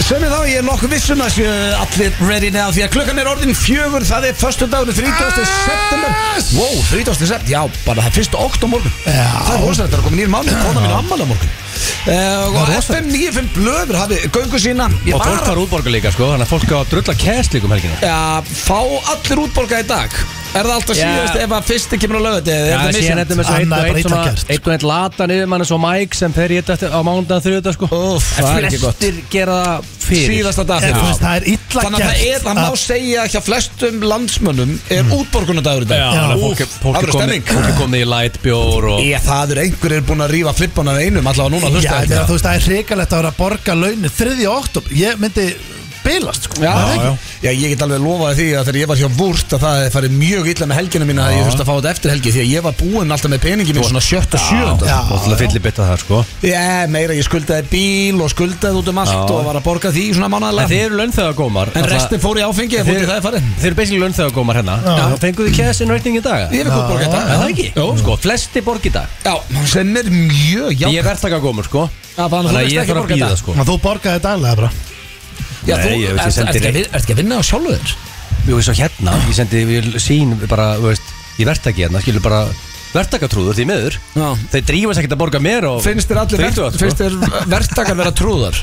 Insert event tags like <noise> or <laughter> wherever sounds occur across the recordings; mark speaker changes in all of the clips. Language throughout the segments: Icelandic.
Speaker 1: Sem er þá, ég er nokkuð vissum að séu allir ready now Því að klukkan er orðin fjögur, það er förstu dagur 30. september Wow, 30. september, já, bara það er fyrstu ótt á morgun
Speaker 2: Já.
Speaker 1: Það er rosalegt, það er komið nýjum mánu, kona mín á ammali á morgun Uh, og
Speaker 2: Það er
Speaker 1: FM
Speaker 2: rosalegt.
Speaker 1: 95 blöður hafi göngu sína Ég
Speaker 3: Og fólk
Speaker 1: var
Speaker 3: var útborga líka sko Þannig að fólk á að drulla kæst líkum helgina
Speaker 1: Já, fá allir útborga í dag Er það alltaf
Speaker 3: Já.
Speaker 1: síðast ef að fyrsti kemur á lögut
Speaker 3: Já,
Speaker 1: eða er
Speaker 3: það
Speaker 1: það
Speaker 3: sé
Speaker 1: misjönd?
Speaker 3: þetta með svo einn
Speaker 2: Annað er bara
Speaker 3: og einn
Speaker 2: illa
Speaker 3: svona
Speaker 2: gert.
Speaker 3: Einn og einn latan yfir mann Svo Mike sem fer í þetta á mánundan þriðudag sko
Speaker 1: Úff,
Speaker 3: En
Speaker 1: það er ekki gott.
Speaker 3: Flestir gera það fyrir
Speaker 1: Síðasta dag
Speaker 2: Eða,
Speaker 1: fyrir.
Speaker 2: þú veist, það er illa
Speaker 1: Þannig að það er,
Speaker 2: gert
Speaker 1: það má
Speaker 2: að-
Speaker 1: segja að hjá flestum landsmönnum er mm. útborgunadagur í dag
Speaker 3: Já, þannig að fólk er-
Speaker 1: Úff,
Speaker 3: fólk
Speaker 1: það
Speaker 3: er
Speaker 1: er
Speaker 3: komið-
Speaker 1: stemming
Speaker 3: fólk er komið í lightbjór og
Speaker 1: Ég, það er einhverjir búin að rífa flippana við einum allavega núna að
Speaker 2: Já,
Speaker 1: hlusta
Speaker 2: ég meina, þú veist, það er hrikalegt að vera að borga launir 3. oktober, ég myndi bilast sko
Speaker 1: Já,
Speaker 2: Það er ekki-
Speaker 1: já, já, ég get alveg lofaði því að þegar ég var hjá Vúrt að það farið mjög illa með helgina mína að ég þurfti að fá þetta eftir helgi því að ég var búinn alltaf með peningi mín svona sjött og sjönda
Speaker 2: Já,
Speaker 3: Það er fyllir bytta það sko
Speaker 1: Já, meira ég skuldaði bíl og skuldaði út um allt
Speaker 3: Já.
Speaker 1: og var að borga því svona
Speaker 3: En þið
Speaker 1: mánæðilega
Speaker 3: eru launþegagómar
Speaker 1: En restin fór í áfengi ef
Speaker 3: Þið-
Speaker 1: út í það er farið
Speaker 3: Þeir eru basically launþegagómar hérna
Speaker 2: Já.
Speaker 3: Það fenguðu cash in writing í dag
Speaker 1: Ég er ekki borga
Speaker 3: Er það
Speaker 1: þetta
Speaker 3: ekki? Sko, flesti borg í dag
Speaker 1: Já, sem er mjög
Speaker 3: Ég er
Speaker 1: jákvæmt.
Speaker 3: verðtakagómur sko
Speaker 1: Já, þannig að þú
Speaker 3: Þannig að
Speaker 1: veist
Speaker 3: ég
Speaker 1: ekki
Speaker 3: þarf að
Speaker 1: borga
Speaker 3: býða
Speaker 1: þetta.
Speaker 3: sko
Speaker 2: Þannig að þú borgaði daglega bara
Speaker 1: Já,
Speaker 3: Nei,
Speaker 1: þú,
Speaker 3: ég veit, ég
Speaker 1: ert-
Speaker 3: sendi
Speaker 1: ertu ekki að
Speaker 3: reynd.
Speaker 1: vin- ertu ekki að vinna á sjálfu þér?
Speaker 3: Jú, svo hérna, ég sendi við sín bara, þú veist, ég verktaki hérna, skilur bara verktakatrúður því miður
Speaker 1: Já.
Speaker 3: Þeir drífast ekkert að borga mér og
Speaker 1: Finnst þér allir
Speaker 3: Þrítugt, sko.
Speaker 1: verkt- finnst þér verktakar vera trúðar?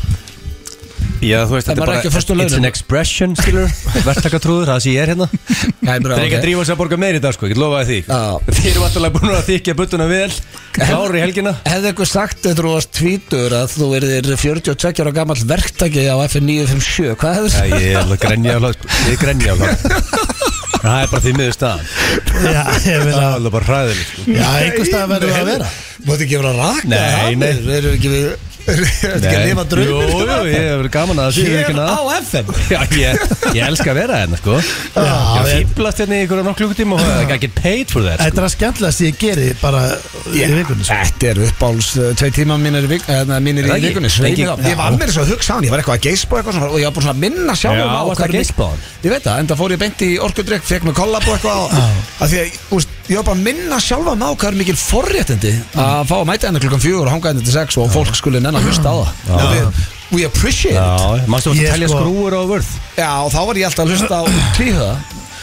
Speaker 3: Já, þú
Speaker 1: En
Speaker 3: veist, þetta er
Speaker 1: maður er
Speaker 3: bara,
Speaker 1: ekki á föstu
Speaker 3: it's
Speaker 1: launum.
Speaker 3: an expression,
Speaker 1: <laughs>
Speaker 3: skilur Verktakatrúður, það sé ég er hérna Þeir
Speaker 1: Nei, bara,
Speaker 3: eru ekki að
Speaker 1: ok.
Speaker 3: drífast að borga mér í dag, sko, ég get lofaði því
Speaker 1: Já.
Speaker 3: Þeir eru alltaf búin að þykja buttuna vel Klári
Speaker 1: <laughs>
Speaker 3: helgina
Speaker 1: Hefði eitthvað sagt þegar þú varst tvítur að þú erðir 42 ára gammal verktaki á FN957 Hvað hefur
Speaker 3: Já,
Speaker 1: það?
Speaker 3: ég er alveg grenja á hlað, sko, ég er grenja á hlað Það er bara því miður staðan
Speaker 2: Já, ég vil
Speaker 3: Það er
Speaker 2: <laughs> að
Speaker 3: alveg bara hræðileg, sko
Speaker 2: Já, einhvers stað verður það að vera
Speaker 1: Máttu ekki vera að raka
Speaker 3: Nei, nei.
Speaker 1: Erum við ekki við Erum við ekki að
Speaker 3: Nei.
Speaker 1: lifa draumir
Speaker 3: Jú, jú, ég hefur gaman að það sé
Speaker 1: Hér
Speaker 3: ekki
Speaker 1: á
Speaker 3: að
Speaker 1: FM
Speaker 3: Já, ég, ég elska að vera hérna, sko
Speaker 2: Já,
Speaker 3: Ég
Speaker 2: ég-
Speaker 3: fýblast hérna í ykkur nokk klukkutíma og I get paid for that,
Speaker 2: Þetta
Speaker 3: sko
Speaker 2: er að skemmtilegast ég geri bara í vikunni sko.
Speaker 1: Þetta er uppáls uh, Tvei tíma mínir, vik, eh, na, mínir
Speaker 3: Er það
Speaker 1: í
Speaker 3: ekki?
Speaker 1: vikunni Sveini
Speaker 3: Lengi-
Speaker 1: þá Ég var mér svo að hugsa á hann Ég var eitthvað að geispa og eitthvað svona, Og ég var búin svona að minna sjálf
Speaker 3: Já, varstu að geispa á hann?
Speaker 1: Ég veit það En það fór ég beint í orkudrykk Fekk með kollab og eitthvað og- af Því að úst, ég var bara að minna sjálf á Hvað er mikil forréttindi Að fá að mæta henni klukkan fjögur Og hanga henni til sex Og fólk skulle nenn að hlusta á það Og við- We appreciate it
Speaker 3: Já, mannstu að
Speaker 2: Ég,
Speaker 3: telja
Speaker 2: sko-
Speaker 3: skrúur á vörð
Speaker 1: Já, og þá var ég alltaf að hlusta á tvíhöða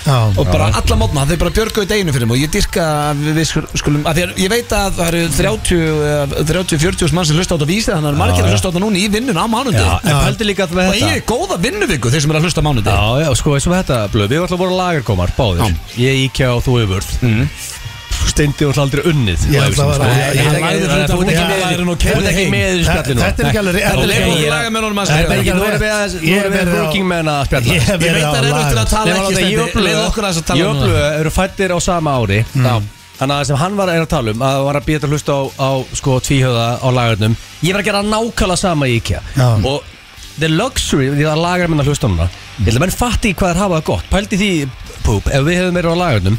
Speaker 2: Já.
Speaker 1: og bara alla mótna, þeir bara björguðu deginu fyrir mig og ég dyrka að við við skul- skulum að því að ég veit að það eru eh, 30-40 mann sem hlusta á þetta vísi þannig að það eru margir að
Speaker 3: já.
Speaker 1: hlusta á þetta núna í vinnun á mánundi
Speaker 3: Já, en
Speaker 1: og
Speaker 3: pældi líka með
Speaker 1: ég er
Speaker 3: þetta
Speaker 1: í góða vinnuviku þeir sem eru að hlusta á mánundi
Speaker 3: Já, já, sko, eins og þetta, blöð, við erum alltaf voru lagarkomar, báðir Ég íkja og þú yfir vörð Steindi og aldrei unnið
Speaker 2: Mhm.
Speaker 3: sko.
Speaker 2: Ég ætla að vera- ég- ég-
Speaker 3: Þú ert ekki
Speaker 2: ég-
Speaker 3: með
Speaker 2: ég-
Speaker 3: Þú ert ekki
Speaker 2: ég-
Speaker 3: með þessu
Speaker 2: Þetta-
Speaker 3: spjalli nú
Speaker 2: þetta er ekki alveg rétt-
Speaker 3: Nei,
Speaker 2: þetta er
Speaker 3: ok,
Speaker 2: ekki-
Speaker 3: ég-
Speaker 1: lagamennunum að
Speaker 3: Þetta
Speaker 1: segja
Speaker 3: er ekki-
Speaker 2: þetta.
Speaker 3: Nú erum við að- nú
Speaker 2: Ég
Speaker 3: erum við
Speaker 2: verið á-
Speaker 3: working men að spjalla
Speaker 2: Ég
Speaker 1: Ég veit
Speaker 2: verið á
Speaker 1: það er erfitt að
Speaker 2: lager
Speaker 1: tala
Speaker 3: Nei,
Speaker 1: ekki
Speaker 3: Valdi, ég og
Speaker 1: Steindi.
Speaker 3: Blöð-
Speaker 1: leið okkur aðeins að tala um Mm.
Speaker 3: Ég og
Speaker 1: núna.
Speaker 3: Blöð eru fættir á sama ári Þannig að sem hann var er að tala um að hann var að býja þetta hlusta á, á sko, tvíhöða á lagarnum Ég var að gera nákvæmlega sama í IKEA
Speaker 2: Já.
Speaker 3: Og the luxury því að lagar minna hlusta á núna Ég held að menn fatti hvað þeir hafa það gott Pældi því, Púp, ef við hefðum verið á lagarnum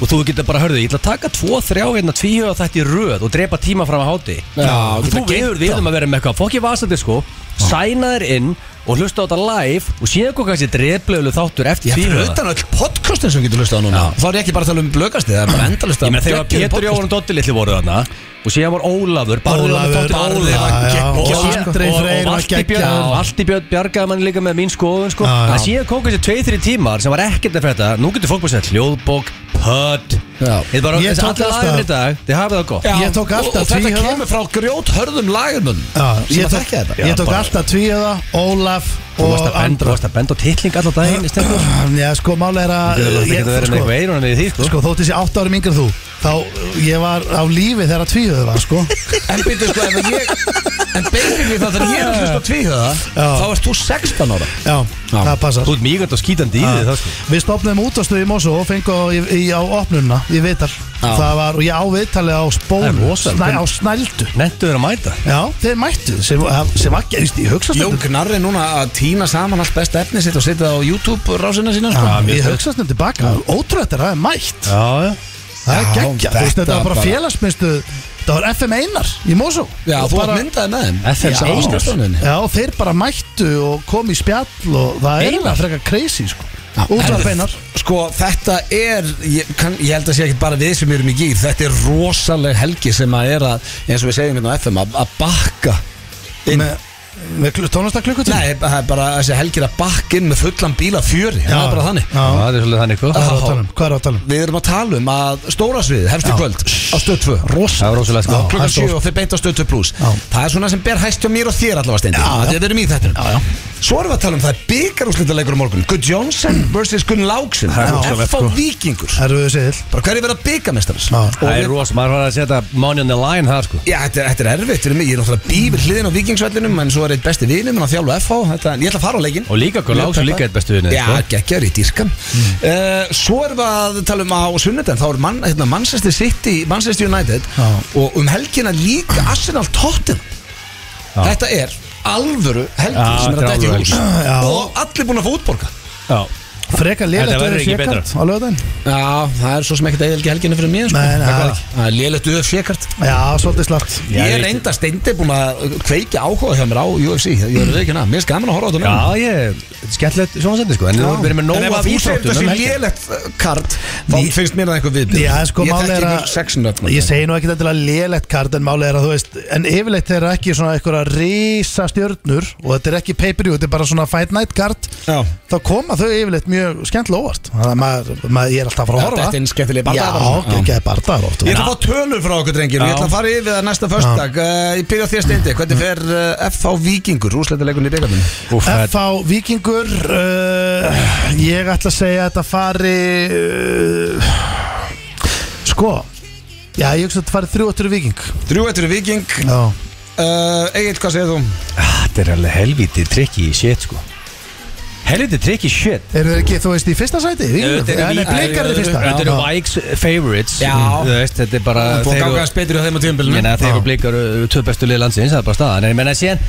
Speaker 3: Og þú getur bara að hörðu, ég ætla að taka tvo, þrjá hérna tvíhjóða þetta í röð og drepa tíma fram að háti
Speaker 1: Já,
Speaker 3: Og
Speaker 1: geta
Speaker 3: þú
Speaker 1: geymt
Speaker 3: veður við um að vera með eitthvað fokki vasandi sko, sæna þér inn og hlusta á þetta live og síðan kom kannski drefblöðlu þáttur eftir
Speaker 1: Ég fyrir
Speaker 3: tvíhjóða
Speaker 1: utan öll podcastin sem getur hlusta á núna
Speaker 3: Já.
Speaker 1: Þá er ég ekki bara að tala um blökastið Það er bara endalist
Speaker 3: Ég meina þegar Pétur Jóhann og Dotti litli voru þarna Og síðan var Ólafur
Speaker 2: Ólafur,
Speaker 3: Barði
Speaker 2: já,
Speaker 3: var
Speaker 2: já,
Speaker 3: geggjað.
Speaker 2: og Andri
Speaker 3: Og- og-
Speaker 2: Freyr
Speaker 3: og
Speaker 2: var
Speaker 3: Valtý Björn-
Speaker 2: geggjaður.
Speaker 3: já, Valtý Björn bjargaði manni líka með mín skoðun sko.
Speaker 2: Já, já.
Speaker 3: En síðan kom kannski 2-3 tímar sem var ekkert að fyrir þetta Nú getur fólk búin að segja hljóðbók, pödd
Speaker 1: Já.
Speaker 3: Þetta er bara
Speaker 2: Ég
Speaker 3: þessi
Speaker 2: tók
Speaker 3: allir
Speaker 2: alltaf-
Speaker 3: aðeins í dag Þið hafið það gott
Speaker 2: Ég tók alltaf
Speaker 1: Og þetta
Speaker 2: tvíhöfða.
Speaker 1: kemur frá grjót hörðum lagarnum
Speaker 2: Já,
Speaker 1: sem
Speaker 2: ég
Speaker 1: að
Speaker 2: tók,
Speaker 1: þekka þetta
Speaker 2: ég tók
Speaker 3: bara-
Speaker 2: alltaf tvíða, Ólaf
Speaker 3: Þú varst
Speaker 2: og
Speaker 3: að benda- þú
Speaker 2: Andra
Speaker 3: varst að benda á titling allar daginn í stendur
Speaker 2: Já, sko, máli er að
Speaker 3: Það
Speaker 2: ég-
Speaker 3: getur verið með
Speaker 2: sko,
Speaker 3: eitthvað eirun í því sko.
Speaker 2: Sko, þóttist ég 8 árum yngri en þú Þá, uh, ég var á lífi þegar að tvíða var, sko
Speaker 1: En byrju sko ef ég En basically það þegar ég er að hlusta á tvíhöða
Speaker 2: Já.
Speaker 1: Þá ert þú 16 ára
Speaker 2: Já, það passar
Speaker 3: Þú ert mýgand og skítandi í því það sko
Speaker 2: Ah. Við stopnum útastöð í Mosó og fengum á- í, í, á opnunna í Vital Það var, og ég á Vitali á
Speaker 3: Það er
Speaker 2: spónu
Speaker 3: rosalegt.
Speaker 2: snæ, Á snældu
Speaker 3: Nettu þeir að mæta
Speaker 2: Já, þeir mættu sem, sem var, ég, ég hugsa
Speaker 1: Jón
Speaker 2: stundum
Speaker 1: Gnarri núna að týna saman allt besta efni sitt Og setja það á YouTube rásina sína sko.
Speaker 2: Já,
Speaker 3: mjög
Speaker 2: Ég
Speaker 3: stöð.
Speaker 2: hugsa stundum tilbaka Ótrúlega þetta er mætt
Speaker 3: Já, já
Speaker 2: Það er
Speaker 1: Já,
Speaker 2: geggja, þú veist
Speaker 1: þetta
Speaker 2: þetta var bara
Speaker 1: bara-
Speaker 2: félagsmyndstöð Það var FM Einar í Mosó
Speaker 1: Já,
Speaker 2: Og
Speaker 1: þú
Speaker 2: bara-
Speaker 1: bara... myndaði með þeim
Speaker 3: FM
Speaker 1: Sem
Speaker 3: Einar.
Speaker 1: áskastoninni.
Speaker 2: Já, þeir bara mættu og kom í spjall og það er
Speaker 3: Einar?
Speaker 2: eiginlega frekar crazy sko
Speaker 1: Já,
Speaker 2: Útvarp
Speaker 1: herðu,
Speaker 2: Einar
Speaker 1: Sko þetta er ég, kann, ég held að sé ekki bara við sem erum í gýr Þetta er rosaleg helgi sem að er að Eins og við segjum hérna á FM Að, að bakka inn
Speaker 2: Með- Með tónlistaklukkutíma?
Speaker 1: Nei, það er bara þessi helgir að bakka inn með fullan bíla fjöri Það er bara þannig
Speaker 2: Já.
Speaker 3: það er svolítið þannig
Speaker 2: Hvað
Speaker 3: sko
Speaker 2: er að tala um? Hvað er að tala um?
Speaker 1: Við erum að tala um að stóra sviðið, hefst í kvöld á stöð 2
Speaker 3: Það er rosalega sko
Speaker 2: Já. það
Speaker 1: klukkan
Speaker 2: er
Speaker 1: 7 og þeir beint á stöð 2 plus
Speaker 2: Já.
Speaker 1: Það er svona sem ber hæst hjá mér og þér allavega stendur
Speaker 2: Já, já.
Speaker 1: Þegar við erum í þetta
Speaker 2: Já, já.
Speaker 1: Svo erum við að tala um það er byggarúslitaleikur um morgun Gunn Jónsson vs. Gunn Láksson
Speaker 3: Það er rosalegt,
Speaker 1: F.A.
Speaker 3: sko.
Speaker 1: Víkingur
Speaker 2: Það eru við segil
Speaker 1: Bara hverju verða byggarmestars
Speaker 2: Já.
Speaker 3: Það er rosalega, maður var að setja money on the line það sko
Speaker 1: Já, þetta er, þetta er erfitt fyrir mig, ég er náttúrulega býfið hliðin á vikingsvellinum en svo er eitt besti vinum en að þjálfa FH, þetta, en ég ætla að fara á leikin
Speaker 3: Og líka Gunn Láksson líka eitt besti vinur,
Speaker 1: Já,
Speaker 3: sko.
Speaker 1: geggjari, dýrkan mm. Svo erum við að tala um á sunnudan þá er mann, hérna, Manchester City, Manchester United
Speaker 2: Já.
Speaker 1: og um helgina líka Arsenal Tottenham
Speaker 3: Já.
Speaker 1: Þetta er alvöru helgi
Speaker 3: Já,
Speaker 1: sem er að
Speaker 3: þetta er
Speaker 1: dæti í
Speaker 3: alvöru
Speaker 1: hús
Speaker 2: helgi. Já.
Speaker 1: og allir búin að fá útborga
Speaker 3: Já,
Speaker 2: Freka lélegt
Speaker 3: Þetta verður
Speaker 2: öðru
Speaker 3: ekki
Speaker 2: sékart
Speaker 3: betra.
Speaker 2: á löðan
Speaker 1: Já, það er svo sem ekkert eðilgi helgina fyrir mér
Speaker 2: Nei, nei, það er ekki.
Speaker 1: það er lélegt öf fjökart
Speaker 2: Já, svolítið slagt
Speaker 3: Já,
Speaker 1: Ég
Speaker 3: ég
Speaker 1: er
Speaker 3: veit.
Speaker 1: enda steindi búin að kveikja áhuga hjá mér á UFC Ég er ekki hana, mér er skaman að horfa á þetta
Speaker 3: já,
Speaker 1: núna.
Speaker 3: ég, skemmtilegt sjónvarsending sko En þú verður með
Speaker 1: En
Speaker 3: nóg
Speaker 1: ef að
Speaker 3: af
Speaker 1: þú segir
Speaker 3: íþróttum
Speaker 1: þessi
Speaker 3: um helgina.
Speaker 1: lélegt uh, kart þá
Speaker 2: Ný-
Speaker 1: finnst mér það einhver viðbjörn
Speaker 2: Já, en sko,
Speaker 1: Ég
Speaker 2: máli
Speaker 1: þekki
Speaker 2: er
Speaker 1: nú
Speaker 2: að
Speaker 1: sexin öfnum
Speaker 2: Ég segi nú ekkit endilega lélegt kart En máli er að þú veist En yfirleitt þeir eru ekki svona einhverja risa stjörnur Og þetta er ekki pay-per-view Þetta er bara svona fight night kart
Speaker 1: Já.
Speaker 2: Þá koma þau yfirleitt mjög skemmtilega óvart Þannig að maður, maður, ég er alltaf að fara að horfa
Speaker 1: Þetta er einn skemmtileg
Speaker 2: Já,
Speaker 1: bardagar.
Speaker 2: ekki að bardaðar oft
Speaker 1: Ég ætla að fá tölur frá okkur drengir Ég ætla að fara yfir það næsta förstak Ég byrja á þér steindi Hvernig fer uh, FH Víkingur Úsleitilegun í byggarnum
Speaker 3: Úff, það er-
Speaker 2: FH Víkingur uh, Ég ætla að segja að þetta fari uh, Sko Já, ég hugsa að þetta fari 3-8 Víking
Speaker 1: Þrjú eittur Víking
Speaker 2: Já
Speaker 1: uh, Egil, hvað segir þú?
Speaker 3: Þetta er alveg helviti trikki í shit sko Helviti trikki shit
Speaker 2: Eru þeir ekki, þú veist, í fyrsta sæti? Víkingur?
Speaker 3: Þetta
Speaker 2: Já,
Speaker 3: eru
Speaker 2: nei,
Speaker 3: líka-
Speaker 2: blikar eru í fyrsta
Speaker 3: Þetta eru
Speaker 2: Já.
Speaker 3: Vikes favorites
Speaker 1: Já.
Speaker 3: Þú veist, Þetta er bara
Speaker 1: Þú
Speaker 3: Uh, þeir-
Speaker 1: gangaðast betur á þeim á
Speaker 3: Ég
Speaker 1: tíðumbilinu
Speaker 3: meina þeir eru blikar uh, tvö bestu lið landsins, það er bara staðan En ég meina síðan,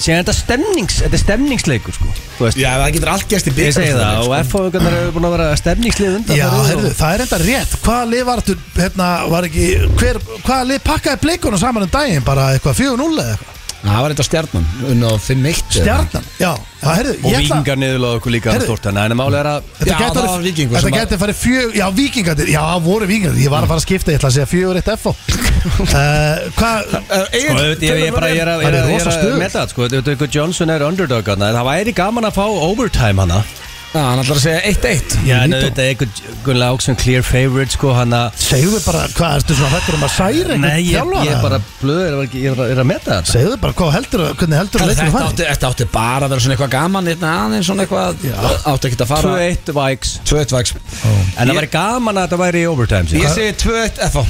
Speaker 3: síðan þetta stemnings, þetta er stemningsleikur sko Þú veist,
Speaker 1: Já, það getur allt gæst í
Speaker 3: ég
Speaker 1: byggarnum
Speaker 3: segi það sko. og F-fóðungarnar eru búin að vera stemningslið undan
Speaker 2: Já, heyrðu, það er enda rétt Hvaða lið var þetta, hérna, var ekki hver, Hvaða lið pakkaði blikunum saman um daginn Bara eitthvað 4-0 eða eitthvað
Speaker 1: Það var eitthvað stjarnan Unna á 5-1
Speaker 2: Stjarnan, já, já, heyrðu
Speaker 3: Og
Speaker 2: ég ætla-
Speaker 3: vikingar niðurlega okkur líka
Speaker 2: Heyrðu.
Speaker 3: stort En málið er að
Speaker 1: Já,
Speaker 2: Þetta gæti
Speaker 1: það
Speaker 2: orðið-
Speaker 1: var Víkingur
Speaker 2: Þetta
Speaker 1: sem að-
Speaker 2: gæti farið fjög Já, vikingarnir Já, voru vikingarnir Ég var að fara að skipta Ég ætla að segja fjögur eitt
Speaker 1: <laughs>
Speaker 2: FO uh, Hvað
Speaker 1: Egil,
Speaker 3: Og Sko, auðvitað, ég, ég, bara,
Speaker 1: um-
Speaker 3: ég er að, ég
Speaker 2: Það
Speaker 3: er
Speaker 2: er
Speaker 3: að, ég er
Speaker 2: rosa
Speaker 3: að
Speaker 2: stuð.
Speaker 3: meta það sko, þetta er eitthvað Johnson er underdog hana, en það væri gaman að fá overtime hana
Speaker 1: Já, hann ætlar að segja 1-1
Speaker 3: Já, en
Speaker 2: veit það.
Speaker 3: auðvitað eitthvað Gunnlega Áksson clear favorite sko hana
Speaker 2: Segðu bara Hvað ertu svona hættur um að særi
Speaker 3: Nei, ég, ég er bara blöður, ég, er að- ég er að meta þetta
Speaker 2: Segðu bara hvað heldur Hvernig heldur
Speaker 1: Þetta
Speaker 2: leikur farið
Speaker 1: átti, þetta átti bara að vera svona eitthvað gaman Þetta aðeins svona eitthvað Átti ekki að fara
Speaker 3: 2-1 Vikes
Speaker 1: 2-1 vægs
Speaker 3: En það væri gaman að þetta væri í overtime
Speaker 1: Ég
Speaker 3: síðan.
Speaker 1: segi 2-1 FH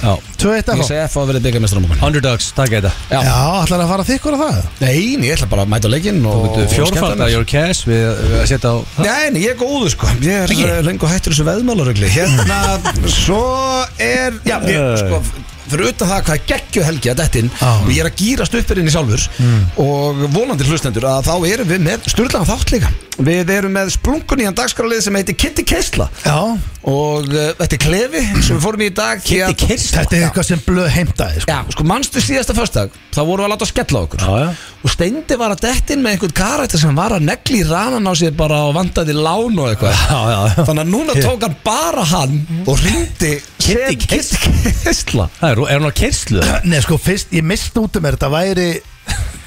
Speaker 3: Já.
Speaker 2: Tvö eitt
Speaker 1: Ég
Speaker 2: FO
Speaker 1: segi FH að verið byggjarmestrar á morgun
Speaker 3: Underdogs, takk ég þetta
Speaker 2: Já, ætlar að fara þykkur að það
Speaker 1: Nei, nei, ég ætla bara að mæta á leikinn og og skemmta
Speaker 3: Fjórfaldar,
Speaker 1: mér.
Speaker 3: your cash Við við að setja á
Speaker 1: Nei, nei, ég er góður sko Ég er
Speaker 3: Ekki?
Speaker 1: uh, lengur hættur þessu veðmálarugli
Speaker 3: <laughs>
Speaker 1: Hérna, svo er Já, ég,
Speaker 3: Æ.
Speaker 1: sko, fyrir utan það hvað geggju helgi að dettin
Speaker 2: Á.
Speaker 1: og ég er að gýrast upp erinn í sjálfur
Speaker 3: Mm.
Speaker 1: og vonandi hlustendur að þá erum við með styrlaðan þátt líka Við erum með splunkuníjan dagskrálið sem heitir Kitty Keisla
Speaker 2: Já
Speaker 1: og uh, þetta er klefi sem við fórum í í dag því að-
Speaker 3: Kirsten
Speaker 2: Þetta er eitthvað sem blöð heimtaði sko.
Speaker 1: Já, sko, manstu síðasta föstdag þá vorum við að láta að skella á okkur
Speaker 3: Já, já.
Speaker 1: og Steindi var að dettin með einhvern karakter sem var að negli ranan á sér bara og vandaði lán og eitthvað
Speaker 3: Já, já, já.
Speaker 1: Þannig að núna tók hann bara hann og ringdi sem Kitty Kessla
Speaker 3: Það er, er hún á kyrslu?
Speaker 2: Nei, sko, fyrst Ég mist út um mér Þetta væri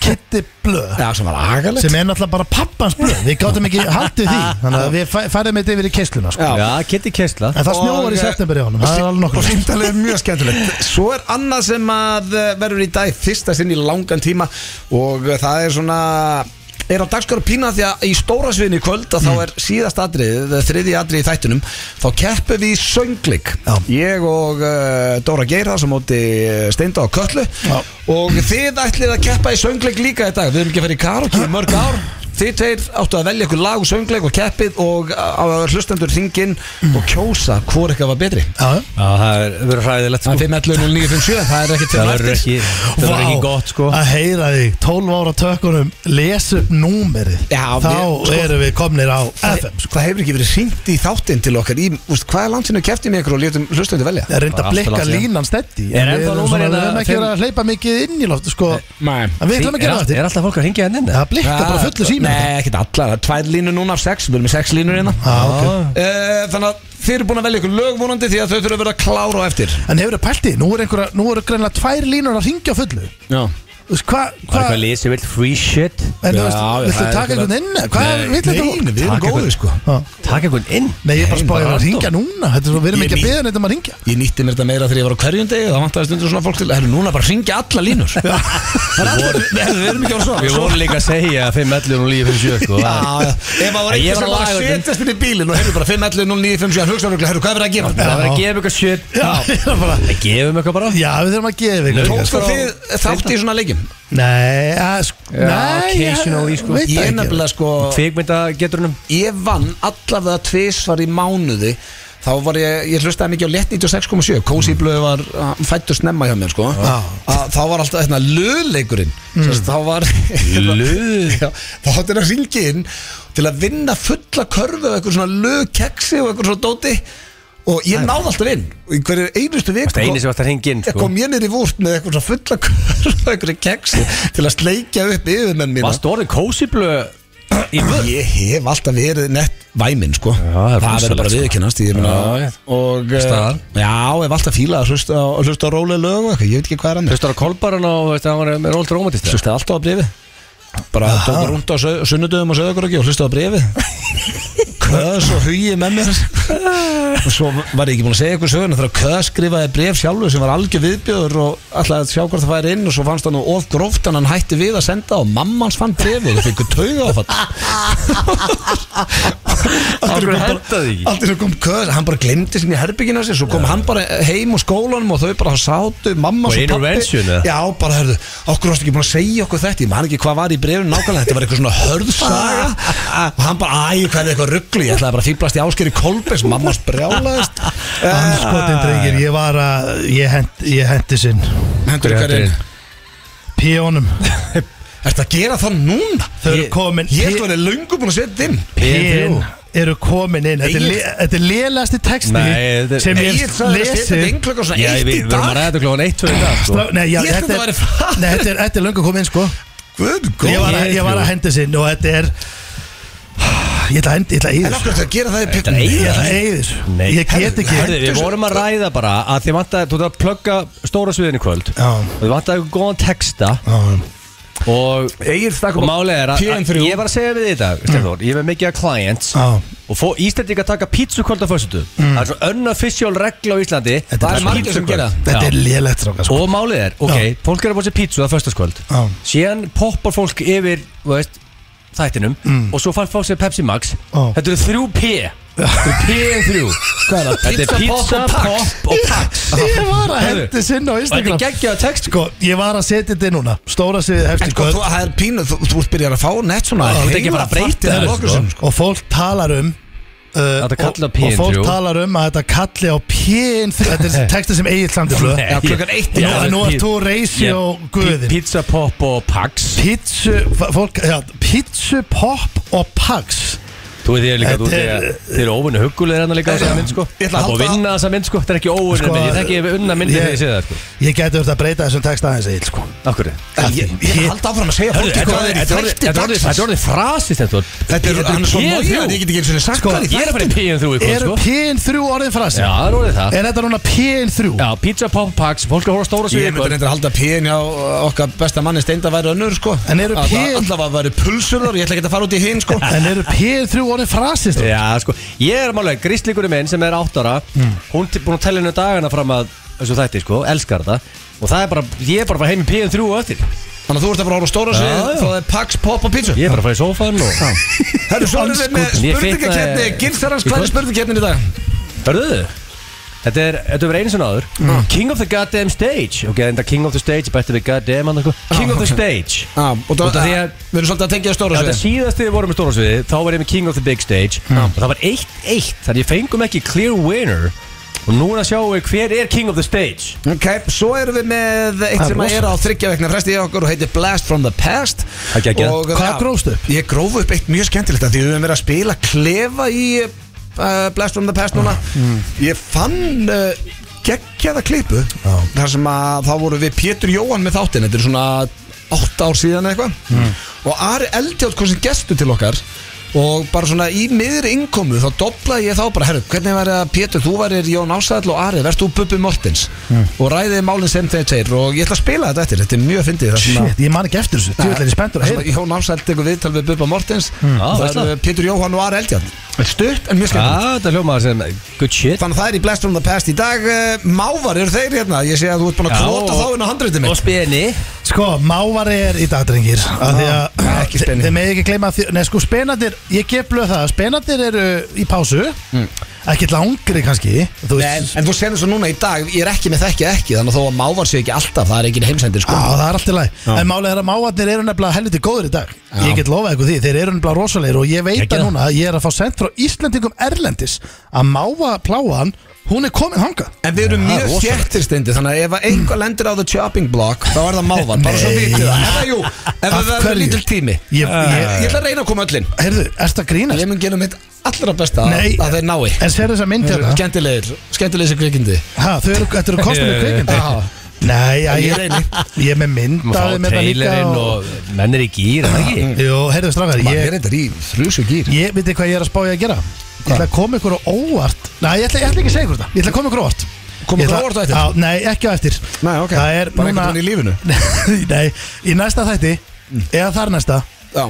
Speaker 2: Kitty blöð
Speaker 1: Já, sem var agalegt
Speaker 2: Sem er náttúrulega bara pappans blöð Við gátum ekki haldið því
Speaker 1: Ah,
Speaker 2: Þannig að við fæ- færðum þetta yfir í keisluna sko.
Speaker 1: Já.
Speaker 3: Já, Kitty kyrsla
Speaker 2: En það snjóður í
Speaker 1: Og, eh,
Speaker 2: september í honum
Speaker 1: og
Speaker 2: Það er
Speaker 1: sí-
Speaker 2: alveg
Speaker 1: Og
Speaker 2: nokkuð
Speaker 1: símtalið er mjög skemmtilegt Svo er annað sem að eh, verður í dag Fyrsta sinn í langan tíma Og eh, það er svona Er á dagskar að pína því að í stóra sviðinu í kvöld að þá
Speaker 2: Mm.
Speaker 1: er síðast atrið, þriði atrið í þættunum, þá keppum við í söngleik.
Speaker 2: Já.
Speaker 1: Ég og uh, Dóra Geirhars á móti eh, Steinda og Köllu
Speaker 2: Já.
Speaker 1: og þið ætlið að keppa í söngleik líka í dag. Við erum ekki að fara í karaoke í mörg ár. Þið tveir áttu að velja ykkur lag og söngleik og keppið og uh, hlustendur hringinn og kjósa hvor eitthvað var betri.
Speaker 2: Já, já
Speaker 3: Já, það er verið hræðilegt sko
Speaker 1: Það er 5.11.09.57 Það er ekki til
Speaker 3: Það verður ekki, það verður ekki
Speaker 2: Vá,
Speaker 3: gott sko
Speaker 2: Að heyra þig 12 ára tökunum lesa upp númerið
Speaker 1: Já,
Speaker 2: Þá
Speaker 1: við- sko-
Speaker 2: erum við komnir á FM
Speaker 1: sko. Það hefur ekki verið hringt í þáttinn til okkar í, úst, Hvað er landsinu kefti með ykkur og létum hlustundi velja?
Speaker 2: Það er reynd
Speaker 3: Bara
Speaker 2: að
Speaker 3: allt
Speaker 2: blikka
Speaker 3: langt síðan.
Speaker 2: línan steddi
Speaker 3: Er ennþá
Speaker 2: við erum
Speaker 3: númerið
Speaker 2: svona- við
Speaker 3: að
Speaker 2: erum ekki
Speaker 3: fimm-
Speaker 2: verið að hleypa mikið inn í loft sko,
Speaker 1: Nei
Speaker 2: En við ætlum að
Speaker 3: Er
Speaker 2: gera
Speaker 3: allt-
Speaker 2: þetta
Speaker 3: Er alltaf fólk að hringja henni inni?
Speaker 2: Það blikkar bara fullu sími
Speaker 1: Ah, Nei, ekkert allar, það er tvær línur núna af sex Við erum með sex línur hérna
Speaker 2: Já, ok.
Speaker 1: Eh, Þannig að þið eru búin að velja ykkur lögvonandi Því að þau þurfa að vera klára á eftir
Speaker 2: En hefur það pælti, nú eru einhverja, nú eru greinlega tvær línur að ringja á fullu
Speaker 1: Já
Speaker 2: Þú veist, hvað
Speaker 3: Það er
Speaker 2: hva,
Speaker 3: eitthvað lið sem vil free shit
Speaker 2: En þú
Speaker 1: Já,
Speaker 2: veist,
Speaker 1: já,
Speaker 2: viltu
Speaker 1: það er
Speaker 2: taka
Speaker 1: eitthvað-
Speaker 2: einhvern inn? Hvað vil þetta
Speaker 1: Nei, við erum
Speaker 3: Taka
Speaker 1: góðið
Speaker 3: eitthvað.
Speaker 1: sko
Speaker 2: Já.
Speaker 3: Takk einhvern inn
Speaker 2: Nei, ég er bara
Speaker 3: Nei,
Speaker 2: spáðið
Speaker 3: bara
Speaker 2: að ringja
Speaker 3: random.
Speaker 2: núna Þetta er svo, við erum
Speaker 1: Ég
Speaker 2: ekki að
Speaker 1: ný-
Speaker 2: beða neitt um að ringja
Speaker 1: Ég nýtti mér þetta meira þegar ég var á hverjum degi Það vantaði stundur svona fólk til Það er núna bara að ringja alla línur Það er allir Nei, Við erum ekki á
Speaker 3: Við
Speaker 1: svona
Speaker 3: vorum líka að segja 5.11 og 9.57 sko.
Speaker 1: Já, já. Ef maður var
Speaker 3: Ég
Speaker 1: eitthvað sem
Speaker 3: var að
Speaker 1: bara
Speaker 3: laga þetta.
Speaker 1: setjast inn í bílinn og heyrðu bara 511 0957 hugsaðuruglega, heyrðu hvað er verið að gera?
Speaker 3: Það verður að gefa eitthvað shit
Speaker 2: Já, <laughs> ég er bara-
Speaker 3: Það gefum eitthvað
Speaker 2: <laughs>
Speaker 3: bara
Speaker 2: Já, við þurfum að gefa
Speaker 3: Nei.
Speaker 2: ykkur
Speaker 1: Tókstu þið þátt í svona leikjum?
Speaker 2: Nei, að, sk-
Speaker 3: Já,
Speaker 2: nei,
Speaker 3: occasionally,
Speaker 2: ég
Speaker 3: sko.
Speaker 2: veit
Speaker 1: Ég
Speaker 2: það
Speaker 1: er
Speaker 2: ekki
Speaker 1: nefnilega sko
Speaker 3: Kveikmynda getur hennum
Speaker 1: Ég vann allavega tvisvar í mánuði Þá var ég, ég hlustaði mikið á lett 96.7
Speaker 3: Mm.
Speaker 1: Kósi blöð var fættur snemma hjá mér sko
Speaker 2: Já.
Speaker 1: Að Þá var alltaf hérna löðleikurinn mm. Þá var
Speaker 3: Löð.
Speaker 1: <laughs> Já, Þá áttir að ringi inn Til að vinna fulla körfu Og eitthvað svona löðkeksi og eitthvað svona dóti Og ég náði alltaf inn Og í hverju einustu viku
Speaker 3: Það eini sem varst að hringja inn
Speaker 1: Ég
Speaker 3: sko.
Speaker 1: kom ég niður í vúrt með eitthvað svona fulla <laughs> körfu Eitthvað keksi Til að sleikja upp yfirmenn mína
Speaker 3: Varst orðin kósi blöð Í vörn
Speaker 1: Ég hef alltaf verið nett væminn sko
Speaker 3: það er
Speaker 1: Það verður
Speaker 3: rosalegt,
Speaker 1: bara
Speaker 3: sko.
Speaker 1: viðkennast ég meina-
Speaker 3: Já, já.
Speaker 1: Og eh,
Speaker 3: Staðar.
Speaker 1: Já, hef alltaf fílað að hlusta, á- hlusta á rólega lög og eitthvað Ég veit ekki hvað er annað
Speaker 3: Hlustar á kolbaran og veist, hann var með rólt rómatist
Speaker 1: Hlusta alltaf á brefi Bara tók rúnd á sau- sunnudögum og söðakorki og hlusta á brefi Kös og hugi með mér Og svo var ég ekki búin að segja ykkur söguna Þegar Kös skrifaði bref sjálfu sem var algjör viðbjöður og ætlaði að sjá hvort það færi inn og svo fannst hann nú of gróft en hann hætti við að senda og mammans fann brefið og fikk tauga
Speaker 3: Af hverju
Speaker 1: áfall
Speaker 3: hentaði ekki?
Speaker 1: Aldrei kom köður, hann bara glemdi sinni í herbygginu sér Svo kom hann bara heim úr skólanum og þau bara sátu Mamma
Speaker 3: Og
Speaker 1: svo
Speaker 3: intervention, eða?
Speaker 1: Já, bara hörðu, okkur varstu ekki búin að segja okkur þetta Ég man ekki hvað var í brefinu nákvæmlega Þetta var eitthvað svona hörðsaga Og hann bara, æ, hvað er eitthvað ruggli Ég ætlaði bara að fýblast í áskeri kolbes Mamma sprjálaðist
Speaker 2: Anskotin drengir, ég var að Ég, hent, ég hendi sinn
Speaker 1: Eh, Hendur
Speaker 3: Hverju
Speaker 1: hverjum
Speaker 2: Píónum
Speaker 1: Er þetta að gera það núna?
Speaker 2: Þau eru
Speaker 1: Ég-
Speaker 2: komin
Speaker 1: Ég held að vera löngu búin að setja inn
Speaker 2: Píón eru komin inn Þetta er
Speaker 1: Egill.
Speaker 2: le- þetta er leðlasti texti
Speaker 3: Nei, þetta er-
Speaker 2: sem ég
Speaker 1: Ég ætlaði
Speaker 2: hef
Speaker 1: að setja
Speaker 2: lesið
Speaker 1: þetta einklokk á svona
Speaker 3: Já,
Speaker 1: eitt í
Speaker 3: við við erum að
Speaker 1: dag
Speaker 3: ræða þetta klóðan 1-2 í dag sko.
Speaker 2: Slá- Nei, já,
Speaker 1: Ég held að
Speaker 2: þetta
Speaker 1: það
Speaker 2: er-
Speaker 1: væri farið.
Speaker 2: Nei, þetta er- þetta er löngu komin sko
Speaker 1: Guð,
Speaker 2: Ég var, að,
Speaker 1: góð
Speaker 2: ég var að hendi sinn og þetta er Ég ætla að hendi, ég ætla að
Speaker 1: En
Speaker 2: eyða
Speaker 1: okkur
Speaker 2: þessu.
Speaker 1: þetta að gera það í
Speaker 3: Þetta er
Speaker 1: pjökkum
Speaker 2: Ég
Speaker 3: eyða.
Speaker 2: ætla að eyða þessu
Speaker 3: Nei.
Speaker 2: Ég get
Speaker 1: Herðu,
Speaker 2: ekki
Speaker 1: herðu.
Speaker 3: Herði, við
Speaker 1: þessu-
Speaker 3: vorum að ræða bara að þið vantaði, þú ert að plugga stóra sviðin í kvöld
Speaker 2: Já.
Speaker 3: og þið vantaði eitthvað góðan texta og,
Speaker 1: Egil stakk
Speaker 3: og málið er að, að
Speaker 1: PM3
Speaker 3: ég var að segja við þetta, Stefán, ég var mikið að clients
Speaker 2: Mm. Já. Mm.
Speaker 3: og fó Íslandinga taka pítsu kvöld á föstudu, það er svona unofficial regla á Íslandi,
Speaker 2: Þetta er
Speaker 3: það
Speaker 1: margir sem gera það.
Speaker 2: Þetta er
Speaker 3: Já.
Speaker 2: lélegt strákar, sko.
Speaker 3: Og málið er, ok,
Speaker 2: Já.
Speaker 3: fólk er að bóta sér pítsu að föstaskvöld
Speaker 2: Já.
Speaker 3: Síðan poppar fólk yfir, þú veist, þættinum Og svo fann fólk sér Pepsi Max
Speaker 2: Mm. Já.
Speaker 3: Þetta eru þrjú P Þetta eru P en þrjú
Speaker 1: Hvað er það?
Speaker 3: Þetta er pizza, popp og pax
Speaker 2: Ég var að
Speaker 3: Herðu,
Speaker 2: hendi sinn á
Speaker 3: Og þetta
Speaker 2: Instagram
Speaker 3: er geggjaða text
Speaker 2: Sko, ég var að setja þetta inn núna Stóra sviðið
Speaker 1: En
Speaker 2: hefstu
Speaker 1: sko, þú-
Speaker 2: kvöld
Speaker 1: það er pínu, þú þú ert byrjar að fá nett svona
Speaker 3: Já, þú ert ekki bara að breyta
Speaker 1: heimapartið
Speaker 3: þessu,
Speaker 1: af okkur
Speaker 3: sko.
Speaker 1: sem, sko.
Speaker 2: Og fólk talar um uh,
Speaker 3: Þetta kallar
Speaker 2: og, og fólk
Speaker 3: P3.
Speaker 2: talar um að þetta kalli á pín Þetta
Speaker 3: <laughs>
Speaker 2: er texta sem eigið slandi flöð
Speaker 3: Nei.
Speaker 1: Já, klukkan eitt í
Speaker 2: Nú,
Speaker 3: Já,
Speaker 1: nótt.
Speaker 2: nú
Speaker 3: þetta er
Speaker 2: ert þú reysi
Speaker 3: Ég-
Speaker 2: og
Speaker 3: pi-
Speaker 2: guðin
Speaker 3: Pizza, popp og pax
Speaker 2: Pítsu, fólk, já, pítsu, popp og pax
Speaker 3: Þú veit ég líka, þú
Speaker 2: Þetta er-
Speaker 3: veit þið er óvinni huggulegir hérna líka á þessa mynd sko
Speaker 1: Ég
Speaker 3: Það
Speaker 1: ætla að
Speaker 3: er búið
Speaker 1: halda-
Speaker 3: að vinna þessa mynd sko, þetta er ekki óvinni
Speaker 2: Sko,
Speaker 3: mynd Ég þekki yfir unna myndi
Speaker 2: ég-
Speaker 3: þegar ég sé það sko
Speaker 2: Ég geti verið að breyta þessum text aðeins eitt sko
Speaker 3: Af hverju?
Speaker 1: En Ég ég held áfram að segja fólki hvað er í
Speaker 3: Þetta er orðið-
Speaker 1: þætti
Speaker 3: þetta er orðið- þetta er
Speaker 1: dagsins.
Speaker 3: orðið frasist þetta var-
Speaker 1: Þetta er hann er svo
Speaker 3: P3.
Speaker 1: nógið Ég get ekki eins og sagt
Speaker 2: Sko,
Speaker 1: hvað er í
Speaker 3: Ég er að fara í
Speaker 1: þætti
Speaker 3: P3 í kvöld
Speaker 2: Eru
Speaker 3: sko
Speaker 2: pín þrjú orðin frasi?
Speaker 3: Já, það er orðið það
Speaker 2: Er þetta núna pín þrjú?
Speaker 3: Já, pizza, pop, pax, fólk er að horfa á stóra
Speaker 1: Ég
Speaker 3: sviði í
Speaker 1: myndi
Speaker 3: kvöld
Speaker 1: reyndir að halda píin á okkar besta manni steinda væri önnur sko
Speaker 2: En eru
Speaker 1: Alla-
Speaker 2: pén-
Speaker 1: Allavega væri pulsurðar, ég ætla ekki að fara út í hinn
Speaker 3: <laughs>
Speaker 1: sko
Speaker 2: En eru pín þrjú orðin frasi?
Speaker 1: Eh,
Speaker 2: strákar?
Speaker 3: Já, sko, ég er málega gríslíkurinn minn sem er áttara
Speaker 1: Hmm.
Speaker 3: Hún er búin að tella hennu dagana fram að þessu þætti, sko, elskar það Og það er bara, ég er bara að fara heim í PM3 og öttir
Speaker 1: Þannig að þú ert að fara ára á stóra sig
Speaker 3: Já, já.
Speaker 1: Það er Pax, Pop og Pizza
Speaker 3: Ég er bara að fara í sófan og
Speaker 1: Herru, svo erum við með
Speaker 3: Andskotinn, ég fitnaði-
Speaker 1: spurningakeppni Gilsarans,
Speaker 3: Í
Speaker 1: hvað er
Speaker 3: kvöld?
Speaker 1: spurningakeppnin sko, í dag?
Speaker 3: Hörðu þið? Þetta er, þetta er einu sinna áður
Speaker 1: Mm.
Speaker 3: King of the goddamn stage Ok, þetta King of the stage, bætti við goddamn hann, sko.
Speaker 1: Ah,
Speaker 3: King of the stage
Speaker 1: Já, út
Speaker 3: Út
Speaker 1: af
Speaker 3: af
Speaker 1: því
Speaker 3: því
Speaker 1: að
Speaker 3: að-
Speaker 1: Við erum svolítið að tengja stóra
Speaker 3: Þetta
Speaker 1: sig
Speaker 3: síðast þegar við vorum með stóra sviði Þá var ég með King of the Big Stage
Speaker 1: Mm.
Speaker 3: Og það var 1-1 Þannig ég fengum ekki clear winner Og núna sjáum við hver er King of the Stage
Speaker 1: Ok, svo erum við með eitt
Speaker 2: Það er
Speaker 1: sem
Speaker 2: rosa.
Speaker 1: er á þryggja vegna fresti í okkur og heitir Blast from the Past
Speaker 3: Það er geggjað.
Speaker 1: Og-
Speaker 2: Hvað
Speaker 1: Já,
Speaker 2: grófstu upp?
Speaker 1: Ég gróf upp eitt mjög skemmtilegt af því við höfum verið að spila klefa í uh, Blast from the Past núna Ég fann uh, geggjaða klipu þar sem að þá voru við Pétur Jóhann með þáttinn þetta er svona 8 ár síðan eitthvað og Ari Eldjátt kom sem gestu til okkar og bara svona í miður innkomu þá doblaði ég þá bara, herru, hvernig væri að Pétur, þú værir Jón Ásæðal og Ari, verðst þú Bubbi Mortens og ræðið málinn sem þeir tegir og ég ætla að spila þetta eftir, þetta er mjög fyndið það sem að-
Speaker 2: Shit, ég man ekki eftir þessu, þú ætlar ég spenntur
Speaker 1: það
Speaker 2: að
Speaker 1: sem
Speaker 2: heyra
Speaker 1: að Jón Ásæðal tekur viðtal við Bubba Mortens
Speaker 3: Á,
Speaker 1: það
Speaker 3: veistla.
Speaker 1: er eh, Pétur Jóhann og Ari Eldjarn Þetta er stutt en mjög
Speaker 3: Já,
Speaker 1: skemmt
Speaker 3: Ah, þetta hljómaður sem Good shit
Speaker 1: Þannig að það er í Blast from the Past í dag eh, Mávar eru þeir hérna Ég sé að þú ert búin að
Speaker 3: Já,
Speaker 1: kvota
Speaker 3: og-
Speaker 1: þá inn á handriðið
Speaker 3: Og
Speaker 1: mitt
Speaker 3: speni
Speaker 2: Sko, mávari er í dag, drengir af Því að
Speaker 1: Já, Ah, ekki speni.
Speaker 2: þið með ekki gleyma því, Nei, sko, spenandir, ég gef blöð það Spenandir eru í pásu
Speaker 1: Hmm.
Speaker 2: Ekki langri kannski Þú
Speaker 1: En,
Speaker 2: veist,
Speaker 1: en þú senir svo núna í dag, ég er ekki með þekki ekki Þannig að þó að Mávar sé ekki alltaf, það er engin heimsendir
Speaker 2: á,
Speaker 1: sko
Speaker 2: það er allt í læg En málega er að mávarnir eru nefnilega helviti góður í dag Ég get lofað ykkur því, þeir eru nefnilega rosalegir Og ég veit
Speaker 3: Ekki
Speaker 2: að
Speaker 3: það.
Speaker 2: núna, að ég er að fá sent frá Íslendingum Erlendis Að máva pláan, hún er komin hangað
Speaker 1: En við erum mjög
Speaker 2: rosalegt.
Speaker 1: þjættir stendi Þannig að ef að einhver lendir á the chopping block Þá er það Mávar, bara svo
Speaker 2: Nei.
Speaker 1: vitið það Ef að jú, ef
Speaker 2: Af
Speaker 1: að það er
Speaker 2: hverju?
Speaker 1: lítil tími Eh.
Speaker 2: Ég-
Speaker 1: Ég
Speaker 2: ég-
Speaker 1: ég ætla að reyna að koma öllin
Speaker 2: Heyrðu, ertu að grínast?
Speaker 1: Ég mun gera mitt allra besta að
Speaker 2: Nei.
Speaker 1: að þeir nái
Speaker 2: En sér þess að myndi hérna
Speaker 1: Skemmtilegir, skemmtilegir sem kvikindi
Speaker 2: Ha, þau eru, þetta eru kostnum í kvikindi
Speaker 1: Já.
Speaker 2: Nei, já,
Speaker 1: Ég
Speaker 2: ég,
Speaker 1: er reyni.
Speaker 2: ég er með mynd af
Speaker 3: Maður
Speaker 2: þeim
Speaker 3: fá
Speaker 2: hérna
Speaker 3: trailerinn og menn er í gýr en ekki
Speaker 2: Jú, heyrðu strafgar,
Speaker 1: Maður
Speaker 2: ég,
Speaker 1: er þetta í þrjúsu gýr
Speaker 2: ég veit hvað ég er að spá ég að gera Ég ætla að koma ykkur á óvart Nei, ég ætla, ég ætla ekki að segja ykkur þetta Ég ætla að koma ykkur á óvart
Speaker 1: Koma
Speaker 2: Ég
Speaker 1: ykkur á
Speaker 2: ætla-
Speaker 1: óvart á eftir?
Speaker 2: Já, Nei, ekki á eftir
Speaker 1: Nei, ok,
Speaker 2: Það er
Speaker 1: bara
Speaker 2: núna-
Speaker 1: einhvern veginn í lífinu
Speaker 2: <laughs> Nei, í næsta þætti Eða þar næsta
Speaker 1: Já,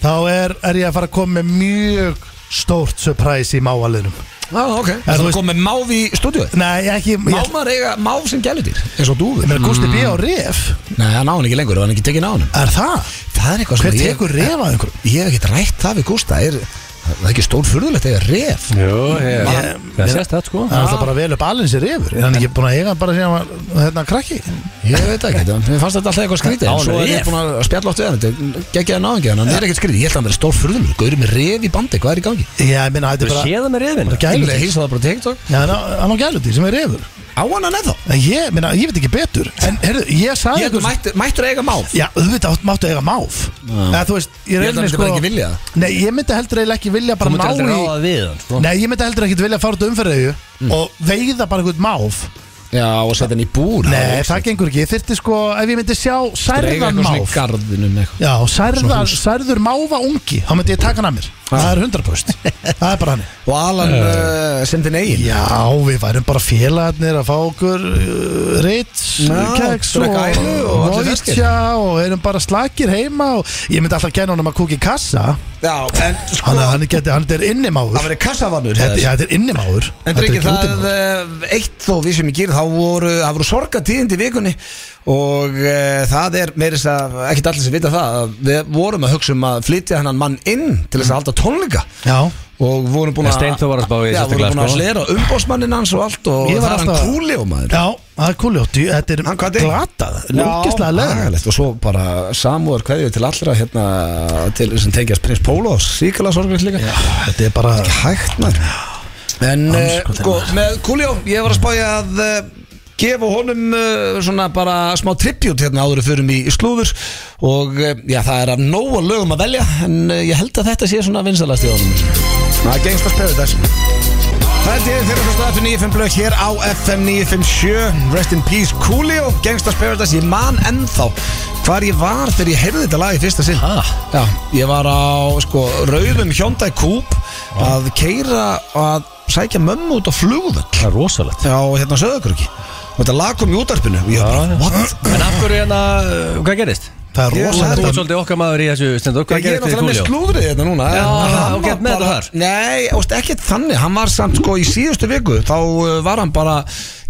Speaker 2: Þá er, er ég að fara að koma með mjög stórt surprise í mávalðinum
Speaker 1: Já, ok
Speaker 2: þú
Speaker 1: Það
Speaker 2: veist-
Speaker 1: komið máv í stúdíu
Speaker 2: Nei, ekki ég-
Speaker 1: Mávar eiga máv sem gælir þér eins og dúfur
Speaker 2: Ég meina, Gústi B. á
Speaker 1: Mm.
Speaker 2: ref
Speaker 1: Nei, hann á hann ekki lengur, hann er ekki tekinn á hann
Speaker 2: Er það?
Speaker 1: Það er eitthvað sem
Speaker 2: Hver
Speaker 1: Sko, ég-
Speaker 2: tekur ref að einhverjum?
Speaker 1: Ég hef ekkert rætt það við Gústa er, Það er ekki stór furðulegt eiga ref
Speaker 3: Jú, ég-
Speaker 2: Ég-
Speaker 3: það sést það sko
Speaker 2: Það er alltaf bara vel upp alveg sér yfir Er hann ekki búin að eiga hann bara síðan hann var hérna krakki?
Speaker 1: Ég veit það ekki, mér fannst þetta alltaf eitthvað skrítið
Speaker 3: Á
Speaker 1: En svo er
Speaker 3: ref?
Speaker 1: ég búin að spjalla oft við hann Þetta geggjaði náðingi, hann er ekkert skrítið Ég held að hann verið stór furðulegt, gaurið með ref í bandi Hvað er í gangi?
Speaker 2: Já, ég minna, þetta
Speaker 3: Þú
Speaker 2: er bara
Speaker 3: séð það með reyðvin
Speaker 2: bara
Speaker 1: Ég
Speaker 2: gæludýr
Speaker 1: heilsa það bara á TikTok
Speaker 2: Já, hann á- hann á gæludýr sem er yfir
Speaker 1: Á hann hann eða?
Speaker 2: En ég, minna, ég veit ekki betur En herðu, ég sagði
Speaker 1: Ég
Speaker 2: ykkur
Speaker 1: mættur, mættur eiga máv
Speaker 2: Já, auðvitað átt- máttu eiga máf Eða þú veist, ég
Speaker 1: Ég held að
Speaker 2: reyni
Speaker 1: hann myndi
Speaker 2: sko
Speaker 1: bara ekki vilja það.
Speaker 2: Nei, ég myndi heldur eiginlega ekki vilja
Speaker 3: Þú
Speaker 2: bara
Speaker 3: mútur
Speaker 2: ná
Speaker 3: aldrei
Speaker 2: í
Speaker 3: ráða við hann sko.
Speaker 2: Nei, ég myndi heldur ekki vilja fara út umferðauju mm. Og veiða bara einhvern máf
Speaker 1: Já, og setja hann í búr
Speaker 2: Nei, það gengur ekki Ég þyrfti sko, ef ég myndi sjá særðan máf
Speaker 1: máv
Speaker 2: Já, særðar, særður máfa ungi Þá myndi ég taka hann að mér Það er 100% Það er bara hann
Speaker 1: Og Alan uh, sem þinn eigin
Speaker 2: Já, við værum bara félagarnir að fá okkur uh, Ritz,
Speaker 1: Já,
Speaker 2: Keks og
Speaker 1: drekka ælu og allir feskir.
Speaker 2: Novitja og erum bara slakir heima og ég myndi alltaf genna honum að kúka í kassa
Speaker 1: Já, en sko
Speaker 2: hann, hann, geti, hann er innimáður
Speaker 1: Það verið kassavannur
Speaker 2: þetta, já, þetta er innimáður
Speaker 1: En
Speaker 2: Þetta er
Speaker 1: drengir,
Speaker 2: ekki
Speaker 1: það
Speaker 2: útimaður.
Speaker 1: eh, eitt þó við sem ég gýr, þá voru, það voru sorgatíðindi í vikunni og uh, það er meirist að, ekkert allir sem vita það, að við vorum að hugsa um að flytja hennan mann inn til þess að halda tónleika
Speaker 2: Já,
Speaker 1: og vorum búin
Speaker 3: En
Speaker 1: að,
Speaker 3: Steinþór var að spá í
Speaker 1: já, vorum
Speaker 3: sérstaklega,
Speaker 1: búin að
Speaker 3: sko.
Speaker 1: slera umbósmannin hans og allt og
Speaker 2: Ég
Speaker 1: það
Speaker 2: var
Speaker 1: er hann
Speaker 2: alltaf-
Speaker 1: kúli og maður.
Speaker 2: já, það er kúljótt Jú, Þetta er
Speaker 1: Hann kvaddi.
Speaker 2: glatað,
Speaker 1: Já, Ah.
Speaker 2: lókislega leðan
Speaker 1: agalegt. Og svo bara samúðar kveðju til allra hérna, til sem tengjast prins Pólós, síkala sorgleins líka.
Speaker 2: Þetta er bara
Speaker 1: hægt maður En eh,
Speaker 2: Andskotinn.
Speaker 1: sko, með Kuljó, ég var að spája að eh, gefa honum eh, svona bara smá tribut hérna áður við förum í í slúður og eh, já, það er að nóga lögum að velja en eh, ég held að þetta sé svona vinsalast í honum Það gengst að spöðu þess Það er til þeirra hlustu FM 95 blöð hér á FM 957 Rest in Peace Coolio, Gangsta's Paradise Ég man ennþá hvar ég var þegar ég heyrði þetta lag í fyrsta sinn
Speaker 3: Ha?
Speaker 1: Já, ég var á sko rauðum Hyundai Coupe að keira að sækja mömmu út á flugvöll
Speaker 3: Það er rosalegt
Speaker 1: Já, hérna söðakröki og þetta lag kom í útarpinu og ég var bara, what?
Speaker 3: En af hverju hérna, uh, hvað gerist?
Speaker 2: Það er
Speaker 1: Ég-
Speaker 3: Þú
Speaker 2: rosalegt
Speaker 3: ert
Speaker 2: að-
Speaker 3: svolítið okkar maður í þessu stendur Hvað
Speaker 1: Ég er
Speaker 3: gerist þið
Speaker 1: náttúrulega með
Speaker 3: Kúljó?
Speaker 1: slúðrið þetta núna
Speaker 3: Já,
Speaker 1: en hann
Speaker 3: ok,
Speaker 1: var
Speaker 3: með
Speaker 1: bara-
Speaker 3: þetta þar.
Speaker 1: Nei, óst, ekkert þannig, hann var samt sko í síðustu viku Þá uh, var hann bara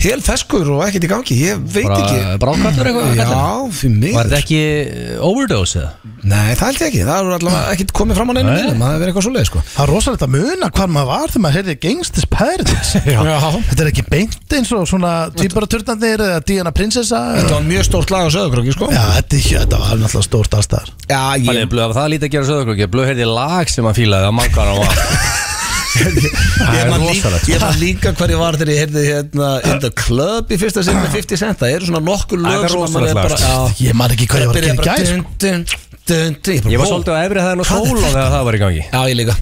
Speaker 1: hel feskur og ekkert í gangi Ég veit ekki
Speaker 3: Bara brákvættur eitthvað?
Speaker 1: Já, fyrir mig
Speaker 3: Var þetta ekki uh, overdose eða?
Speaker 1: Nei, það held ég ekki, það er allavega ekkert komið fram á neinu
Speaker 3: Nei.
Speaker 1: minnum Það er verið eitthvað svoleið sko
Speaker 2: Það er rosalegt að muna hvað maður var þegar maður heyrði Gangstis
Speaker 1: <laughs>
Speaker 2: Paradise Þetta er ekki beint eins og svona Týparaturðanir eða Diana Prinsessa
Speaker 1: Þetta var mjög stórt lag á söðakröki sko
Speaker 2: Já, þetta, er- þetta var náttúrulega stórt allstæðar
Speaker 1: Já,
Speaker 3: Ég...
Speaker 1: ég,
Speaker 3: Blöð, það var lítið að gera söðurklokki Blöð heyrði lag sem hann fílaði að mangar á <laughs> að
Speaker 1: ég,
Speaker 3: er
Speaker 1: man lí-
Speaker 3: rosalegt,
Speaker 1: ég man líka hver ég var þegar ég heyrði hérna In the club í fyrsta sinni 50 cent Það eru svona nokkur
Speaker 3: Það
Speaker 1: lög
Speaker 3: er
Speaker 1: sem að maður
Speaker 3: rosalegt
Speaker 1: er
Speaker 3: lag,
Speaker 1: bara
Speaker 3: sko.
Speaker 1: Já.
Speaker 2: Ég man ekki hvað ég var að
Speaker 1: Byrja
Speaker 2: gera í
Speaker 1: bara
Speaker 2: gær
Speaker 1: dun, dun, dun, dun. bara,
Speaker 3: Ég var
Speaker 1: wow.
Speaker 3: svolítið á efri hæðin og
Speaker 1: Hvað er
Speaker 3: sóla þegar það var í gangi
Speaker 1: Já, ég líka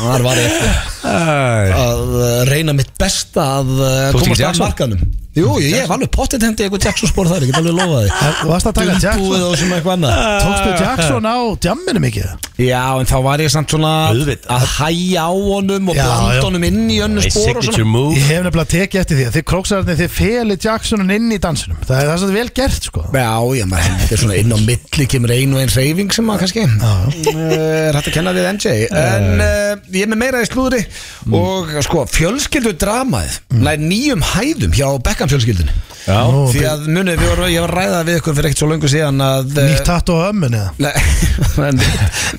Speaker 1: Þar var ég
Speaker 3: Æ,
Speaker 1: að uh, reyna mitt besta að uh,
Speaker 3: ert ekki
Speaker 1: komast að
Speaker 3: Jackson?
Speaker 1: markanum Jú, ég ég hef alveg pottet hendi eitthvað Jackson-spor þar, ég get alveg lofað því
Speaker 2: Þú sko. varst að taka
Speaker 1: Dumbúið
Speaker 2: Jackson
Speaker 1: og svona eitthvað annað
Speaker 2: Tókstu Jackson á djamminu mikið?
Speaker 1: Já, en þá var ég samt svona
Speaker 3: Auðvitað.
Speaker 1: að hæja á honum og
Speaker 2: Já, já.
Speaker 1: blanda honum inn í önnu
Speaker 3: My
Speaker 1: spor og
Speaker 3: signature
Speaker 1: svona
Speaker 3: move
Speaker 2: Ég hef nefnilega tekið eftir því að þið króksararnir þið feli Jacksonin inn í dansinum Það er það sem vel gert sko
Speaker 1: Já, já, maður, þetta er svona inn á milli kemur ein og ein reyfing sem maður kannski eh, er hægt að kenna við MJ en uh, ég er með meira í slúðri og sko, fjölskyldu dramaðið nær nýjum hæðum hjá Beckham fjölskyldinu
Speaker 3: Já,
Speaker 2: Nú,
Speaker 1: því að munið, við vorum, ég var að ræða við ykkur fyrir ekkert svo löngu síðan að eh,
Speaker 2: Nýtt hatt og ömmun eða
Speaker 1: <laughs> Nei, en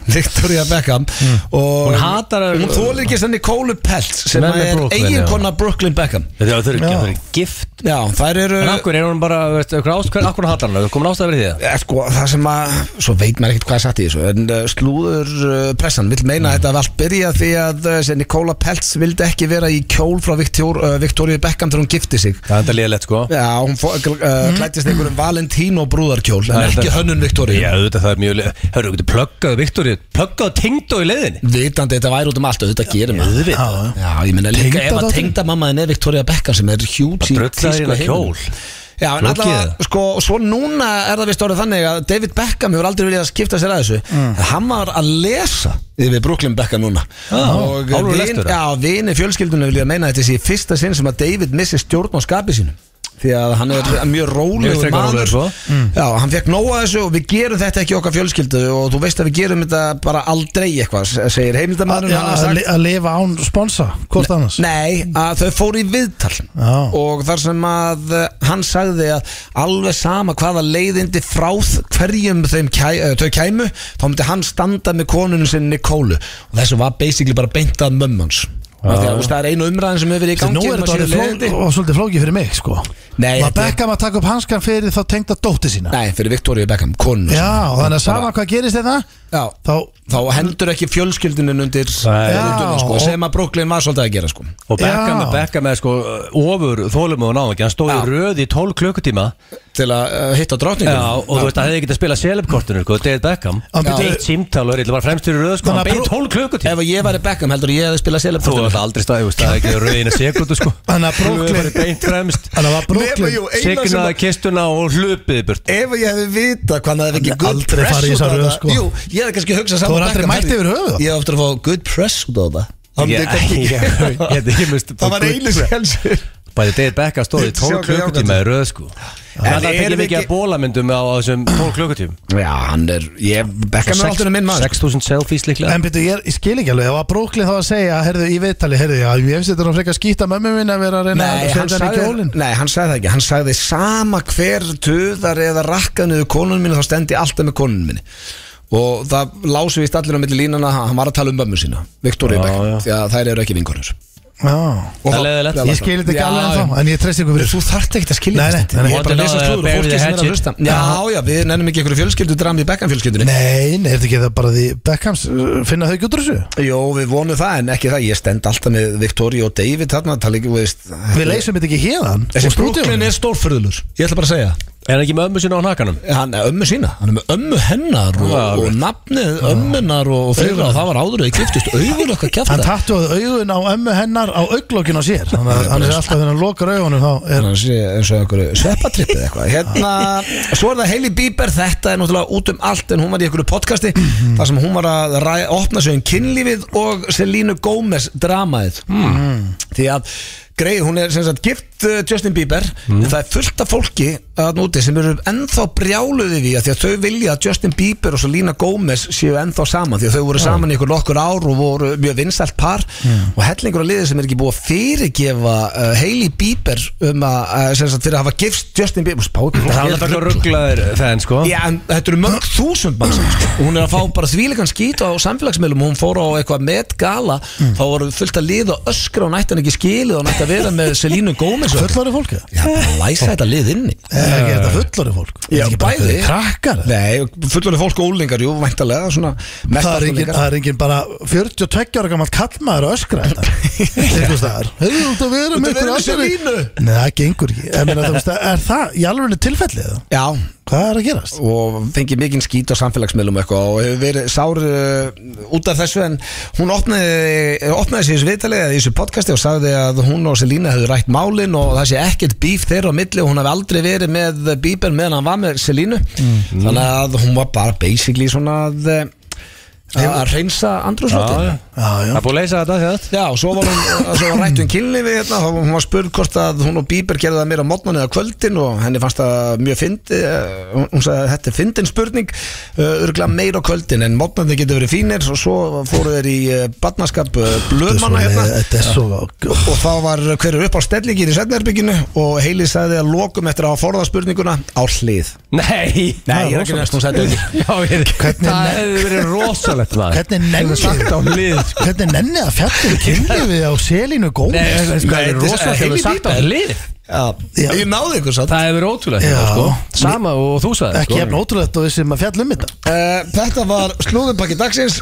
Speaker 1: Victoria Beckham og
Speaker 3: Mm. Hún hatar að-
Speaker 1: hún þólir ekki senni Kólu Peltz sem
Speaker 3: Menn með
Speaker 1: er
Speaker 3: Brooklyn,
Speaker 1: eiginkonna Brooklyn Beckham
Speaker 3: þetta er- þau eru
Speaker 2: Já.
Speaker 3: þau eru gift
Speaker 1: já, þær eru
Speaker 3: En akkur er hún bara, veist, okkur ást, hver, akkur hattar hann, komin ástæða verið því það?
Speaker 1: Eh, sko, það sem að, svo veit maður ekkert hvað er satt í þessu en uh, slúður uh, pressan vill meina
Speaker 3: Mm.
Speaker 1: að þetta var allt byrja því að uh, sem Nikola Peltz vildi ekki vera í kjól frá Victor, uh, Victoria Beckham þegar hún gifti sig
Speaker 3: Það er enda liðilegt sko
Speaker 1: já, hún fó, uh, klættist einhverjum Valentino brúðarkjól
Speaker 3: Mm. Það
Speaker 1: en
Speaker 3: er
Speaker 1: ekki
Speaker 3: þetta.
Speaker 1: hönnun Victoria
Speaker 3: Já, auðvitað það er mjög liðilegt Hörru, þú pluggaðu Viktor, pluggaðu Tengdó í leiðinni
Speaker 1: vitandi þetta væri út um allt auðvitað gerir maður
Speaker 3: Auðvitað
Speaker 1: Já, ég meina líka ef að
Speaker 2: Tengdadóttir?
Speaker 1: tengdamammaðin er Victoria Beckham sem er hjúts í
Speaker 3: Það brullar hérna
Speaker 1: heiminum.
Speaker 3: kjól.
Speaker 1: Já, en
Speaker 3: Flókið
Speaker 1: allavega,
Speaker 3: það.
Speaker 1: sko, svo núna er það vist orðið þannig að David Beckham hefur aldrei viljað að skipta sér að þessu
Speaker 2: Mm.
Speaker 1: en hann var að lesa yfir Brooklyn Beckham núna
Speaker 2: Ah,
Speaker 1: og
Speaker 3: alvöru
Speaker 1: vin,
Speaker 3: lestur,
Speaker 1: já, vini fjölskyldunum vilja meina að þetta sé í fyrsta sinn sem að David missi stjórn á skapi sínum því að hann er
Speaker 2: Ah.
Speaker 1: mjög
Speaker 3: Ég veist
Speaker 1: rólegur
Speaker 3: ekki hvað
Speaker 1: maður
Speaker 3: rólegur sko. svo.
Speaker 2: Mm.
Speaker 1: Já, hann fekk nóga þessu og við gerum þetta ekki í okkar fjölskyldu og þú veist að við gerum þetta bara aldrei eitthvað, segir heimildamæðurinn
Speaker 2: Já, Að li- að lifa án sponsa, hvort annars
Speaker 1: Nei, að þau fóru í viðtal
Speaker 2: Já.
Speaker 1: og þar sem að uh, hann sagði að alveg sama hvaða leiðindi frá þ- hverjum þeim kæ, uh, þau kæmu þá myndi hann standa með konunum sinni Nikólu og þessu var basically bara beint að mömmans Því að, þú veist, það er einu umræðin sem hefur verið í
Speaker 2: Þegar
Speaker 1: gangi
Speaker 2: nú
Speaker 1: um
Speaker 2: er
Speaker 1: að
Speaker 2: þetta
Speaker 1: séu
Speaker 2: orðið
Speaker 1: leiðindi.
Speaker 2: flókið og svolítið flókið fyrir mig sko
Speaker 1: Nei,
Speaker 2: Var
Speaker 1: þetta er-
Speaker 2: Beckham að taka upp hanskan fyrir þá tengda dótti sína
Speaker 1: Nei, fyrir Victoria Beckham, konun
Speaker 2: Já, þannig að sama hvað gerist þetta
Speaker 1: Já.
Speaker 2: Þá
Speaker 1: Þá hendur ekki fjölskyldunum undir
Speaker 3: Nei.
Speaker 1: rútuna, sko,
Speaker 2: Já.
Speaker 1: sem að Brooklyn var svolítið að gera sko.
Speaker 3: Og Beckham
Speaker 2: Já.
Speaker 3: er Beckham er sko ofur þólum og náðum ekki, hann stóð í
Speaker 1: Já.
Speaker 3: röð í 12 klukkutíma
Speaker 1: til að uh, hitta drotningum
Speaker 3: Já, og þú veist að það hefði getið að spila selebkortinu, sko, David Beckham
Speaker 2: Hann byrju-
Speaker 3: Eitt símtál og er illa bara fremstur í röð, sko,
Speaker 2: Þannig
Speaker 3: hann
Speaker 2: að
Speaker 3: beið
Speaker 2: brú-
Speaker 3: 12 klukkutíma
Speaker 1: Ef ég væri Beckham heldur ég hefði spilað selum
Speaker 3: Þú veist aldrei stað, þú veist, það er ekki röðina sekundu, sko
Speaker 2: Þannig að
Speaker 3: Þú er bara
Speaker 2: Brooklyn
Speaker 3: beint fremst
Speaker 2: Þannig að var
Speaker 1: Nema, jú, eina
Speaker 2: Brooklyn
Speaker 1: sem
Speaker 3: Signaði
Speaker 1: að-
Speaker 3: kistuna og hlupið í burt
Speaker 1: Ef ég hefði vita hvað hann hefði ekki
Speaker 2: hefði
Speaker 1: good
Speaker 2: aldrei
Speaker 1: press út
Speaker 2: farið í
Speaker 1: á
Speaker 2: þessa röð,
Speaker 1: það
Speaker 2: sko.
Speaker 1: Jú, ég hefði kannski hugsað
Speaker 2: Þú
Speaker 1: saman
Speaker 2: hefur aldrei mætt yfir höfuð það.
Speaker 1: Ég hefði eftir að fá good press út á það Hann
Speaker 3: Ég-
Speaker 1: myndi kannski <laughs>
Speaker 3: <laughs> ég-
Speaker 1: ekki-
Speaker 3: ég- ég- ég misti-
Speaker 1: Það var einu skelsi
Speaker 3: Bæði David Beckham stóð í 12
Speaker 1: Sjáðu,
Speaker 3: klukkutíma í röð, sko
Speaker 1: En
Speaker 3: En það
Speaker 1: erum
Speaker 3: tekið
Speaker 1: við
Speaker 3: mikið
Speaker 1: ekki-
Speaker 3: að bólamyndum á á þessum 12 klukkutíma
Speaker 1: Já, hann er, ég, Beckham er
Speaker 3: Sex-
Speaker 1: alltaf minn maður
Speaker 3: 6000 selfies líklega
Speaker 2: En byrju, ég, ég skil ekki alveg, það var Brooklyn þá að segja, herðu, í viðtali, herðu, já, ég finnst þetta nú frekar skýta mömmu minna að vera að reyna
Speaker 1: Nei hann,
Speaker 2: að setja hann í
Speaker 1: sagði,
Speaker 2: kjólinn.
Speaker 1: nei, hann sagði það ekki Hann sagði sama hver töðar eða rakkanuðu konun minni þá stendi alltaf með konun minni og það lásu vist allir á milli línana að hann var að tala um mömmu sína Viktoria
Speaker 3: Já,
Speaker 1: Beckham,
Speaker 3: já.
Speaker 1: því að þær eru ekki vinkonur
Speaker 2: Já,
Speaker 1: Og
Speaker 3: Það
Speaker 1: þá-
Speaker 3: er leiðilegt.
Speaker 1: Já,
Speaker 2: ég skil þetta ekki
Speaker 1: já,
Speaker 2: alveg
Speaker 1: já.
Speaker 2: en þá, en ég treyst ykkur fyrir.
Speaker 1: Þú þarft ekkert að skilja
Speaker 2: Nei, nei,
Speaker 1: þetta
Speaker 2: nei, nei.
Speaker 1: Ég er bara að lesa
Speaker 3: Wanna know
Speaker 1: slúður og
Speaker 3: the
Speaker 1: fólki
Speaker 3: Barry
Speaker 1: sem er að
Speaker 3: Hatchet?
Speaker 1: hlusta Já, já, við nennum ekki ykkur fjölskyldu dram í Beckham fjölskyldunni
Speaker 2: Nei, nei, er þetta ekki það bara því Beckhams uh, finna þau ekki út úr þessu?
Speaker 1: Jó, við vonum það en ekki það Ég stend alltaf með Victoria og David þarna tala ekki, þú veist
Speaker 2: Við leysum þetta ekki hérðan.
Speaker 1: Þessi Brooklyn er stórfyrðulur Ég ætla bara að segja
Speaker 3: Er hann ekki með ömmu sinna á nakanum?
Speaker 1: Hann er ömmu sína, hann er með ömmu hennar og,
Speaker 3: Já,
Speaker 1: og
Speaker 3: alveg.
Speaker 1: nafnið ömmunar og, og þeirra og það var áður þau giftust auður okkar
Speaker 2: Hann
Speaker 1: kjafta
Speaker 2: tattuði augun á ömmu hennar á auglokkin á sér. Þannig að hann er alltaf þegar hann lokar augunum þá er...
Speaker 1: Þannig að sé eins og einhverju sveppatrippið eitthvað Hérna, svo er það Hailey Bieber Þetta er náttúrulega út um allt en hún var í einhverju podcasti þar sem hún var að ræ, opna sig um kynlífið og Selínu Gómez dramaðið Því að greið, hún er sem sagt gift uh, Justin Bieber en það er fullt af fólki að núti sem eru ennþá brjáluði við því að þau vilja að Justin Bieber og Selína Gómez séu ennþá saman því að þau voru saman í ykkur nokkur ár og voru mjög vinsælt par og hellingur á liði sem er ekki búið að fyrirgefa uh, Hailey Bieber um að, uh, sem sagt, fyrir að hafa gifst Justin Bieber Spáðu,
Speaker 3: Það er
Speaker 1: þetta
Speaker 3: alltaf
Speaker 1: er
Speaker 3: rugglaðir fenn, sko
Speaker 1: Já, en þetta eru mörg þúsund mann sem, sko. og hún er að fá bara þvílegan skít á samfélagsmiðlum og hún fór á eitthvað met gala þá voru fullt að liða og öskra og nættan ekki skilið og nætt að vera með Selínu Gómez og-
Speaker 2: Fullorði fólk eða?
Speaker 1: Já, bara læsa þetta lið inni
Speaker 2: Er ekki þetta fullorði fólk? Er
Speaker 1: Já,
Speaker 2: ekki bara
Speaker 1: bæði
Speaker 2: einhverjir Krakkar?
Speaker 1: Nei, fullorðið fólk og úlingar, jú, væntalega svona mest
Speaker 2: Það er, engin,
Speaker 1: úlingar.
Speaker 2: það er engin bara 42 ára gammal kallmaður að öskra þetta Eitthvað staðar Hefur þú út að vera
Speaker 1: Út að
Speaker 2: með
Speaker 1: vera
Speaker 2: einhverju
Speaker 1: með
Speaker 2: annarri-
Speaker 1: Selínu?
Speaker 2: Nei, það gengur ekki En meina, það, er það í alveg tilfelli eða?
Speaker 1: Já,
Speaker 2: Hvað er að gerast?
Speaker 1: og fengið mikinn skít á samfélagsmiðlum og eitthvað og hefur verið sár uh, út af þessu en hún opnaði, opnaði sér þessu viðtalið eða í þessu podcasti og sagði að hún og Selína hefur rætt málin og það sé ekkert bíf þeirra á milli og hún hef aldrei verið með bíber meðan hann var með Selínu
Speaker 2: Mm.
Speaker 1: þannig að hún var bara basically svona að, eh, að reynsa andrúslótið
Speaker 3: Já, já.
Speaker 2: Já, já
Speaker 3: Það er búið að leysa þetta þegar
Speaker 1: Já, og svo var hún, svo var rætt um kynlífi hérna, þá var- hún var spurð hvort að hún og Bieber gerði það meira á mótnan eða kvöldin og henni fannst það mjög fyndi, eh, hún hún sagði að þetta er fyndin spurning, uh, örgulega meira á kvöldin en mótnandi getur verið fínir og svo fóru þeir í badnaskap blöðmanna hérna
Speaker 2: Þetta er svo leið-
Speaker 1: og þá var hverju upp á stellingin í setnherbygginu og Heili sagði að lokum eftir að forða spurninguna á hlið
Speaker 3: Nei,
Speaker 1: Nei, ég er ekki næst hún sætti
Speaker 3: <laughs> Já, ég,
Speaker 2: Hvernig-
Speaker 3: það hefði verið rosalegt maður
Speaker 2: Hvernig nenni
Speaker 3: Sagt á hlið sko.
Speaker 2: Hvernig nenni að fjallum kynlífið á selinu góð
Speaker 3: Nei, sko, það
Speaker 1: þetta
Speaker 3: er
Speaker 1: er
Speaker 3: rosalegt
Speaker 1: heil í
Speaker 3: hefði sagt á
Speaker 1: bíbel.
Speaker 3: hlið
Speaker 1: Já,
Speaker 2: Já.
Speaker 1: ég náði ykkur satt
Speaker 3: Það hefði verið ótrúlegt
Speaker 2: Já.
Speaker 3: sko. Sama og þú sko. sagði
Speaker 2: Ekki efn ótrúlegt og þessum að fjallum þetta
Speaker 1: Uh, þetta var slúðumpakki dagsins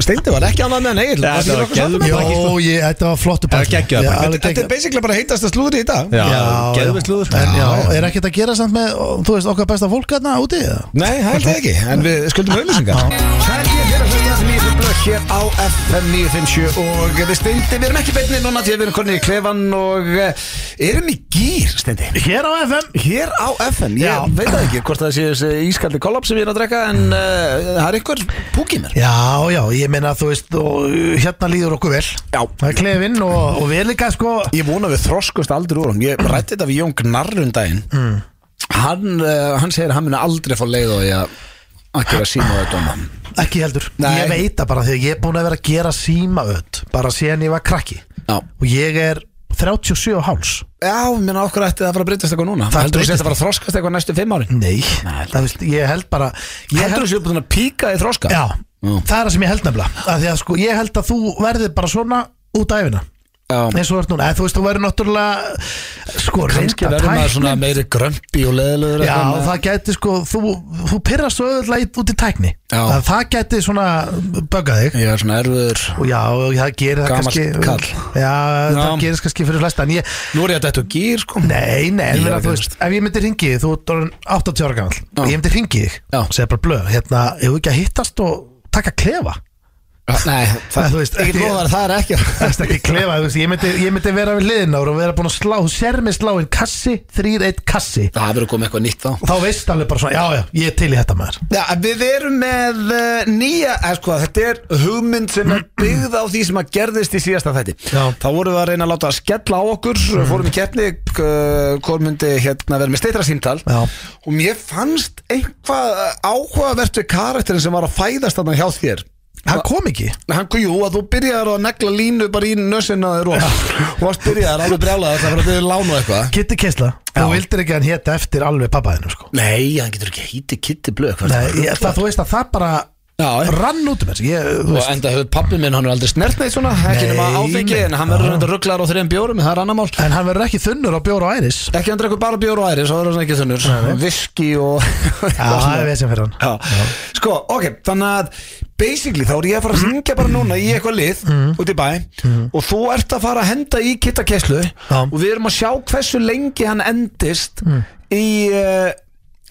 Speaker 1: Steindi var ekki annað með neil
Speaker 3: Þetta var geðveikt.
Speaker 2: Jó,
Speaker 3: bara ekki, sko.
Speaker 2: ég, þetta var flottu
Speaker 3: var geggjað bara.
Speaker 1: Þetta er basically bara heitast að slúðri í dag
Speaker 3: Já, sko. geðum við slúður
Speaker 2: En já, er ekkert að gera samt með, ó, þú veist, okkar besta fólk hérna úti eða?
Speaker 1: Nei, það held ég ekki, en við skuldum auðlýsingar Kærlega hér að hlusta sem ég fyrir blökk hér á FM 950 og við Steindi, við erum ekki beinni núna til að við erum konni í klefan og eh, erum í gýr, Steindi
Speaker 2: Hér á FM
Speaker 1: Hér á FM, ég
Speaker 2: Já.
Speaker 1: veit það ekki hvort það sé þessi ískaldi kollab sem ég er að drekka en uh, það er ykkur púkið mér
Speaker 2: Já, já, ég meina þú veist og uh, hérna líður okkur vel
Speaker 1: Já.
Speaker 2: Það er klefinn og, og við líka sko
Speaker 1: Ég vona við þroskust aldrei úr hún Ég rætti þetta við Jón Gnarr um daginn hann, uh, hann segir að hann muni aldrei fá leið á því að að gera síma á þetta um
Speaker 2: ekki heldur
Speaker 1: Nei.
Speaker 2: Ég veit það bara þegar ég er búin að vera að gera símaöð bara síðan ég var krakki
Speaker 1: Já.
Speaker 2: og ég er 37 og háls
Speaker 1: Já, menn okkur ætti það að fara að breytast eitthvað núna
Speaker 2: Það
Speaker 1: Heldur þú að
Speaker 2: breytist.
Speaker 1: þetta fara að þroskast eitthvað næstu fimm árin
Speaker 2: Nei, það veist, ég held bara ég
Speaker 1: Heldur þú séu búin að píka í þroska
Speaker 2: Já,
Speaker 1: Já.
Speaker 2: það er það sem ég held nefnilega að Því að sko, ég held að þú verðir bara svona út af æfina
Speaker 1: Já.
Speaker 2: eins og þú ert núna, eða þú veist, þú verður náttúrulega sko,
Speaker 1: Kannski
Speaker 2: reynda
Speaker 1: verður maður
Speaker 2: tæknin-
Speaker 1: svona meiri grömpi og leðilegur
Speaker 2: Já, það gæti sko, þú, þú pyrrast svo auðvitað út í tækni
Speaker 1: Já.
Speaker 2: það, það gæti svona böggað þig
Speaker 1: Ég er svona erfiður
Speaker 2: og já, og það gerir það
Speaker 1: Gamall
Speaker 2: kannski
Speaker 1: kall.
Speaker 2: Já,
Speaker 1: Já.
Speaker 2: það gerir kannski fyrir flesta en ég,
Speaker 1: Nú er ég að þetta gýr sko
Speaker 2: nei, nei,
Speaker 1: Ég
Speaker 2: en
Speaker 1: er
Speaker 2: meina,
Speaker 1: ekki
Speaker 2: þú veist ef ég myndi ringi þig, þú ert orðin 80 ára gamall
Speaker 1: Já.
Speaker 2: ég myndi ringi þig,
Speaker 1: Já.
Speaker 2: segja bara blöð hérna, ef þú ekki að hittast og taka klefa
Speaker 1: <laughs> Nei,
Speaker 2: Nei,
Speaker 1: það,
Speaker 2: þú veist,
Speaker 1: ekki
Speaker 2: ekki-
Speaker 1: lofaður, það er ekki
Speaker 2: Það er ekki klefa, þú veist, ég myndi, ég myndi vera við liðin ára og vera búin að slá, þú sér mig slá inn kassi, 3-1 kassi
Speaker 1: Það verður komið eitthvað nýtt þá
Speaker 2: og þá veist alveg bara svona, já, já, ég er til í þetta maður
Speaker 1: Já, en við erum með uh, nýja, er, sko, þetta er hugmynd sem er byggð á því sem að gerðist í síðasta þætti.
Speaker 2: Já.
Speaker 1: Þá vorum við að reyna að láta að skella á okkur, fórum í keppni, uh, hvor myndi hérna vera með steitra símtal
Speaker 2: Já.
Speaker 1: og mér fannst eitthvað áhugavert við karakterin sem var að fæðast þarna hjá þér.
Speaker 2: Hann kom ekki
Speaker 1: Hann, jú, að þú byrjaðir að negla línu bara í nössina þér og og varst byrjaðir alveg brjálaði það fyrir að byrja lánu eitthvað.
Speaker 2: Kitty Kessla, þú vildir ekki að hann hétta eftir alveg pappaðinu sko
Speaker 1: Nei, hann getur ekki hítið kitti blöð. hvað er
Speaker 2: Nei,
Speaker 1: það?
Speaker 2: ég, það, þú veist að það bara
Speaker 1: Já,
Speaker 2: rann út um þessu ég, þú
Speaker 1: og
Speaker 2: veist,
Speaker 1: enda hefur pappi minn, hann er aldrei snert neitt svona ekki
Speaker 2: Nei,
Speaker 1: nema áfengi,
Speaker 2: nei.
Speaker 1: en hann verður enda rugglar á þreim bjórum, það er annar mál
Speaker 2: En hann verður ekki þunnur á bjóra og æris
Speaker 1: ekki hann drekkur bara bjór og æri, svo verður hann ekki þunnur viski og
Speaker 2: Já, það er vesen fyrir hann
Speaker 1: Já. sko, ok, þannig að basically þá er ég að fara að syngja bara núna í eitthvað lið út í bæ og þú ert að fara að henda í kittakesslu
Speaker 2: Já.
Speaker 1: og við erum að sjá hversu lengi hann endist í uh,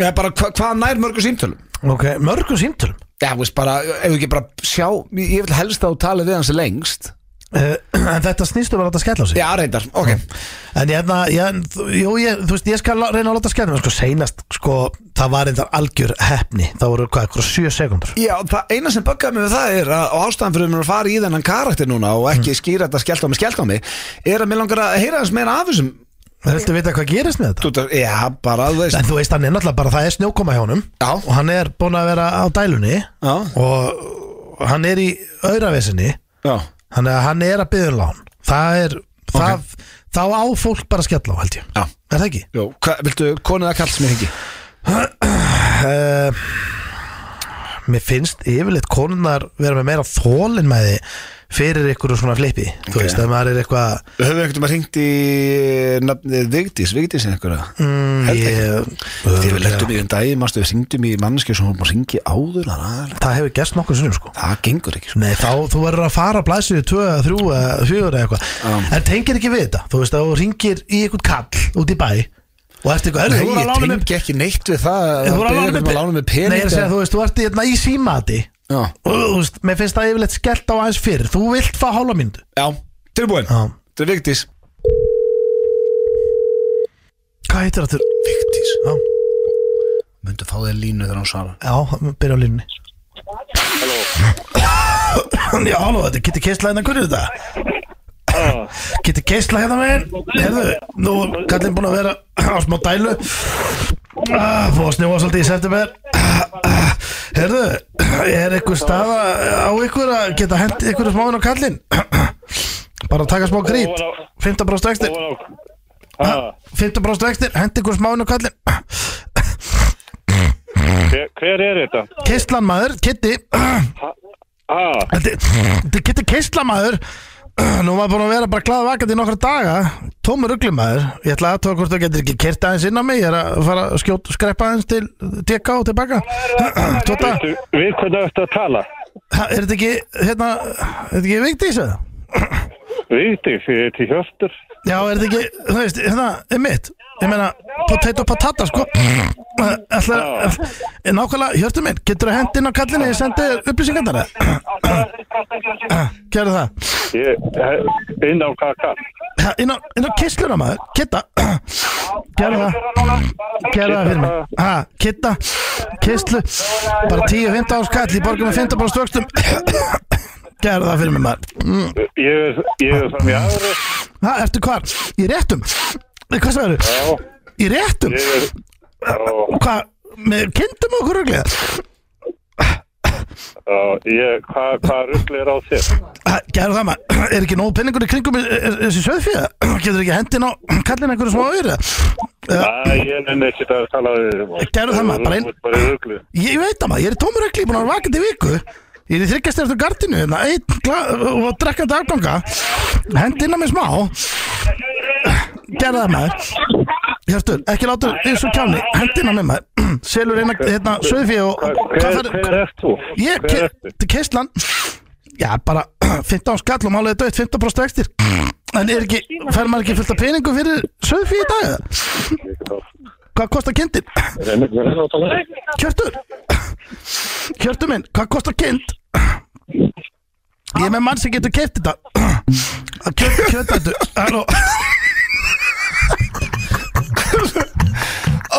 Speaker 1: eða bara hva, hvað hann nær mörgu símtölum
Speaker 2: Ok, mörgum símtölum
Speaker 1: Já, þú veist bara, ef við ekki bara sjá, ég vil helst að þú tala við hans lengst
Speaker 2: uh, <clears throat> En þetta snýstum að láta skella á sig
Speaker 1: Já, reyndar, ok
Speaker 2: En ég, hefna- ég, þú- jú, ég, þú veist, ég skal la- reyna að láta skella á mig Sko, seinast, sko, það var einnig algjör hefni Það voru hvað, eitthvað sjö sekundur
Speaker 1: Já, það eina sem böggaði mig við það er að og ástæðan fyrir mér að fara í þennan karakter núna og ekki skýra þetta skellt á mig, skellt á mig er að mér langar að heyra hans meira af þessum
Speaker 2: Það viltu vita hvað gerist með þetta?
Speaker 1: Þú veist, Já, bara, þú veist
Speaker 2: En þú veist, hann er náttúrulega bara, það er snjókoma hjá honum
Speaker 1: Já.
Speaker 2: Og hann er búin að vera á dælunni
Speaker 1: Já.
Speaker 2: Og hann er í auravesinni
Speaker 1: Já,
Speaker 2: Hann er, hann er að byggja um lán Það er, það, þá á fólk bara að skella á, held ég
Speaker 1: Já.
Speaker 2: Er það ekki?
Speaker 1: Jó, hva, viltu konið að kalla sem ég hengi?
Speaker 2: Uh, mér finnst yfirleitt konunnar vera með meira þólinmæði Fyrir ykkur svona flipi
Speaker 1: Ok.
Speaker 2: Þú veist, ef maður er eitthvað
Speaker 1: Við höfum einhvern veginn hringt í nafnið Vigdís, Vigdís eða einhverja
Speaker 2: mm,
Speaker 1: Held ekki.
Speaker 2: ég,
Speaker 1: Þegar við lendum í um dagi, mástu við hringdum í manneskju sem hún má hringi áður það er-
Speaker 2: Það hefur gerst nokkuð sinnum sko
Speaker 1: Það gengur ekki
Speaker 2: Nei, þá þú verður að fara að blæsið 2, 3, 4 eða eitthvað
Speaker 1: Já.
Speaker 2: En tengir ekki við þetta Þú veist að þú ringir í eitthvað kall út í bæ Og ert eitthvað,
Speaker 1: Nei,
Speaker 2: herri, þú
Speaker 1: ég
Speaker 2: voru að lána mig
Speaker 1: tengi ekki neitt við það
Speaker 2: Þú voru að lána
Speaker 1: mig
Speaker 2: mig
Speaker 1: lána mig
Speaker 2: Nei, ég er að segja,
Speaker 1: pening
Speaker 2: þú veist, þú ert í, hérna, í símati
Speaker 1: Já.
Speaker 2: Og þú veist, mér finnst það yfirleitt skellt á aðeins fyrir Þú vilt fá hálfa myndu
Speaker 1: Já, tilbúin
Speaker 2: Já.
Speaker 1: Þetta er Vigdís
Speaker 2: Hvað heitir þetta?
Speaker 1: Vigdís
Speaker 2: Já,
Speaker 1: Möndu fá þér línu þegar hann svarar
Speaker 2: já, byrja á línni Halló Já, halló, þetta er Kitty Kessla hérna, hvernig er þetta? Kitty Kessla hérna megin Herðu, nú er kallinn búin að vera á smá dælu Ah, Fóð að snjóa svolítið í september Ah, ah, Herðu, er eitthvað staða á ykkur að geta hent ykkur smáinn á kallinn? Bara taka smá grít 15% vextir
Speaker 4: Ha,
Speaker 2: 15% vextir, hent ykkur smáinn á kallinn
Speaker 4: hver, hver er þetta?
Speaker 2: Keistlan maður, Kitty Þetta
Speaker 4: Ha,
Speaker 2: er- þetta er Kitty Keistlan maður <clears throat> Nú maður búin að vera bara glaða vakandi í nokkra daga Tómur uglum maður Ég ætla að tóa hvort þú getur ekki kert aðeins inn á mig Ég er að fara að skjót, skreppa aðeins til TK og tilbaka <clears throat> Tóta,
Speaker 4: veistu, við hvernig ertu að tala?
Speaker 2: er þetta ekki hérna, er þetta ekki Vigdís eða?
Speaker 4: Vigdís, ég heiti Hjörtur.
Speaker 2: Já, er þetta ekki, þú veist, hérna, er mitt Ég meina, potato patata sko <clears throat> Ætla, nákvæmlega, hjörtu minn, getur þú hend inn á kallinni Ég sendi þér upplýsingarnar <clears throat> eða? Gerðu það
Speaker 4: Ég, he- inn á kaka.
Speaker 2: Ha, inn á, inn á kissluna maður Kitta Gerðu það Gerðu það fyrir mig ha, Kitta Kisslu Bara 10-15 árs kall Í borgum með 15 bara stökstum Gerðu það fyrir mig maður Mm.
Speaker 4: Ég er, ég er fram í aðri.
Speaker 2: ha, Ertu hvar? Í réttum Nei, Hvað sagðu?
Speaker 4: Já,
Speaker 2: Í réttum
Speaker 4: ég er, já,
Speaker 2: Hvað? Með kindum okkur ruglega
Speaker 4: já, ég, hvað, hvað ruggli er á þér?
Speaker 2: Gerðu það maður Er ekki nóg penningur í kringum í- í- í- Þessi söðfíða Getur ekki hendin á Kallin einhverju smá öyri
Speaker 4: Æ, ég nenni ekki að tala við þér. maður.
Speaker 2: Gerðu það, maður, bara inn-
Speaker 4: Þú ert bara ruggli.
Speaker 2: Ég veit það maður, ég er í tómur ögli, búin að vera vakandi í viku Ég er í þryggjast eftir gardinu hérna, einn gla- og drekkandi afganga Hendi inn á mig smá Gerða það maður Hjörtur, ekki láta eins og kjáni Hendi inn á mig maður <clears throat> Selur eina, hérna, söðfí og
Speaker 4: Hver, hver ert þú?
Speaker 2: Ég,
Speaker 4: hver ert þú?
Speaker 2: til keislan Já, bara <clears throat> 15 skall og málega döitt 15% vextir En er ekki, fær maður ekki fullt af peningum fyrir söðfí í dag? eða? Hvað kostar kindin? Hjörtur Hjörtur minn, hvað kostar kind? Ég er með mann sem getur keft þetta Kjöt, kjötættu Halló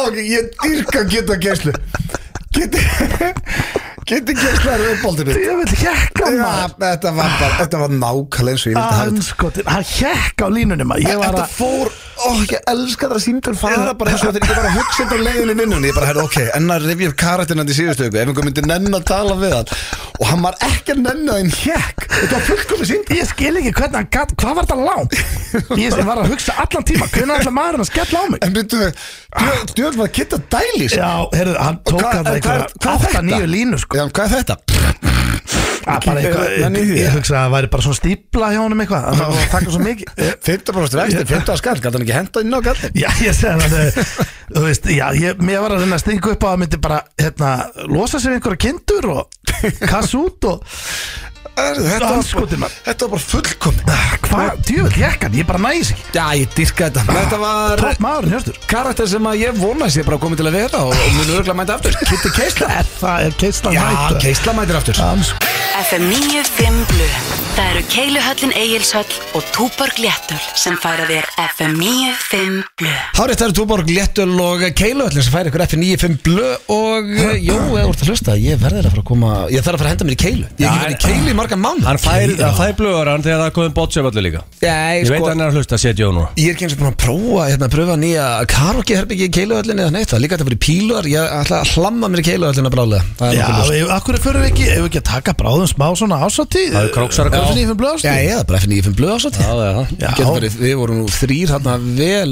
Speaker 1: Ok, ég dyrka geta gæslu Geti Geti gæslu er uppáldið mitt
Speaker 2: Ég vil hjekka
Speaker 1: Já,
Speaker 2: maður
Speaker 1: Þetta var bara, þetta var nákvæmlega eins og ég vildi hafa þetta
Speaker 2: Anskotin, hann hjekka á línunni maður Ég var
Speaker 1: Þetta
Speaker 2: að
Speaker 1: fór, ó, ég elska það símtöl fara bara eins og þetta er ekki bara hugsind á leiðinni í vinnunni Ég bara, herra, ok, ennar revjum karakternan í síðustu ykkur Ef einhver myndi nenn að tala við hann Og hann var ekki að nenn að hinn hjekk Þetta var fullkomið símtöl
Speaker 2: Ég skil ekki hvernig hann gatt, hvað var þetta langt Ég var að hugsa allan tíma Hvernig ætla maðurinn að skella á mig
Speaker 1: En byrjuðu, djöðum var að geta dælis
Speaker 2: Já, heyrðu, hann
Speaker 1: Og
Speaker 2: tók
Speaker 1: hvað-
Speaker 2: hann
Speaker 1: en hvað-
Speaker 2: eitthvað
Speaker 1: hvað er
Speaker 2: 8-9
Speaker 1: þetta?
Speaker 2: línu sko
Speaker 1: Já, en hvað er þetta?
Speaker 2: Ah, bara
Speaker 1: Eh, menn
Speaker 2: eitthvað,
Speaker 1: í því,
Speaker 2: ég
Speaker 1: ja.
Speaker 2: hugsa að það væri bara svona stípla hjá honum eitthvað að Það var að taka svo mikið
Speaker 1: 15% vexti, 15 skall, gæti hann ekki henda inn á gallin
Speaker 2: Já, ég segi það eh, Þú veist, já, ég, mér var að reyna að stinga upp á að myndi bara, hérna, losa sig við einhverja kindur og kass út og
Speaker 1: Þetta var
Speaker 2: Andskotinn,
Speaker 1: bara-
Speaker 2: maður.
Speaker 1: þetta var bara fullkomið
Speaker 2: hvað, djöfull, jekkan, ég bara næs ekki
Speaker 1: Já, ég dyrka þetta Þetta var
Speaker 2: Topp maðurinn, hjörstur
Speaker 1: karakter sem að ég vona sé bara komið til að vera og, og munu örgulega mæta aftur Kitty Keisla
Speaker 2: Það er keislan
Speaker 1: Já, Keisla mætir aftur
Speaker 2: Ansk
Speaker 5: FM 95 Blu Það eru Keiluhöllin Egilshöll og Túborg Léttul sem færa þér FM 95 Blu
Speaker 1: Hárið það eru Túborg, Léttöl og Keiluöllin sem færi ykkur F95 blö og eh, Jó, eða úr það hlusta, ég verður að fara að koma Ég þarf að fara að henda mér í Keilu Ég hef ekki verið í Keilu í marga mánu
Speaker 3: Hann fær, það fær blöður hann þegar það er komið bótsefallu líka Ég
Speaker 6: sko-
Speaker 3: veit að hann er að hlusta að setja á nú
Speaker 1: sko, Ég er ekki eins og búin að prófa hérna, að pröfa nýja karaokeherbyggi í keiluöllinni eða neitt, það er líka þetta fyrir píluar ég ætla að hlamma mér í keiluöllinna brálega Það er
Speaker 2: Já,
Speaker 1: nokkuð ljóst.
Speaker 2: ef- akkur fyrir við ekki, ef við ekki að taka bráðum smá svona ásatíð
Speaker 3: Það er króksar að koma.
Speaker 2: Öfni fyrir blöðast
Speaker 1: Já, ég er bara fyrir nýjum blöð ásat
Speaker 3: Já, það er það
Speaker 2: Já.
Speaker 1: Við vorum nú þrýr hérna vel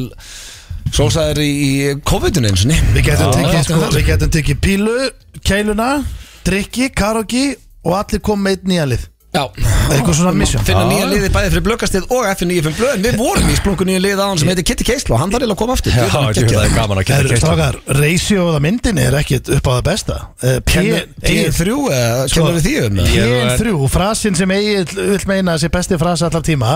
Speaker 1: sósaðir í í COVID-19 eins og
Speaker 2: Við getum
Speaker 1: Já,
Speaker 2: tekið,
Speaker 1: já,
Speaker 2: sko,
Speaker 1: já.
Speaker 2: við getum tekið pílu, keiluna, drikki, karogi og allir kom meitt nýjalið
Speaker 1: Já,
Speaker 2: Eitthvað svona mission
Speaker 1: finna nýja liði bæði fyrir blökkastið og F95 blöð en við vorum í splunku nýja liði á hann sem heitir Kitty Keisla og hann þarf eiginlega að koma aftur
Speaker 3: Já,
Speaker 1: Djöfull, hann
Speaker 3: djú, það
Speaker 1: geggjaður.
Speaker 3: er gaman að
Speaker 2: Herru,
Speaker 3: kæta keisla
Speaker 2: strákar, reisjóða myndinni er ekkit upp á það besta Eh, P-
Speaker 1: Kennir- Eigið
Speaker 2: P-
Speaker 1: þrjú, eh,
Speaker 2: Sko,
Speaker 1: kennir við því um það?
Speaker 3: Ég-
Speaker 2: PN3, frasin sem Egil vill meina að sé besti frasi allar tíma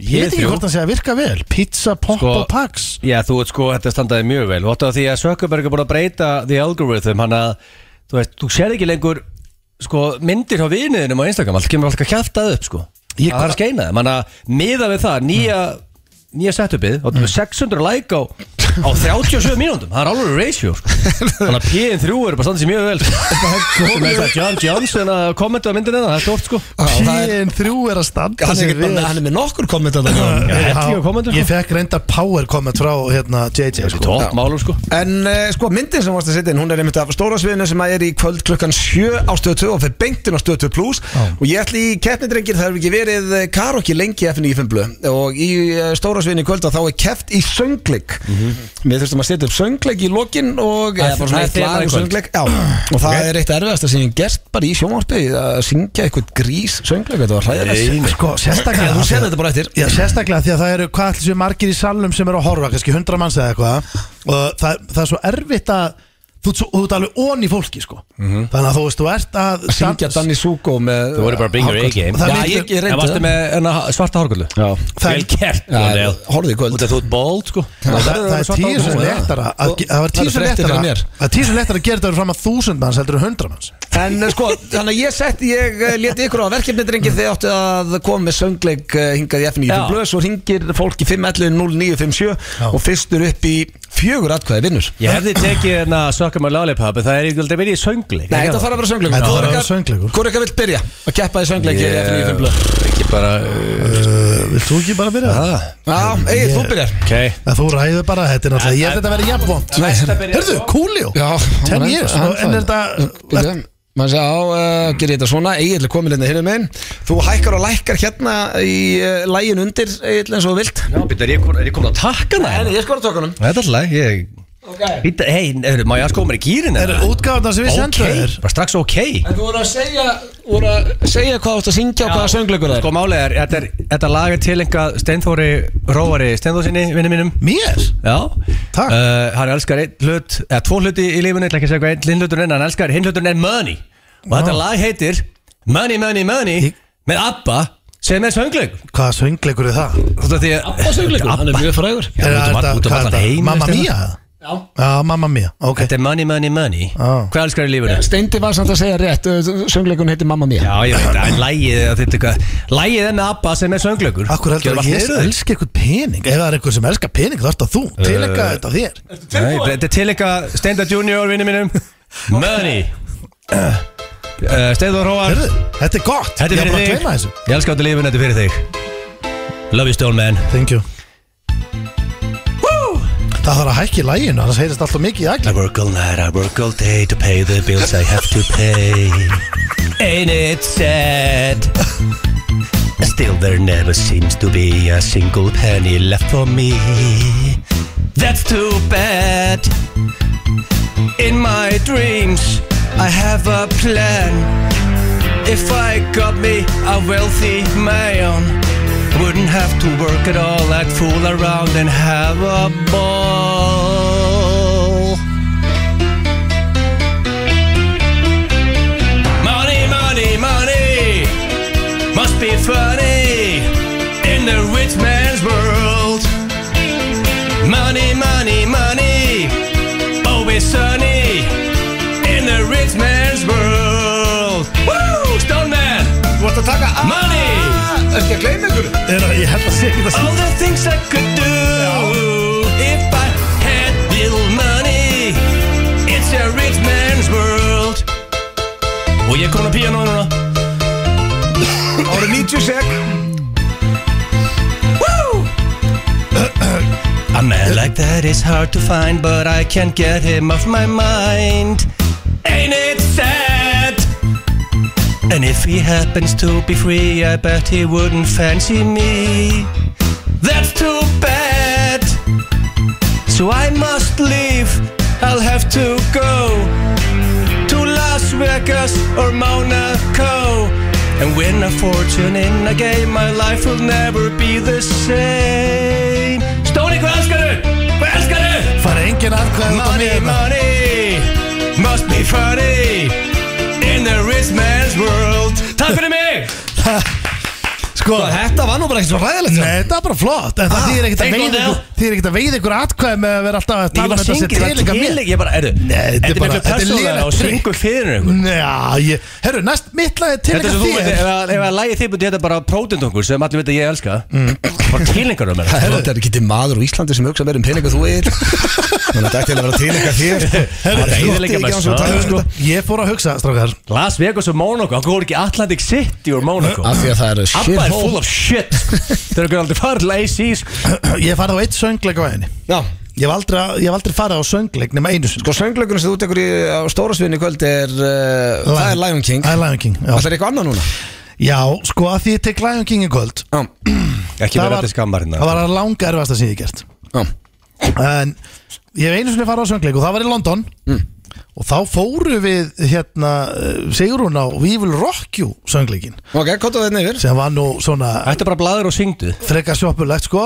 Speaker 2: Ég veit ekki hvort það sé að virka vel Pizza, pop
Speaker 3: Sko-
Speaker 2: og pax
Speaker 3: Já, þú veit sko, þetta standaði mjög vel og átt að því að Zuckerberg er búin að breyta the algorithm, hann að þú veist, þú sér ekki lengur sko, myndir á viniðinum á Instagram, allt kemur alltaf kjaftað upp sko,
Speaker 2: Ég-
Speaker 3: það er að skeina þeim hann að miða við það, nýja nýja setupið, og 600 like á, á 37 mínúndum, það er alveg ratio, sko. þannig að P3 er bara standað sér mjög <laughs> vel sko. Sem er það John Johnson að kommenta á myndinni það er stort sko
Speaker 2: PN3 er að standa
Speaker 6: Hann er,
Speaker 2: sig
Speaker 6: ekkert bara,
Speaker 2: vel.
Speaker 6: með- hann er með nokkur komment að
Speaker 2: Já,
Speaker 6: það
Speaker 3: hellingur af kommentum, sko.
Speaker 2: Ég fekk reynda power comment frá hérna, JJ sko.
Speaker 3: Tótt málum sko
Speaker 6: En uh, sko myndin sem varst að setja inn Hún er einmitt af stóra sviðinu sem að er í kvöld klukkan 7 á stöðu 2 og fyrir beintin á stöðu 2 plus og ég ætli í keppnidrengir það hefur ekki verið eh, karokki lengi í FN95 blöð og í eh, stóra sviðinu í kvöld að þá er keppt í söngleik Við þurftum að setja upp söngleik í lokin og
Speaker 3: Mhm. Það er
Speaker 6: eða
Speaker 3: svona
Speaker 6: bara svona eitt
Speaker 3: þema í
Speaker 6: lag um
Speaker 3: kvöld.
Speaker 6: söngleik Já, og það er eitt erfiðasta sem ég hef gert bara í sjónvarpi að syngja eitthvað grís söngleik þetta var hræðilegt
Speaker 2: Sko, sérstaklega
Speaker 6: Þú sér þetta bara eftir
Speaker 2: Já, sérstaklega því að það eru hvað allir séu margir í salnum sem eru að horfa, kannski 100 manns eða eitthvað og það, það er svo erfitt að þú, ert svo, þú ert alveg ón í fólki sko þannig að þú veist, þú ert að
Speaker 6: Mhm. Syngja Danny Suko með
Speaker 3: Þú voru bara að bring your A-game
Speaker 2: Það
Speaker 6: Já,
Speaker 2: lítur-
Speaker 6: ég, ég
Speaker 3: En
Speaker 6: reyndi
Speaker 3: varstu
Speaker 6: það.
Speaker 3: með hérna, svarta hárgullu?
Speaker 6: Já.
Speaker 2: Það-
Speaker 3: Vel gert
Speaker 6: Já,
Speaker 3: Lionel.
Speaker 6: horfðu í kvöld.
Speaker 3: Út af Þú ert bold sko
Speaker 2: Það, það, er
Speaker 3: svarta
Speaker 2: tíu sem
Speaker 3: hárgullu.
Speaker 2: lettara að-
Speaker 6: Og-
Speaker 2: Það var
Speaker 6: það
Speaker 2: tíu
Speaker 6: eru
Speaker 2: sem
Speaker 6: fréttir
Speaker 2: lettara
Speaker 6: fyrir mér.
Speaker 2: Það er tíu sem lettara að gera þetta fram að þúsund manns heldur en hundra manns
Speaker 6: En eh, sko, þannig að ég sett, ég eh, leti ykkur á verkefni drengir þegar áttu að koma með söngleik eh, hingað í
Speaker 3: Já.
Speaker 6: F95 blöð svo ringir fólk í 511-0957
Speaker 2: Já.
Speaker 6: og fyrstur upp í fjögur atkvæði vinnur
Speaker 3: Ég hefði tekið hérna Sökkum að lollipop En það er ekki aldrei verið í söngleik
Speaker 6: Nei, þetta þarf að vera söngleikur
Speaker 2: Þetta þarf
Speaker 6: Hvor
Speaker 2: að vera
Speaker 6: ykkar-
Speaker 2: söngleikur.
Speaker 6: Hvor eitthvað vill byrja að keppa í söngleiki í F95 blöð
Speaker 3: Ekki bara
Speaker 2: uh, Vilt þú ekki bara byrja
Speaker 6: Ah.
Speaker 2: það?
Speaker 6: Já, Egil, þú byrjar
Speaker 3: Ok
Speaker 2: Að þú ræður bara þetta er náttúrulega Ég held þetta að vera jafnvont Hörðu, Kúljó Ten years og- En er þetta
Speaker 6: Man sé á, uh, gerir þetta svona, Egil er komin hérna hérna megin Þú hækkar og lækkar hérna í uh, lægin undir, Egil, eins og þú vilt
Speaker 3: Ná, býttu, er ég kom- er ég komin að takka það?
Speaker 6: ég skor á tökunum
Speaker 3: Þetta er alltaf Ég Býttu, hei, eru- má ég að sko mér í gýrin
Speaker 2: Er útgáðan sem við sendum þér
Speaker 3: Bara strax ok
Speaker 6: En þú voru að segja, voru að segja hvað þú ert að syngja og hvaða söngleikur það er
Speaker 3: Sko málið er Þetta, er, þetta lag er tilenga Steinþóri Róari Steinþórsinni Vinni mínum
Speaker 2: Mér?
Speaker 3: Já,
Speaker 2: Takk.
Speaker 3: Eh, Hann elskar einn hlut, eða tvo hluti í lífinu, ég ætla ekki að segja hvað einn hlutur en hann elskar hinn hlutur en Money Og þetta
Speaker 2: Vá.
Speaker 3: lag heitir Money, Money, Money
Speaker 2: Í-
Speaker 3: með ABBA sem er söngleik
Speaker 2: Hvaða söngleikur er það?
Speaker 3: ABBA söngleikur, hann er mjög frægur Já,
Speaker 2: Er
Speaker 3: út um
Speaker 2: þetta-
Speaker 3: all- út
Speaker 2: hvað
Speaker 3: um
Speaker 2: er
Speaker 3: allan
Speaker 2: þetta?
Speaker 3: heim
Speaker 2: Mamma Mia? Já Já, Mamma Mia, ok
Speaker 3: Þetta er Money, Money, Money
Speaker 2: Á.
Speaker 3: Hvað elskar í lífinu?
Speaker 6: Steindi var samt að segja rétt, uh, söngleikun heitir Mamma Mia
Speaker 3: Já, ég veit, en lagið er þetta eitthvað Lagið er með ABBA sem er söngleikur
Speaker 2: Akkur heldur að
Speaker 3: Gjörðu allt Eh.
Speaker 2: ég
Speaker 3: niður þér.
Speaker 2: elski eitthvað pening Ef það er eitthvað sem elskar pening þá ert að þú Tilenga þetta þér
Speaker 3: Nei, þetta er tilenga Steinda Junior, vinni mínum Money uh, Steinþór Róar
Speaker 2: Hörðu, þetta er gott
Speaker 3: Þetta
Speaker 2: Ég er
Speaker 3: er
Speaker 2: bara að
Speaker 3: fyrir
Speaker 2: gleyma
Speaker 3: þig
Speaker 2: þessu
Speaker 3: Ég elska áttu lífin, þetta er fyrir þig Love you stone man
Speaker 2: Thank you Það þarf að hækki læginu, annars heyrist alltaf mikið í agli
Speaker 3: I work all night, I work all day To pay the bills I have to pay Ain't it sad Still there never seems to be A single penny left for me That's too bad In my dreams I have a plan If I got me a wealthy man Wouldn't have to work at all I'd fool around and have a ball Money, money, money Must be funny In the rich man's world Money, money, money Always sunny In the rich man's world Woo! Stone man
Speaker 2: Þú ert að taka að
Speaker 3: Money
Speaker 6: Ekki að gleyma ykkur
Speaker 2: Ég held að sé ekki það
Speaker 3: All the things I could do If I had little money It's a rich man's world Og ég kom að píano núna
Speaker 6: Árið 90 sek
Speaker 3: A man like that is hard to find But I can't get him off my mind Ain't it sad? And if he happens to be free I bet he wouldn't fancy me That's too bad So I must leave I'll have to go to Las Vegas or Monaco and win a fortune in a game. My life will never be the same. Stóni, hvað elskar þau? Hvað elskar þau?
Speaker 2: Fara engin atkvæði út á mig
Speaker 3: Money,
Speaker 2: hérna.
Speaker 3: money, must be funny in the rich man's world. Takk fyrir mig!
Speaker 2: <laughs> Sko, sko
Speaker 6: Þetta var nú bara ekkert svo ræðilegt
Speaker 2: Nei, þetta er bara flott En
Speaker 3: Ah,
Speaker 2: það þýðir ekkert að
Speaker 3: take
Speaker 2: veið
Speaker 3: one
Speaker 2: ykkur
Speaker 3: now.
Speaker 2: Þýðir ekkert að veið ykkur atkvæði með að vera alltaf að
Speaker 3: Ég
Speaker 2: tala
Speaker 3: var
Speaker 2: um þetta
Speaker 3: syngið,
Speaker 2: sér
Speaker 3: það
Speaker 2: tilinga
Speaker 3: er
Speaker 2: mér
Speaker 3: tilinga, ég bara, erðu
Speaker 2: Nei, þetta er
Speaker 3: Þetta er
Speaker 2: bara- þetta
Speaker 3: miklu
Speaker 2: er Mm.
Speaker 3: persónulega
Speaker 2: lélegt
Speaker 3: og
Speaker 2: trikk.
Speaker 3: syngur fyrir einhvern
Speaker 2: Já, ég, herru, næst mitt lag er
Speaker 3: Þetta
Speaker 2: tilinga
Speaker 3: sem þú veit,
Speaker 2: þér
Speaker 3: ef að- ef að lægi þið búið, þetta er bara prótendungur sem allir veit að ég elska
Speaker 2: Mm.
Speaker 3: Bara tilingar
Speaker 2: <laughs>
Speaker 3: um þetta
Speaker 6: Þetta er ekki til maður úr Íslandi sem hugsa meir um peninga þú eigin Þannig að þetta ætti eiginlega að vera tilenga þér
Speaker 2: Herru,
Speaker 6: Þetta
Speaker 3: eyðileggja
Speaker 6: þótti ekki
Speaker 3: bara
Speaker 6: án svo
Speaker 3: söguna,
Speaker 6: tala um
Speaker 3: sko.
Speaker 6: þetta.
Speaker 2: Ég fór að hugsa, strákar <clears throat>
Speaker 3: Las Vegas og Monaco, það voru ekki Atlantic City og Monaco
Speaker 6: Af því að það er
Speaker 3: Abba er
Speaker 6: shithole.
Speaker 3: full of shit sko. Þeir eru aldrei farið til AC sko.
Speaker 2: Ég farið á eitt söngleik á henni
Speaker 6: Já,
Speaker 2: Ég hef aldrei, ég hef aldrei farið á söngleik nema einu sinni
Speaker 6: sko söngleikunum sem þú tekur í á stórasvinni kvöld er uh, Það er Lion King
Speaker 2: Það er Lion King, já
Speaker 6: Það er eitthvað annað núna
Speaker 2: Já, sko að því ég tek Lion King í kvöld
Speaker 6: Já,
Speaker 3: Ekki
Speaker 2: það
Speaker 3: verið
Speaker 2: var-
Speaker 3: til skammar hérna
Speaker 2: Það var að langa erfasta sem ég hef gert
Speaker 6: já
Speaker 2: En ég hef einu sinni farið á söngleik og það var í London
Speaker 6: Mm.
Speaker 2: Og þá fóru við hérna eh, Sigrún á We Will Rock You söngleikin
Speaker 6: Ok, kóta þetta yfir
Speaker 2: sem var nú svona
Speaker 3: Þetta er bara bladur og syngdu
Speaker 2: frekar sjoppulegt sko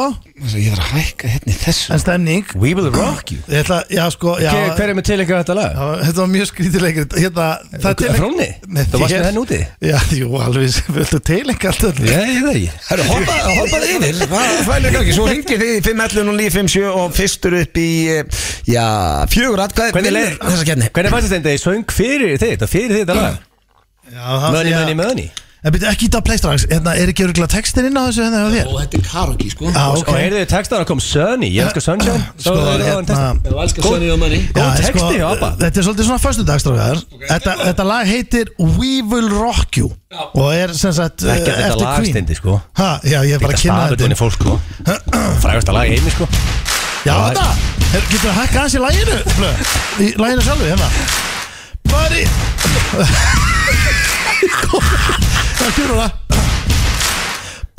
Speaker 6: Ég þarf að hækka hérna í þessu
Speaker 2: en stemning
Speaker 3: We will rock you
Speaker 2: Ég ætla, já sko já,
Speaker 3: Hver, hver er með tilingar þetta lag?
Speaker 2: já, Þetta var mjög skrítilegir hérna, það er tileik-
Speaker 3: Fróni?
Speaker 2: Nei,
Speaker 3: Þú varst
Speaker 2: ég-
Speaker 3: með henni úti?
Speaker 2: Já, jú, alveg, <laughs> viltu tilenga allt öll
Speaker 3: Nei, ég veit ekki
Speaker 6: Herru, hoppa- hoppaðu yfir, hvað fælir ekki, svo ringið þið í 511 og 957 og fyrstur upp í, eh, já, fjögur atkvæði
Speaker 3: Hvernig
Speaker 6: vinnur
Speaker 3: leið-
Speaker 6: þessa keppni.
Speaker 3: Hvernig fannst þetta í söng fyrir þitt og fyrir þitt alveg?
Speaker 2: Já, það
Speaker 3: Mönni,
Speaker 2: segja-
Speaker 3: mönni, mönni
Speaker 2: En byrju ekki í dag pleistrax, hérna er ekki örgulega textin inn á þessu hérna hjá þér?
Speaker 6: Og þetta er karaoke, sko.
Speaker 2: Já,
Speaker 3: Og
Speaker 2: ok
Speaker 3: heyrðu þið textan að kom Sunny Ég elskar Sunshine
Speaker 2: Sko,
Speaker 3: Svo er það
Speaker 2: hérna-
Speaker 3: hann textan
Speaker 7: Þú elskar Sonny og Manny
Speaker 2: Já,
Speaker 3: Góð
Speaker 2: en
Speaker 3: texti hjá Abba.
Speaker 2: Þetta er svolítið svona föstudagstrákaðar þetta, þetta lag heitir We Will Rock You Og er sem sagt eh,
Speaker 3: Ekki að þetta
Speaker 2: eftir Queen.
Speaker 3: lagstindi sko
Speaker 2: Ha, já, ég er bara að
Speaker 3: Þetta
Speaker 2: kynna
Speaker 3: stafið tóni fólk sko Frægast að laga heimi sko
Speaker 2: Já, þetta Her- Getur að hækka aðeins í laginu? Blö? Í laginu sjálfu, hérna Buddy <laughs> Það kjörur það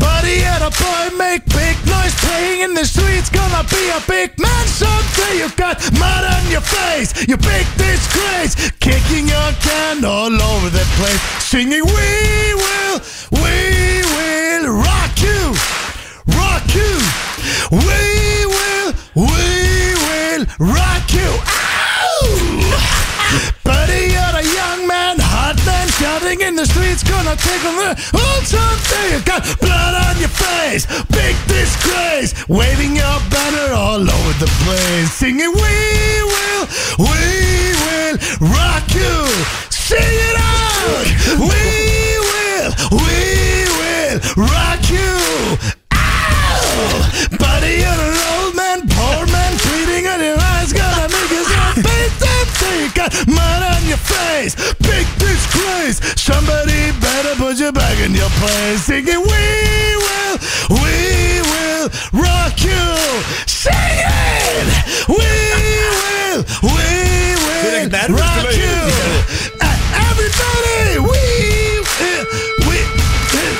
Speaker 2: Buddy and a boy make big noise Playing in the streets Gonna be a big man someday You got mud on your face You big disgrace Kicking your can all over the place Singing we will We will rock you Rock you We will We will rock you Ow! Buddy, you're a young man, hot man, shouting in the streets, gonna take a look. Oh, someday you got blood on your face, big disgrace, waving your banner all over the place, singing, We will, we will rock you. Sing it out! We will, we will rock you. Buddy, you're an old man, poor man, bleeding on your eyes, gonna make you so big Till you got mud on your face, big disgrace. Somebody better put you back in your place. Singing, we will, we will rock you. Sing it! We will, we will rock you. Uh, Everybody, we will, we will.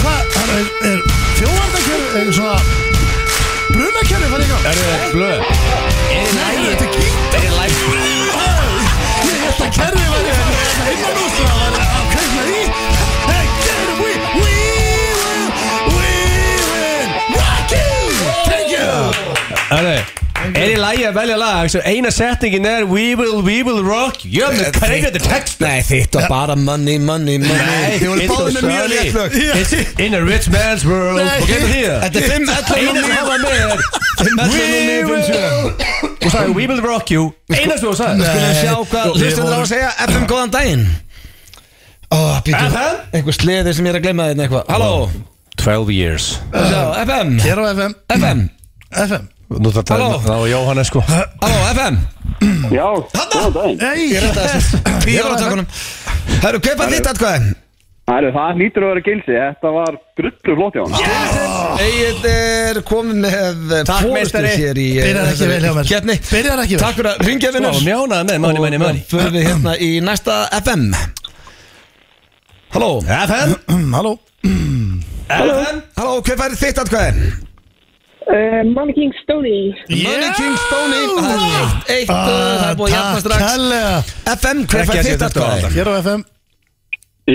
Speaker 2: Hvað, hann er, er þjóðvarnarkerfi, er svona brunakerfi farið í gang?
Speaker 3: Erðu þið blöð?
Speaker 2: Nei, þetta er kýtt
Speaker 3: Er
Speaker 2: Ég held að
Speaker 3: þið live?
Speaker 2: hérna. kerfi farið í gang Þetta er innan úr svona, það er að kveikna í Hey, get it, we, we will, we will rock you, thank you
Speaker 3: Erðu Er þið lagi að velja lag? Svo eina setningin er We will, we will rock you. Ég er með kreigjandi text
Speaker 6: Nei, þitt var bara money, money, money Þið voru báðið með mjög léttlög
Speaker 3: léttlög In a rich man's world hérna.
Speaker 2: Nei.
Speaker 3: Og getur því það?
Speaker 6: Þetta er 5, 11
Speaker 3: Einar
Speaker 6: og
Speaker 3: sem
Speaker 6: 9
Speaker 3: var með er We will Þú sagði We will rock you Einar sem þú sagði
Speaker 6: Skulum sjá hvað Hlustendur á að segja FM góðan daginn Ó, býtum
Speaker 3: FM?
Speaker 6: Einhver sleðið sem ég er að gleyma þérna eitthvað Halló
Speaker 3: 12 years
Speaker 6: Sjá, FM
Speaker 2: Hér á FM,
Speaker 6: FM
Speaker 2: FM
Speaker 3: Nú þarf
Speaker 6: Halló.
Speaker 3: það var Jóhannes sko
Speaker 6: Halló, FM
Speaker 4: Já, góðan daginn
Speaker 2: Hey,
Speaker 6: Ég er alltaf þessu Ég var á tökunum Herru, kaupa þitt atkvæði
Speaker 4: Æru, það nýtur að vera gilsi, þetta var drullu flott hjá hann
Speaker 6: Egil er komið með
Speaker 3: Takk,
Speaker 6: forystu
Speaker 3: meistari.
Speaker 6: hér í
Speaker 2: Byrjar ekki vel hjá mér.
Speaker 6: Kjarni
Speaker 2: Byrjar ekki vel.
Speaker 6: Takk fyrir að ringja
Speaker 3: Sko,
Speaker 6: vinnur
Speaker 3: mjónaði með Money, money, money
Speaker 6: Fyrir við hérna í næsta FM Halló
Speaker 3: FM
Speaker 2: Halló
Speaker 3: FM
Speaker 6: Halló, hver færi þitt atkvæði?
Speaker 8: Uh, Mommy King Stoney.
Speaker 6: Money King Stoney Það er eitt, eitt, uh, það er búið að jafna
Speaker 2: Ah, Takk
Speaker 6: strax
Speaker 2: hella
Speaker 6: FM,
Speaker 3: Ekki
Speaker 6: hver
Speaker 3: að
Speaker 6: færi
Speaker 3: sé
Speaker 6: þitt
Speaker 3: þetta
Speaker 6: atkvæði?
Speaker 3: áfram.
Speaker 2: Hér á FM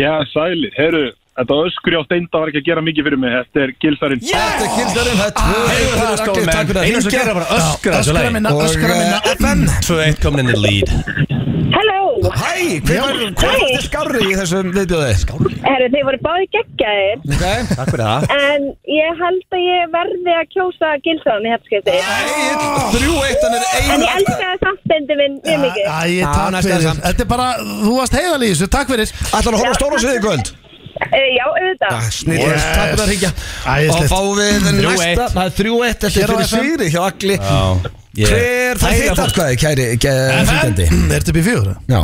Speaker 4: Já, sæli, heyrðu, þetta öskri á steinda var ekki að gera mikið fyrir mig, þetta er gilsarinn
Speaker 6: Þetta er kynnstarinn,
Speaker 2: Ah,
Speaker 6: það er tvö
Speaker 3: Heiðu það
Speaker 6: Takk
Speaker 3: stóð
Speaker 6: fyrir
Speaker 3: menn
Speaker 6: að eh,
Speaker 3: Einu sem
Speaker 6: ringja
Speaker 3: gera bara öskra þessu
Speaker 2: Öskra
Speaker 3: leið
Speaker 2: minna,
Speaker 6: Og
Speaker 2: öskra minna
Speaker 6: eh, FM
Speaker 3: 2-1 komin inn í lead
Speaker 8: Hello.
Speaker 6: Hæ, hver var hver var þetta skárri í þessum viðbjóði? Skárri?
Speaker 8: Herru, þeir voru báði geggjaðir
Speaker 6: Ok
Speaker 3: Takk fyrir það
Speaker 8: En ég held að ég verði að kjósa Gilsson í hefnskipti
Speaker 6: Egil, þrjú eitt, hann er
Speaker 8: En
Speaker 6: eigin
Speaker 8: ég elskaði samstendu minn mjög mikið
Speaker 2: Æ,
Speaker 6: Já,
Speaker 2: takk
Speaker 6: næsta
Speaker 2: fyrir
Speaker 6: samt.
Speaker 2: Þetta er bara, þú varst heiðal í þessu, takk fyrir
Speaker 6: Ætlar að horfa á stóra sviði í kvöld?
Speaker 8: Eh, Já, auðvitað
Speaker 6: Snýtt,
Speaker 2: Yes.
Speaker 6: takk fyrir að hringja Og
Speaker 2: Æðislegt.
Speaker 6: fáum við
Speaker 3: Þrjú
Speaker 6: næsta
Speaker 3: eitt.
Speaker 6: Það er þrjú eitt, þetta
Speaker 2: Hér
Speaker 6: er
Speaker 2: á
Speaker 6: fyrir
Speaker 2: FM.
Speaker 6: sigri hjá Agli
Speaker 3: Ég-
Speaker 6: Hver
Speaker 3: Æ,
Speaker 6: fær
Speaker 3: ég-
Speaker 6: þitt atkvæði, kæri
Speaker 2: <clears throat>
Speaker 6: fylgjandi?
Speaker 2: Er þetta upp í fjögur?
Speaker 6: Já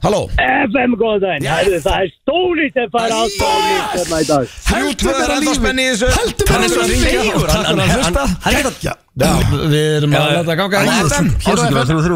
Speaker 6: Halló,
Speaker 9: FM, góðan daginn.
Speaker 6: Já.
Speaker 9: Herðu, það er stólið sem fær á stólið sem í dag.
Speaker 6: þrjú tvö er ennþá spenni í þessu
Speaker 2: Heldum
Speaker 6: Takk
Speaker 2: bara
Speaker 6: fyrir að
Speaker 2: þessu
Speaker 6: hringja
Speaker 2: fjögur.
Speaker 6: og Takk fyrir að hlusta
Speaker 3: Hann er
Speaker 2: Já,
Speaker 6: Já, við erum að láta ganga í þetta.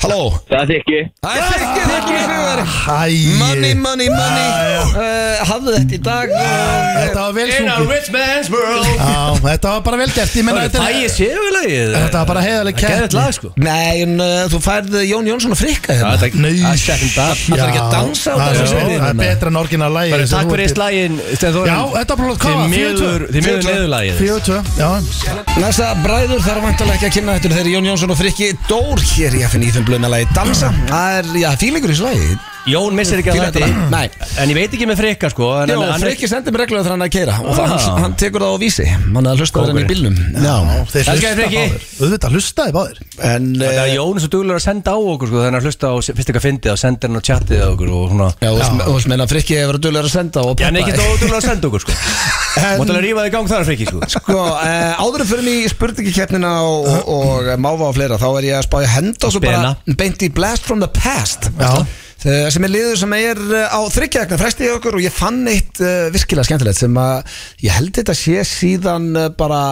Speaker 6: Halló
Speaker 9: Það er ekki.
Speaker 6: Það er þykir, þykir í sigur
Speaker 2: Æ,
Speaker 6: Money, money, money uh, Hafðu þetta í dag og-
Speaker 2: þetta var vel sungið
Speaker 3: rich man's world
Speaker 2: Já, þetta var bara vel gert Ég menna, þetta
Speaker 3: Það
Speaker 2: er
Speaker 3: er séulegið
Speaker 2: Þetta var bara heiðaleg
Speaker 3: Það er
Speaker 2: keppni.
Speaker 3: gæðið lag sko
Speaker 6: Nei, en uh, þú færð Jón Jónsson að frikka hérna
Speaker 3: Það er
Speaker 2: Nei.
Speaker 3: Það er second up
Speaker 6: Ætlar ekki að dansa á
Speaker 2: Já,
Speaker 6: þessu
Speaker 2: já,
Speaker 6: sviði
Speaker 2: Það er
Speaker 6: núna?
Speaker 2: betra en orginal lagi
Speaker 3: Bara
Speaker 2: þessu
Speaker 3: takk
Speaker 2: þú
Speaker 3: fyrir
Speaker 2: ert-
Speaker 3: slægin
Speaker 2: Já, þetta var bara hvað, 42?
Speaker 3: Því miður, því miður
Speaker 2: 42?
Speaker 3: niðurlagið
Speaker 2: 42, já
Speaker 6: Næsta bræður þarf vantilega ekki að kynna þetta Þeir eru Jón Jónsson og Frikki Dór Hér í FN Íþun Blöð með lagi Dansa Það er, já, fílingur í þessu lagi
Speaker 3: Jón missir ekki að
Speaker 6: Fílar
Speaker 3: þetta
Speaker 6: þetta lag? Nei.
Speaker 3: En ég veit ekki með frikka sko en
Speaker 6: Jó,
Speaker 3: hann- hann er-
Speaker 6: Frikki sendir mér reglulega þegar hann er að keira Og það,
Speaker 3: Ah.
Speaker 6: hann, hann tekur það á vísi Hann er að hlusta á hann í bílnum Já,
Speaker 2: Þeir hlusta
Speaker 3: Elskar þig, Frikki.
Speaker 2: báðir Auðvitað, hlustaði báðir
Speaker 6: en
Speaker 3: Þannig að
Speaker 6: eh,
Speaker 3: Jón er svo duglur að senda á okkur sko Þannig að hlusta á fyrst eitthvað fyndið og sendir hann á chatið á okkur og svona
Speaker 6: Já, þú veist- þú veist meina að Frikki hefur verið dölur að senda og
Speaker 3: Já, hann er
Speaker 6: peppa.
Speaker 3: ekki óduglur að senda okkur sko Mátt alveg rífa þig í gang þar frikki
Speaker 2: <laughs>
Speaker 3: sko
Speaker 6: Sko, eh, áður en fyrir mig í spurningakeppnina og, og, og máfa og fleira þá er ég að spája henda og svo bara beint í Blast from the Past
Speaker 2: Já.
Speaker 6: Eh, sem er liður sem er eh, á þryggjaðakna fresti í okkur og ég fann eitt uh, virkilega skemmtilegt sem að ég held þetta sé síðan uh, bara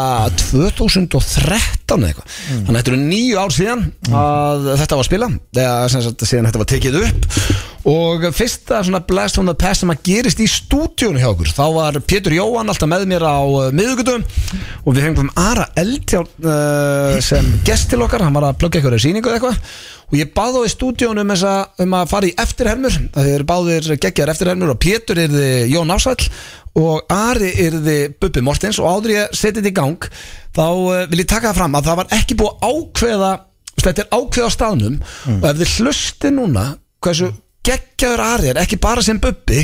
Speaker 6: 2013 eða eitthvað þannig að þetta eru nýju ár síðan að þetta var að spila eða sem sagt síðan þetta var tekið upp og fyrsta svona Blast from the Past sem að gerist í stúdíónu hjá okkur þá var Pétur Jóhann alltaf með mér á uh, miðugutum og við fengum Ara Eldjárn uh, sem gest til okkar, hann var að plugga eitthvað sýningu eða eitthvað og ég bað þá í stúdíónu um, þessa, um að fara í eftirhermur það eru báðir geggjar eftirhermur og Pétur er þið Jón Ásvæll og Ari er þið Bubbi Mortens og áður ég seti þetta í gang þá uh, vil ég taka það fram að það var ekki búið að ákveða þú veist, þetta er ákveða á staðnum og ef þið hlusti núna hversu geggjaður Ari er ekki bara sem Bubbi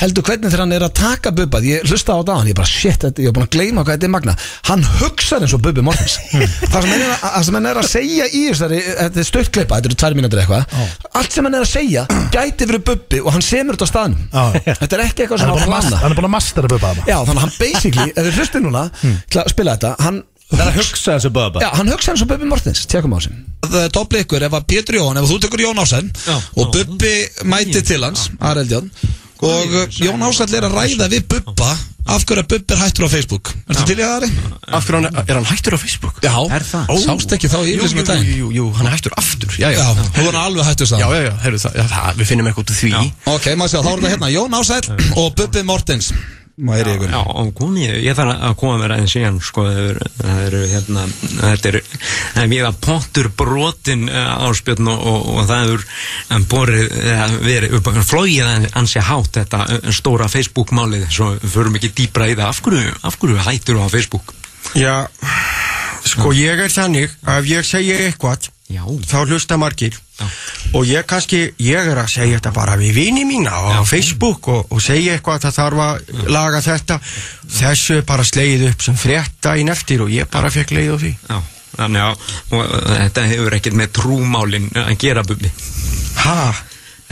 Speaker 6: heldur hvernig þegar hann er að taka Bubba því ég hlusta á þetta á hann, ég bara shit, þetta, ég er búin að gleyma hvað þetta er magna hann hugsar eins og
Speaker 2: <laughs>
Speaker 6: Bubbi Mortens það sem hann er, að- það sem hann er að segja í þessari, þetta er störtkleipa, þetta eru tvær mínútur eitthvað allt sem hann er að segja gæti verið Bubbi og hann semur þetta á staðnum
Speaker 2: Já.
Speaker 6: þetta er ekki eitthvað
Speaker 2: Hann
Speaker 6: sem
Speaker 2: er búin
Speaker 6: hann
Speaker 2: að mas-
Speaker 6: plana
Speaker 2: hann er búin að mastera bubba hana
Speaker 6: já, þannig að hann basically, ef þið hlusti núna
Speaker 2: Hmm.
Speaker 6: til að spila þetta, hann
Speaker 3: Það er að hugsa þessu bubba
Speaker 6: Já, hann hugsa eins og Bubbi Mortens, tjekum á þessum Það er doppli ykkur ef að Pétur Jón, ef þú tekur Jón Ársæn og Bubbi mæti til hans, Areldjón og uh, Jón Ársæll er að ræða við Bubba af hverju að Bubbi er hættur á Facebook Ertu til í það, Ari?
Speaker 7: Af hverju hann, er hann hættur á Facebook?
Speaker 6: Já,
Speaker 7: Er það? Ó.
Speaker 6: sást ekki þá í
Speaker 7: Jú,
Speaker 6: yfirlýsingu um
Speaker 7: jú,
Speaker 2: um.
Speaker 6: daginn?
Speaker 7: jú, jú, jú, hann er hættur aftur Já, já,
Speaker 6: Já, þú er alveg hættur
Speaker 7: já,
Speaker 6: það
Speaker 7: já, já, heyrðu það, já, það Við finnum eitthvað út úr því Já,
Speaker 6: Ok, maður sé, þá er það hérna Jón Ársæll og Bubbi Mortens Maður er ykkur
Speaker 10: Já, og komi, ég þarf að koma mér aðeins síðan sko, það eru, það eru hérna þetta er, það er mjög að pottur brotin uh, áspjörn og, og, og það er um, borið, uh, verið upp, flóið aðeins- ansi hátt þetta eh, stóra Facebook-málið, svo förum ekki dýpra í það, af hverju, af hverju hættur á Facebook?
Speaker 7: já Sko, ég er þannig að ef ég segja eitthvað
Speaker 10: Já.
Speaker 7: Þá hlusta margir
Speaker 10: Já.
Speaker 7: Og ég kannski, ég er að segja þetta bara við vini mína og á Facebook og, og segja eitthvað það þarf að laga þetta Þessu er bara slegið upp sem frétta í neftir og ég bara fekk leið á því
Speaker 10: Já, þannig að og, eh, þetta hefur ekkert með trúmálin að gera bubbi
Speaker 7: Ha?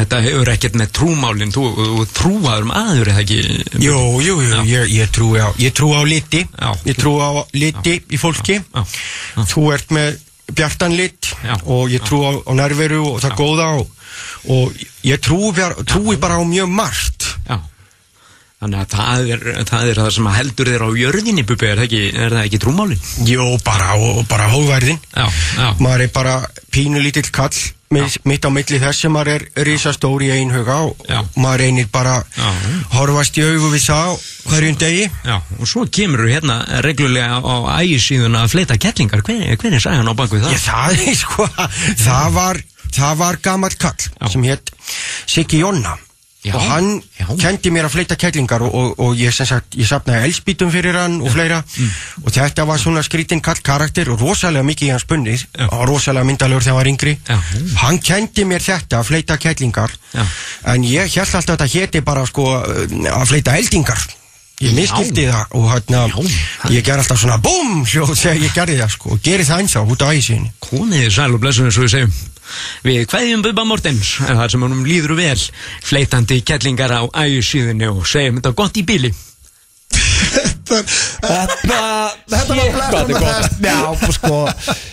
Speaker 10: Þetta hefur ekkert með trúmálin, þú, þú trúaður um aður eða ekki Bubbi?
Speaker 7: Jú, jú, jú, ég, ég trúi á, ég trúi á liti,
Speaker 10: Já.
Speaker 7: ég trúi á liti í fólki,
Speaker 10: Já. Já.
Speaker 7: þú ert með bjartan lit
Speaker 10: Já.
Speaker 7: og ég trúi á, á nærveru og það góða og, og ég trúi, bjar- trúi bara á mjög margt.
Speaker 10: Já Þannig að það er, það er það sem að heldur þér á jörðinni, Bubi, er það ekki, er það ekki trúmálin?
Speaker 7: Jó, bara, og, og bara hóðværðin,
Speaker 10: Já, já,
Speaker 7: maður er bara pínulítill kall, mis, mitt á milli þess sem maður er risastór í einhuga og
Speaker 10: Já.
Speaker 7: maður reynir bara
Speaker 10: Já.
Speaker 7: horfast í augu við það á hverjum degi.
Speaker 10: já. Og svo kemur þú hérna reglulega á ægisíðuna að fleita kettlingar. Hver, hver er sæðan á baku það?
Speaker 7: Já, það er sko, það var, það var gammal kall sem hétt Siggi Jonna
Speaker 11: Já,
Speaker 7: og hann
Speaker 11: já.
Speaker 7: kendi mér að fleita kellingar og, og, og ég sem sagt, ég sapnaði elspítum fyrir hann og fleira
Speaker 11: Mm.
Speaker 7: og þetta var svona skrítinn kall karakter og rosalega mikið í hans bunnið
Speaker 11: Já.
Speaker 7: og rosalega myndalur þegar hann var yngri
Speaker 11: Já.
Speaker 7: hann kendi mér þetta að fleita kellingar
Speaker 11: Já.
Speaker 7: en ég held alltaf að þetta héti bara sko að fleita eldingar ég miskildi það og hérna ég ger alltaf svona BOOM hljóð þegar ég gerði það sko og geri það ennþá út á æsinni
Speaker 11: Komið þið sæl og blessun eins og við segjum Við kveðjum Bubba Mortens en þar sem honum líður vel fleitandi kellingar á ægjusíðinni og segjum þetta gott í bíli
Speaker 1: Þetta, þetta var blessun með þess Já, sko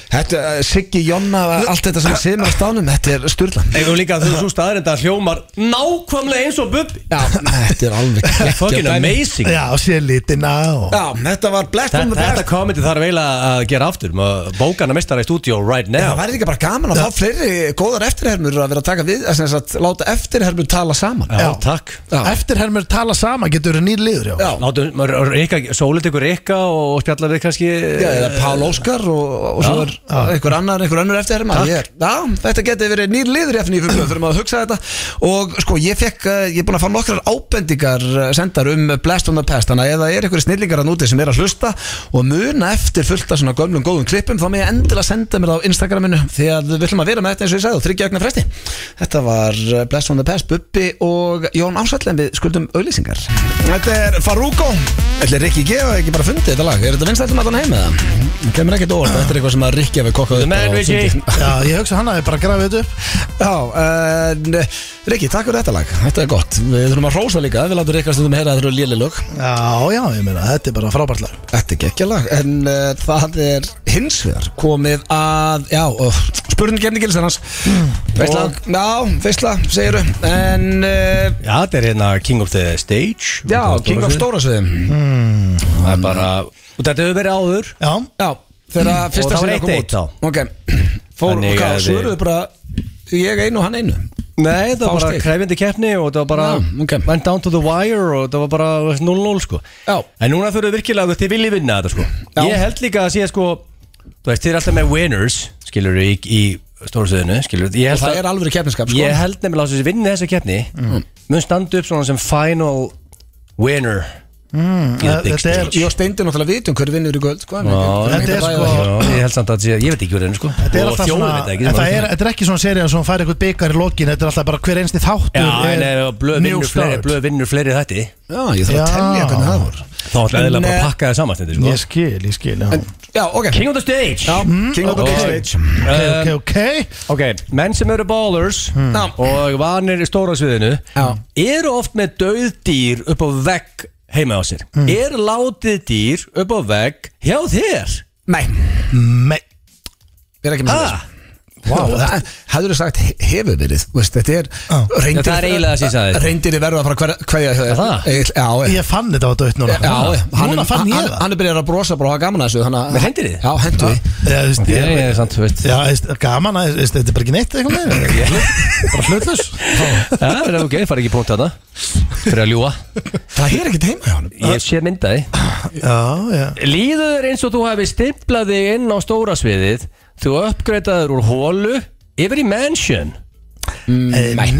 Speaker 1: Þetta, eh, Siggi, Jonna, allt þetta sem sem er á stánum Þetta er sturla
Speaker 3: Eða líka þú svo staðarinn að hljómar nákvæmlega eins og bubbi
Speaker 1: Já, þetta er alveg
Speaker 3: Fucking
Speaker 1: geggjað dæmi.
Speaker 3: amazing
Speaker 2: Já, sé litina og
Speaker 1: Já, þetta var blessun
Speaker 3: Þetta,
Speaker 1: með
Speaker 3: þetta
Speaker 1: þess
Speaker 3: komedi þarf eiginlega að gera aftur maður Bókana mestara í stúdíó right
Speaker 1: Já,
Speaker 3: now
Speaker 1: það væri líka bara gaman að fá fleiri góðar eftirhermur að vera að taka við, að, að láta eftirhermur tala saman
Speaker 3: Já,
Speaker 2: Já.
Speaker 3: takk
Speaker 1: Já.
Speaker 2: Eftirhermur tala sama getur nýr liður já.
Speaker 1: Já.
Speaker 3: Látum, maður- Rikka, sólit ykkur Rikka og spjalla við kannski eh,
Speaker 1: Já, Eh, eða Pál Óskar og, og svo er einhver annar, einhver annar eftir herma Já, þetta geti verið nýr liður hérna í FNÍ fyrir fyrir maður að hugsa þetta og sko, ég fekk, eh, ég er búin að fá nokkrar ábendingar eh, sendar um Blast on the Past þannig að ef það er einhverjir snillingar að núti sem er að hlusta og muna eftir fullta svona gömlum góðum klippum þá með ég endilega senda mér það á Instagraminu því að við viljum að vera með þetta eins og ég sagði og þryggja ögna fresti Þetta var eh, Blast on the Past, Bubbi og Jón Ásall en við skuldum auðlýsingar Þetta er Farúko Þetta er Rikki G og ekki bara fundið þetta lag Er þetta vinstættum að hann heim eða? Það kemur ekkert óvart, þetta er eitthvað sem að Rikki hefur kokkað
Speaker 3: The
Speaker 1: upp
Speaker 3: man
Speaker 1: á
Speaker 3: with
Speaker 1: fundi.
Speaker 3: you.
Speaker 2: já, ég hugsa hann að ég bara grafið þetta upp
Speaker 1: Já, uh, Rikki, takk fyrir þetta lag Þetta er gott, við þurfum að hrósa líka Við látum Rikka stundum heyra að þetta eru lélilög
Speaker 2: Já, já, ég meina, þetta er bara frábært lag
Speaker 1: Þetta er geggjalag, en uh, það er hins vegar komið að, já, uh, spurning kemni gils annars Veistla, já, veistla, segiru, en, uh,
Speaker 3: Já, þetta er hérna King of the Stage
Speaker 1: já, King of Stóra sviðum
Speaker 3: Það er bara Og þetta hefur verið áður
Speaker 2: Já,
Speaker 1: Já, þegar
Speaker 3: Og
Speaker 1: fyrsta
Speaker 3: það var
Speaker 1: sviða kom
Speaker 3: eitt
Speaker 1: út
Speaker 3: eitt þá.
Speaker 1: Ok, fór,
Speaker 3: Þannig
Speaker 1: og hvað,
Speaker 3: að
Speaker 1: svo
Speaker 3: við-
Speaker 1: eruðu bara, ég einu og hann einu
Speaker 3: Nei, það
Speaker 1: Fá
Speaker 3: var bara
Speaker 1: stig.
Speaker 3: krefjandi keppni og það var bara
Speaker 1: Já, ok.
Speaker 3: went down to the wire og það var bara 0-0 sko
Speaker 1: Já.
Speaker 3: En núna þurfum við virkilega að þið viljið vinna þetta sko
Speaker 1: Já.
Speaker 3: Ég held líka að sé sko Þú veist, þið er alltaf með winners skilur í, í stórsöðinu skilur
Speaker 1: Og
Speaker 3: ég held,
Speaker 1: það
Speaker 3: að,
Speaker 1: er alveg keppniskap, sko
Speaker 3: ég held nefnilega að þessi vinni þessa keppni
Speaker 2: Mm.
Speaker 3: mun standa upp svona sem final winner mm,
Speaker 2: eh, þetta er-
Speaker 1: Ég og Steindi náttúrulega vitum hver vinnur í göld, sko en ekki-
Speaker 2: þetta
Speaker 1: ekki
Speaker 2: er
Speaker 1: að ræða
Speaker 2: sko-
Speaker 1: það.
Speaker 3: Já, ég held samt að ég, ég veit ekki hvað henni sko
Speaker 2: þetta er
Speaker 3: Og
Speaker 2: alltaf
Speaker 3: þjóðin
Speaker 2: svona
Speaker 3: veit það ekki
Speaker 2: en það er, Þetta er ekki svona serið sem fær eitthvað byggar í lokin Þetta er alltaf bara hver einsti þáttur
Speaker 3: Já, en
Speaker 2: er
Speaker 3: ef blöð
Speaker 2: new
Speaker 3: vinnur fleiri,
Speaker 2: start.
Speaker 3: blöð vinnur fleiri þætti
Speaker 1: Já, ég þarf að
Speaker 2: Já.
Speaker 1: tellja hvernig það voru
Speaker 3: Þá ætlaði
Speaker 1: En,
Speaker 3: eiginlega bara
Speaker 1: eh,
Speaker 3: að pakka það saman þetta sko
Speaker 2: Ég skil, ég skil, já
Speaker 1: Já, ok
Speaker 3: King of the Stage Mm.
Speaker 1: Já, King of the
Speaker 3: ok.
Speaker 1: Stage
Speaker 2: Ok, ok,
Speaker 3: Ok, menn sem eru ballers
Speaker 1: Já.
Speaker 3: og vanir í stóra sviðinu
Speaker 1: Hmm. Já.
Speaker 3: eru oft með döð dýr upp á vegg heima á sér
Speaker 1: Hmm.
Speaker 3: Er látið dýr upp á vegg hjá þér?
Speaker 1: Nei,
Speaker 2: Me
Speaker 1: við erum ekki með
Speaker 3: Ha?
Speaker 1: þess Vá, hefur þið sagt he- hefur verið þú veist, Þetta er reyndir,
Speaker 3: Já, það er eiginlega það sem ég sagði.
Speaker 1: Reyndir verða að fara að hverja
Speaker 3: Er það?
Speaker 1: Egill, Já, eh,
Speaker 2: Ég fann þetta á dött núna
Speaker 1: Já, eh. hann,
Speaker 2: Núna fann
Speaker 1: hann,
Speaker 2: ég
Speaker 1: hann,
Speaker 2: það
Speaker 1: hann er byrjar að brosa bara og hafa gaman að þessu þannig að-
Speaker 3: Með hendinni?
Speaker 1: Já, hendur við
Speaker 2: Já, þú veist,
Speaker 3: Ég
Speaker 2: ég-
Speaker 3: er sant, þú veist
Speaker 2: Já, þú veist, gaman að þú veist, Þetta er bara ekki neitt einhvern veginn Bara hlutlaus
Speaker 3: <laughs> Já, það er ok, fara ekki í punkt þarna Fyrir að ljúa
Speaker 1: Það er ekkert heima hjá hann
Speaker 3: Ég sé myndaði
Speaker 2: Já, já
Speaker 3: Líður eins og þú hefði stimplað þig inn á stóra sviðið Þú uppgreitaður úr hólu yfir í mansion
Speaker 2: Eh, Nei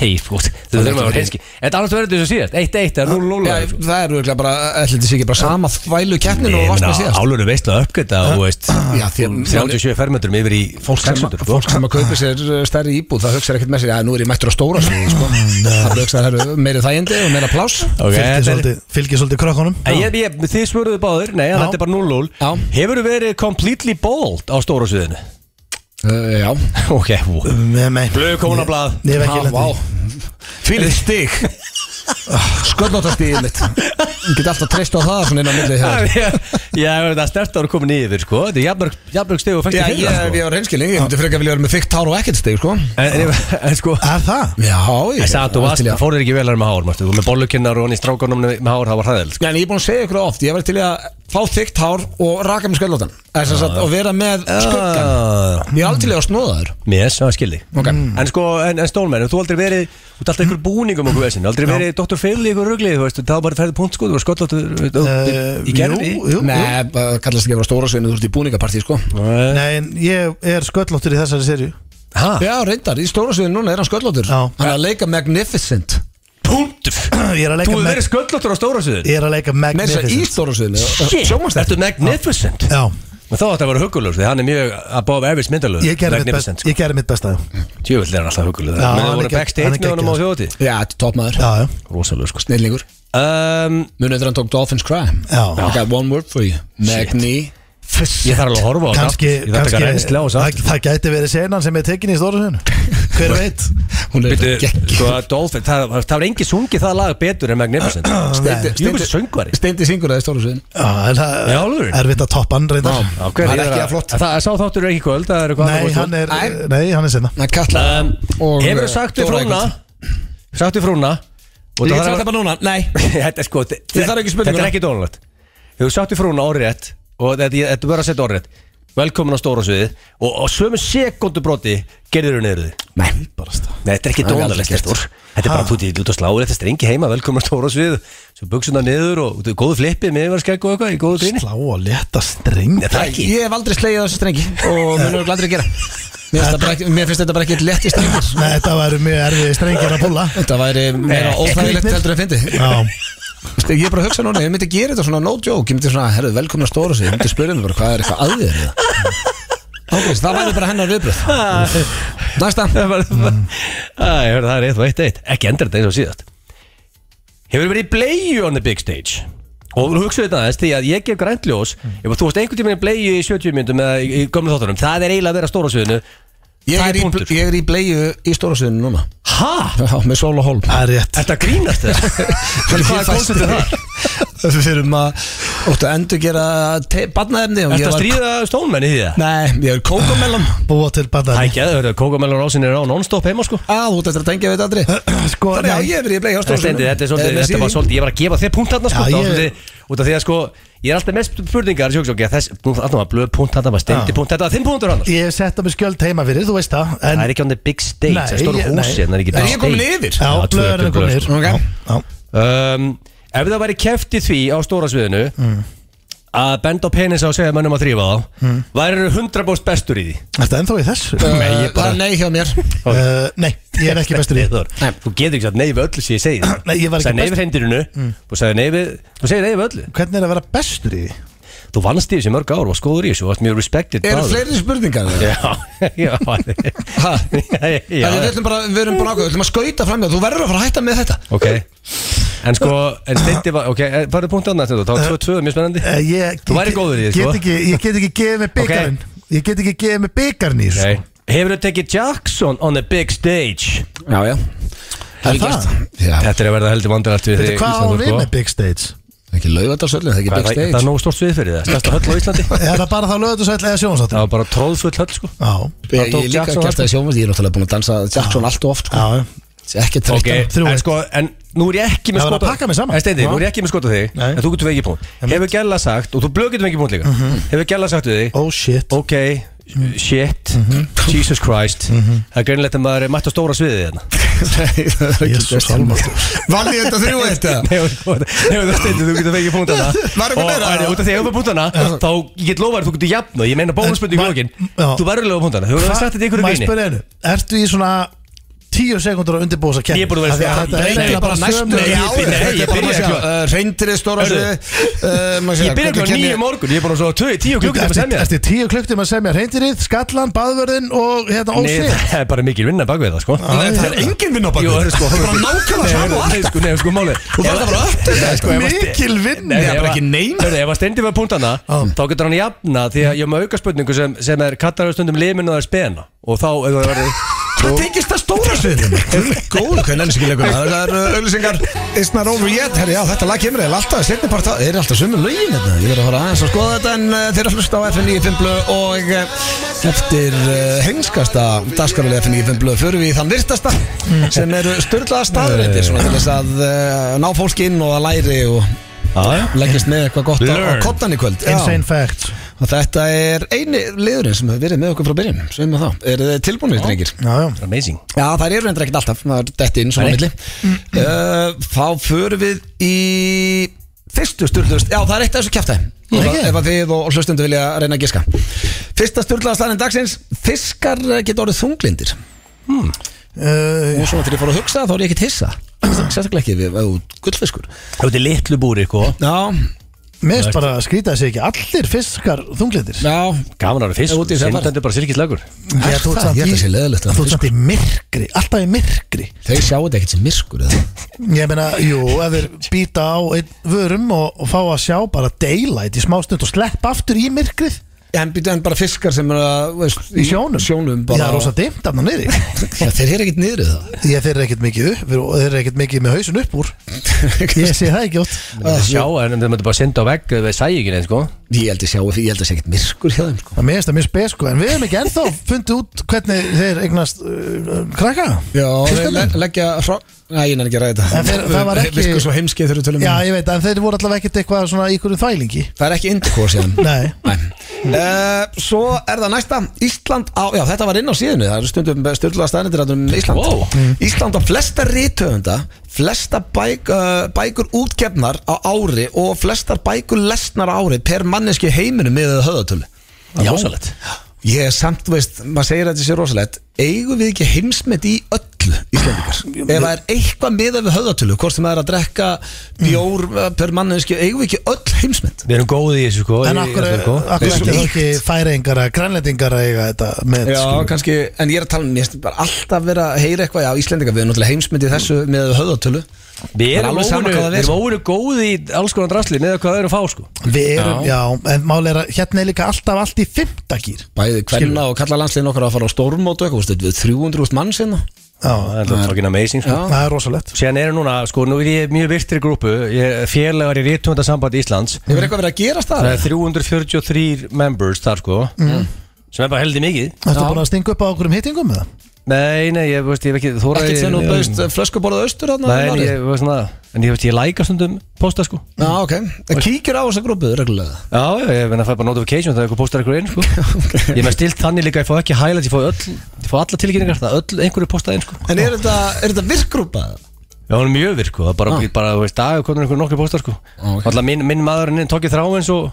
Speaker 3: Nei, fút, þú þurfum að vera reynski Þetta annars verður þetta sem síðast, 1-1 eða
Speaker 1: Já,
Speaker 3: 0-0 eða eitthvað.
Speaker 1: það er auðvitað bara, ætlum þið sér ekki bara sama þvælu keppnin og varst með síðast
Speaker 3: álunum Eh, veist að uppgöta og veist
Speaker 1: Já, því að-
Speaker 3: 37 fermetrum yfir í fólk
Speaker 1: Sem,
Speaker 3: 600 sko.
Speaker 1: fólk sem að kaupa sér uh, stærri íbúð það hugsaði ekkert með sér, já nú er ég mættur á stóra sviði sko. það hugsaði það eru meiri þægindi og meira pláss
Speaker 3: Ok,
Speaker 2: Fylgir
Speaker 3: þetta er-
Speaker 2: svolítið, fylgir svolítið krökkunum
Speaker 3: En Eh, ég, ég, þið svöruðu báður, nei, þetta er bara 0-0
Speaker 1: Já.
Speaker 3: Hefur þú verið completely bald á stóra sviðinu?
Speaker 1: uh, Já,
Speaker 3: Ok,
Speaker 2: Nei, nei
Speaker 3: blöðu kónablað
Speaker 2: Ég hef ekki
Speaker 1: Já, vá.
Speaker 2: lendið
Speaker 1: fílið stig sköldnóttastigið Ah, mitt ég get alltaf treyst á það svona inn á millið
Speaker 3: Já,
Speaker 1: hér
Speaker 3: ég ég veit að stertar komin yfir sko Þetta er jafnmörg- jafnmörg stegu og fengst
Speaker 1: Já, ég,
Speaker 3: í fyrra
Speaker 1: ég
Speaker 3: sko.
Speaker 1: var reynskilning, ég myndi frekar vilja vera með þykkt hár og ekkert stig sko.
Speaker 3: En- en- En sko
Speaker 2: Er það?
Speaker 1: Já, ég
Speaker 3: Ég sagði að þú
Speaker 1: alveg
Speaker 3: varst,
Speaker 1: til í að-
Speaker 3: fór þér ekki velar með hár Marstu, þú með bollukinnar og hann í strákunum með hár, það var hræðil sko.
Speaker 1: Já, en ég er búin að segja ykkur oft, ég var til í að fá þykkt hár og raka með sköldlótan og vera með skuggan
Speaker 3: Ah,
Speaker 1: Ég er aldrei til í að snóða þér
Speaker 3: Mér, það skildi
Speaker 1: Ok.
Speaker 3: En sko, en, en Stólmenn, þú aldrei verið Þú ert alltaf ykkur búningum okkur vesin Aldrei verið Dr. Phil í ykkur rugli Þú veist, það var bara ferðið punkt sko Þú var skolláttur
Speaker 2: Eh,
Speaker 3: í gerði
Speaker 2: Jú, jú, jú
Speaker 1: Nei, bara kallast ekki að vera stóra sveinu, þú ert í búningapartí sko
Speaker 2: Nei, en ég er sköllóttur í þessari serju
Speaker 3: Hæ? <coughs>
Speaker 1: Já, reyndar, í stóra sveinu núna er hann sköldlótur
Speaker 2: Já.
Speaker 1: Hann er að leika Magnificent
Speaker 3: punktur
Speaker 2: Ég er að
Speaker 3: Þú
Speaker 2: leika
Speaker 3: hefur
Speaker 2: Mag-
Speaker 3: verið sköllóttur á stóra suðin
Speaker 2: Ég er að leika
Speaker 1: Með þess að
Speaker 2: Magnificent
Speaker 1: ístóruðsviðinu
Speaker 3: Þetta er magnificent
Speaker 2: Já,
Speaker 3: Og þá ætti að vera hugulegur því hann er mjög above average myndalögur
Speaker 2: ég gerði mitt best- ég gerði mitt besta já.
Speaker 3: Tjöfull er hann alltaf hugulegur
Speaker 2: Já,
Speaker 3: Það
Speaker 2: hann er
Speaker 3: sko. voru
Speaker 2: gegg- hann
Speaker 3: backstage
Speaker 2: er sko.
Speaker 3: með honum á
Speaker 2: geggjaður.
Speaker 3: þjóðati
Speaker 1: Já, þetta er topmaður
Speaker 2: Já, já,
Speaker 3: Rósalög sko
Speaker 1: Snillingur
Speaker 3: um,
Speaker 1: Munið þegar hann tók Dolphins Cry
Speaker 2: Já.
Speaker 1: I got one word for you Magni
Speaker 3: Ég þarf alveg að horfa á þetta
Speaker 2: Kanski,
Speaker 3: Ég þarf að taka
Speaker 2: kannski
Speaker 3: reynsli á þess
Speaker 2: það, það gæti verið senan sem er tekin í stóra sinu Hver veit
Speaker 1: Hún er
Speaker 3: Býtu,
Speaker 1: gegn
Speaker 3: sko, Dolphin, það, það var engi sungið það lag betur en
Speaker 2: <clears throat>
Speaker 3: Magnificent
Speaker 1: Steindi-
Speaker 3: Júkvæmst söngvari
Speaker 1: Steindi syngur það í stóruðsviðinu
Speaker 2: Já, en það
Speaker 3: Í alvöru?
Speaker 2: er vitt að toppa hann reyndar
Speaker 1: Já.
Speaker 3: Ákveð,
Speaker 1: Það er
Speaker 3: ég
Speaker 1: ekki
Speaker 3: að-
Speaker 1: að flott.
Speaker 3: Það sá þáttur er ekki í kvöld, það er eitthvað
Speaker 2: Nei, hann er,
Speaker 1: Nei.
Speaker 2: nei, hann er sinna
Speaker 1: Nei, Katla
Speaker 3: um,
Speaker 1: og, eh,
Speaker 3: Hefur þú sagt við
Speaker 1: Dóra
Speaker 3: frúna
Speaker 1: Eggert.
Speaker 3: Sagt við frúna og
Speaker 1: Ég get
Speaker 3: það þarf
Speaker 1: sagt
Speaker 3: að-
Speaker 1: það bara núna Nei
Speaker 3: <laughs> Þetta er sko
Speaker 1: Ég þarf ekki spurninguna.
Speaker 3: Þetta er ekki dónulegt Hefur sagt við frúna orðrétt og þetta ég- þetta verður að setja orðrétt Velkomin á stóra sviðið og á sömu sekundu broti gerður þau niður því
Speaker 1: Nei Barasta
Speaker 3: Nei, þetta er ekki
Speaker 1: Það er aldrei
Speaker 3: dónalegt
Speaker 1: gert.
Speaker 3: Þetta er- þetta er bara þú til út að slá Þetta er strengi heima, velkomin á stóra sviðið Svo buksuna niður og þú- góðu flippið Miðvarskegg og eitthvað í góðu gríni
Speaker 2: Slá og leta streng
Speaker 3: Nei, Það er ekki
Speaker 1: Ég hef aldrei slegið á þessu strengi Og
Speaker 3: <laughs>
Speaker 1: mér er gladri að gera Mér finnst, það bara, ekki- mér finnst þetta bara ekki lett í strengi
Speaker 2: Nei, þetta væri mjög erfið strengir að
Speaker 3: <laughs>
Speaker 2: búla
Speaker 1: Þetta væri meira óþægilegt heldur en fyndi
Speaker 2: Já,
Speaker 1: Veistu, Ég er bara að hugsa núna, ég myndi gera þetta svona no joke Ég myndi svona, herru, velkomin að stóra sig Ég myndi spyrja mig bara, hvað er eitthvað að þér <laughs> eða? Ángriðs, það væri bara hennar <laughs> viðbröð Næsta
Speaker 3: <laughs> Það var- Mm. Æ, ég hörði það er eitt og eitt eitt Ekki endur þetta eins og síðast Hefur verið í bleiu on the big stage Og þú hugsaðu þetta aðeins því að ég gef grænt ljós Ef þú veist einhvern tímann í bleiu í 70 myndum Eða í, í gömlu þáttunum Það er eiginlega að vera á stóra sviðinu
Speaker 1: Ég
Speaker 3: Það er
Speaker 1: er, í,
Speaker 3: punktur.
Speaker 1: ég er í bleiðu í stóra suðinu núna
Speaker 3: Ha?
Speaker 1: Já, með sól og hólm
Speaker 2: það er rétt
Speaker 3: Þetta grínast það <laughs> Hvað er konseptið það?
Speaker 1: <laughs> Við fyrirum að Óttu að endur gera badnaefni
Speaker 3: Ertu að stríða stónmenni í því það?
Speaker 1: Nei, ég er kókumellum
Speaker 3: <laughs>
Speaker 2: Búa til
Speaker 3: Það er
Speaker 2: badari
Speaker 3: ekki að höfðu Kókamellur ásinni er á non-stop heima sko
Speaker 1: Á, Ah, þú ert eftir að tengja við þetta aldrei
Speaker 2: Sko,
Speaker 1: Þannig að
Speaker 2: nei,
Speaker 1: ég hef verið í bleiðu á
Speaker 3: Þetta
Speaker 1: stóra
Speaker 3: stendi,
Speaker 1: suðinu
Speaker 3: þetta
Speaker 1: Eh,
Speaker 3: er svolítið, þetta var
Speaker 1: síðan-
Speaker 3: svolítið, ég var að gefa þér punkt þarna sko,
Speaker 2: Já,
Speaker 3: það var
Speaker 2: ég-
Speaker 3: svolítið, út af því að sko, ég er alltaf með spurningar, ég hugsa, ok, þess, nú þarna var blöð punkt þarna var stendi punkt, þetta var þinn punktur annars.
Speaker 2: ég hef sett að mig skjöld heima fyrir, þú veist það
Speaker 3: Það
Speaker 2: En
Speaker 3: er ekki on the big stage,
Speaker 2: Nei,
Speaker 3: það er stóru
Speaker 2: ég- nei.
Speaker 3: húsi, það er ekki
Speaker 1: Er
Speaker 3: big
Speaker 1: ég
Speaker 3: stage.
Speaker 1: komin yfir?
Speaker 2: Já,
Speaker 3: Já, tvö-
Speaker 2: blöður
Speaker 3: tvö
Speaker 2: er komin
Speaker 3: blöð,
Speaker 2: yfir
Speaker 1: sko.
Speaker 2: Já, já.
Speaker 3: Um, ef það væri keft í því á stóra sviðinu
Speaker 2: Mm.
Speaker 3: að benda á penisa og segja mönnum að þrýfa þá mm. væri þau 100% bestur í því
Speaker 2: Ertu ennþá í þessu?
Speaker 1: Nei, ég bara Eh, Nei, hjá mér
Speaker 2: Uh, Nei, ég er ekki bestur í
Speaker 3: Nei, Þór, Þú getur ekki sagt nei við öllu sem ég segi
Speaker 2: Nei, ég var ekki bestur. Mm.
Speaker 3: Sagði nei við hreindirinu og sagði nei við Þú segir nei við öllu
Speaker 2: Hvernig er að vera bestur í því?
Speaker 3: Þú vannst í þessu í mörg ár og skóður í þessu og varst mjög respected
Speaker 1: Eru
Speaker 3: báður.
Speaker 1: fleiri spurningar?
Speaker 3: Já, <laughs>
Speaker 2: <laughs>
Speaker 3: já
Speaker 1: Ha?
Speaker 3: Já, já,
Speaker 1: Við ætlum bara, við erum bara ákveð, við ætlum að skauta fram hjá, þú verður að fara að hætta með þetta
Speaker 3: Ok En sko, en steindi var, ok, eh, farðu punktið annað þetta, þá 2-2, mjög spennandi
Speaker 2: Eh, ég-
Speaker 3: Þú væri
Speaker 2: ég-
Speaker 3: góður í því,
Speaker 2: get
Speaker 3: sko.
Speaker 2: ekki, Ég get ekki gefið mig byggarinn Ég get ekki gefið mig byggarinn í þessu
Speaker 3: okay. Hefur þau tekið Jackson on the big stage?
Speaker 1: Já, já Það er
Speaker 2: Er það?
Speaker 1: gert Já,
Speaker 3: Þetta er að verða heldur vandarætt við
Speaker 2: Veitu,
Speaker 3: þig,
Speaker 2: Hvað á
Speaker 3: Íslandur,
Speaker 2: við
Speaker 3: sko.
Speaker 2: með big stage?
Speaker 1: ekki laugadarsöllin, það er ekki
Speaker 3: Hvað,
Speaker 1: big
Speaker 3: Það það
Speaker 1: stage
Speaker 3: er nógu stórt svið fyrir það, stærsta höll á
Speaker 2: <laughs>
Speaker 3: Íslandi
Speaker 2: Er það bara þá löðursæll eða sjónsáttur?
Speaker 3: Það var bara tróðfull höll, sko
Speaker 2: Já,
Speaker 1: Ég
Speaker 3: það
Speaker 1: ég
Speaker 3: tók
Speaker 1: líka
Speaker 3: Jackson
Speaker 1: að gert
Speaker 3: þarna.
Speaker 1: það í sjómið, ég er náttúrulega búin að dansa Jackson allt og oft sko.
Speaker 2: já,
Speaker 1: Ekki
Speaker 3: Ok,
Speaker 1: þreytta
Speaker 2: þrjú
Speaker 3: en
Speaker 2: eitt.
Speaker 3: sko, en nú er ég ekki með
Speaker 2: Það var að
Speaker 3: skot á-
Speaker 2: pakka mig saman.
Speaker 3: En Steindi,
Speaker 2: Já.
Speaker 3: nú er ég ekki með skot á þig,
Speaker 2: Nei. Mhm.
Speaker 3: en þú getur vegið punkt Hefur Gjalla sagt, og þú blöð getur vegið punkt líka Hefur Gjalla sagt við þig,
Speaker 2: oh shit Mhm.
Speaker 3: ok, shit, Jesus Christ Það er greinilegt að maður er mætt á stóra sviðið hérna
Speaker 2: Jésús almáttugur.
Speaker 1: Vann ég þetta þrjú eitt eða?
Speaker 3: <laughs> Nei, þú stendur, þú getur fengið punktana
Speaker 1: Var eitthvað
Speaker 3: Og-
Speaker 1: meira?
Speaker 3: og- Út af því að ef þú punktana Þá ég get lofa þér að þú getur jafn og Ég meina bónusbundin í
Speaker 2: En-
Speaker 3: lokin
Speaker 2: Já.
Speaker 3: Þú verður lofa punktana Þú verður sagt þetta í ykkur
Speaker 2: Má ég
Speaker 3: gríni
Speaker 2: spyrja einu, Ertu í svona tíu sekundur að undirbúa þess að kemja?
Speaker 3: Ég er búin að vera í
Speaker 2: að
Speaker 3: stað-
Speaker 2: þetta
Speaker 3: Nei,
Speaker 2: er eiginlega bara
Speaker 3: nei,
Speaker 2: næstu
Speaker 3: bara næstu- Nei, ég- nei, ég byrja klukkan-
Speaker 1: Reyndirði stóra Eh,
Speaker 3: Hörðu,
Speaker 1: sig
Speaker 3: Ég byrja ekki á nýju morgun Ég er búin að svo töði tíu klukkutíma að semja
Speaker 2: Ertu í tíu klukktum að semja reyndirrið, skallan, baðvörðin og hérna
Speaker 3: Nei,
Speaker 2: ósinn
Speaker 3: það er bara mikil vinna bak við það sko
Speaker 1: Ah, Það er engin vinn á
Speaker 3: Jú, það er
Speaker 1: bakið
Speaker 3: sko
Speaker 1: Það er bara nákvæmlega
Speaker 3: Nei,
Speaker 1: saman og
Speaker 3: Nei,
Speaker 1: alltaf
Speaker 3: sko, nei, sko, máli Þú
Speaker 1: þarft að bara öppna þetta, sko,
Speaker 3: ef að sti-
Speaker 2: Mikil vinna.
Speaker 3: Nei,
Speaker 1: Það er
Speaker 3: ef
Speaker 1: bara
Speaker 3: að-
Speaker 1: ekki nein. Ah.
Speaker 3: Hörðu, ef að stendi var punktana Þá getur hann jafna Því að ég er með auka spurningu sem, sem er Kattar á stundum limin og það er spena Og þá, ef það verður
Speaker 1: Það tengist það stóra sviðin Góður, hvað nennis ekki leikur Það er uh, auðlýsingar It's not over yet Herri, já, þetta lag kemur eða alltaf Setni part Það er alltaf sömu lögin þetta Ég verð að fara aðeins að skoða þetta En uh, þeir eru að hlusta á FN95 blö Og uh, eftir uh, hengskasta Dagskarulega FN95 blö Förum við í þann virtasta Sem eru störlaða staðrættir Svona til þess að uh, ná fólkinn og að læri Og leggjast með eitthvað gott á, á
Speaker 3: Learn.
Speaker 1: kottan í kvöld Já.
Speaker 2: Insane fact
Speaker 1: Og þetta er eini liðurinn sem hefur verið með okkur frá byrjun Sveim með þá Eru þið tilbúinir, drengir?
Speaker 2: Já, já
Speaker 3: Amazing
Speaker 1: Já, það eru reyndar ekkert alltaf, það er detti inn svona
Speaker 3: Nei.
Speaker 1: milli uh, Þá förum við í fyrstu styrlust Já, það er eitt af þessu kjæftæði Ef að- ef að þið og og hlustundu vilja reyna að giska Fyrsta styrlaðaslæðin dagsins Fiskar eh, geta orðið þunglindir
Speaker 2: Uh, Eh,
Speaker 1: Og svona til ég fór að hugsa þá er ég ekkert hissa
Speaker 6: sérstaklega ekki við, við gullfiskur
Speaker 3: Það er út í litlu búri sko. eitthvað
Speaker 6: Já,
Speaker 2: Mér finnst bara að skrýta þessi ekki Allir fiskar þunglindir
Speaker 6: já
Speaker 3: Gaman að vera
Speaker 6: Ef
Speaker 3: fisk
Speaker 6: út í þess að fara.
Speaker 3: Sindandi bara sirkislagur
Speaker 2: Ég
Speaker 6: það? Ég held að sé leiðilegt að
Speaker 2: Þú ert
Speaker 6: fiskur-
Speaker 2: samt í myrkri, alltaf í myrkri
Speaker 6: Þau sjáu þetta ekkert sem myrkur eða?
Speaker 2: Ég meina, jú, ef þeir býta á einn vörum og, og fá að sjá bara daylight í smá stund og slepp aftur í myrkrið
Speaker 6: En, býtu, en bara fiskar sem er að veist,
Speaker 2: í sjónum
Speaker 6: sjónum
Speaker 2: Það
Speaker 6: bara,
Speaker 2: er rosa dimmt af
Speaker 6: <laughs>
Speaker 2: niðri
Speaker 6: Já, Þeir eru ekkert niður í það
Speaker 2: Ég þeir eru ekkert mikið upp og þeir eru ekkert mikið með hausun upp úr Ég sé það ekki ótt
Speaker 1: Ah,
Speaker 3: Það sjá en þau myndu bara synda á vegg Við sæði ekki neins sko
Speaker 6: Ég held að sjá, ég held að sé ekkert myrkur hjá þeim sko.
Speaker 2: Það meðist að mér spes sko En við hefum ekki ennþá fundið út hvernig þeir eignast uh, krakka
Speaker 6: Já, þeir
Speaker 2: Fiskarnir?
Speaker 6: le- leggja hrogn Nei, ég nefnir ekki að ræða
Speaker 2: En þeir-
Speaker 6: þetta
Speaker 2: það var ekki-
Speaker 6: Fiskur svo heimskið þurfum tölum
Speaker 2: Já,
Speaker 6: um.
Speaker 2: ég veit, en þeir voru allavega ekkert eitthvað svona í ykkur þvælingi
Speaker 6: Það er ekki indikor síðan
Speaker 2: Nei
Speaker 6: Uh, svo er það næsta Ísland á, já þetta var inn á síðunni það eru stundum styrlaða staðnendir um Ísland
Speaker 3: Wow.
Speaker 6: Ísland á flesta rithöfunda flesta bæk, uh, bækur útgefnar á ári og flestar bækur lesnar á ári per manneski heiminu með höðatölu
Speaker 3: Það er rosalegt
Speaker 6: ég er samt, þú veist, maður segir að þetta sé rosalegt eigum við ekki heimsmet í öllu Íslandikar, ef það er eitthvað miða við höðatölu, hvort sem það er að drekka bjór uh, per manneski, eigum við ekki öll heimsmet
Speaker 3: Við erum góði í þessu sko
Speaker 2: En
Speaker 3: í-
Speaker 2: akkur,
Speaker 3: í- sko.
Speaker 2: akkur
Speaker 6: Við
Speaker 2: ekki þá
Speaker 6: erum
Speaker 2: ekki færeingar að grænlendingar að eiga þetta með
Speaker 6: Já,
Speaker 2: sko.
Speaker 6: kannski, en ég er að tala um, ég er bara alltaf verið að heyra eitthvað, já, Íslendingar, við erum náttúrulega heimsmyndið þessu með höðatölu
Speaker 3: Við
Speaker 6: Það er
Speaker 3: erum
Speaker 6: alveg sama
Speaker 3: óvinnu-
Speaker 6: hvað það er,
Speaker 3: við erum
Speaker 6: sko.
Speaker 3: óinu góði í alls konar drasli Neða hvað það eru að fá sko
Speaker 2: Við erum, já, en máli er að hérna er líka alltaf allt í fymtagýr
Speaker 6: Bæði kvenna og kalla landsliðin okkar að fara á stórmót og eitthvað, veistu, við 300.000 mann sinna
Speaker 2: Já,
Speaker 3: Það er alveg fucking amazing sko
Speaker 6: Já.
Speaker 2: það er rosalegt
Speaker 3: Sér er núna, sko, nú er ég mjög virtir í grúpu Ég er félagar í rítundasamband Íslands
Speaker 6: Hefur eitthvað verið að gerast
Speaker 3: Það
Speaker 6: það?
Speaker 3: er 343 members þar sko Sem er bara heldur mikið
Speaker 2: Þetta er búin að stinga upp á okkur um hittingum með það
Speaker 3: Nei, nei, ég veist, ég hef ekki þóra
Speaker 6: Ekkert sem þú bauðist flöskuborðað austur þarna?
Speaker 3: Nei,
Speaker 6: um
Speaker 3: en
Speaker 6: árið?
Speaker 3: ég veist svona En ég veist, ég læka stundum posta sko
Speaker 6: Já, ok, það kíkir á þessa grúpu reglulega
Speaker 3: Já, já, ég meina að fæ bara notification þegar eitthvað postar <laughs> eitthvað inn sko Ég með stilt þannig líka, ég fá ekki highlights, ég fá öll Ég fá alla tilkynningar, það öll einhverju postað inn sko
Speaker 6: En er þetta, er þetta virkgrúpa?
Speaker 3: Já, hún er mjög virk sko, það er bara,
Speaker 6: Ah.
Speaker 3: bara, þú veist, dagur konur einhverju nokkri postar sko
Speaker 6: ok.
Speaker 3: Alltaf minn, minn maðurinn inn, Tóki Þráins og,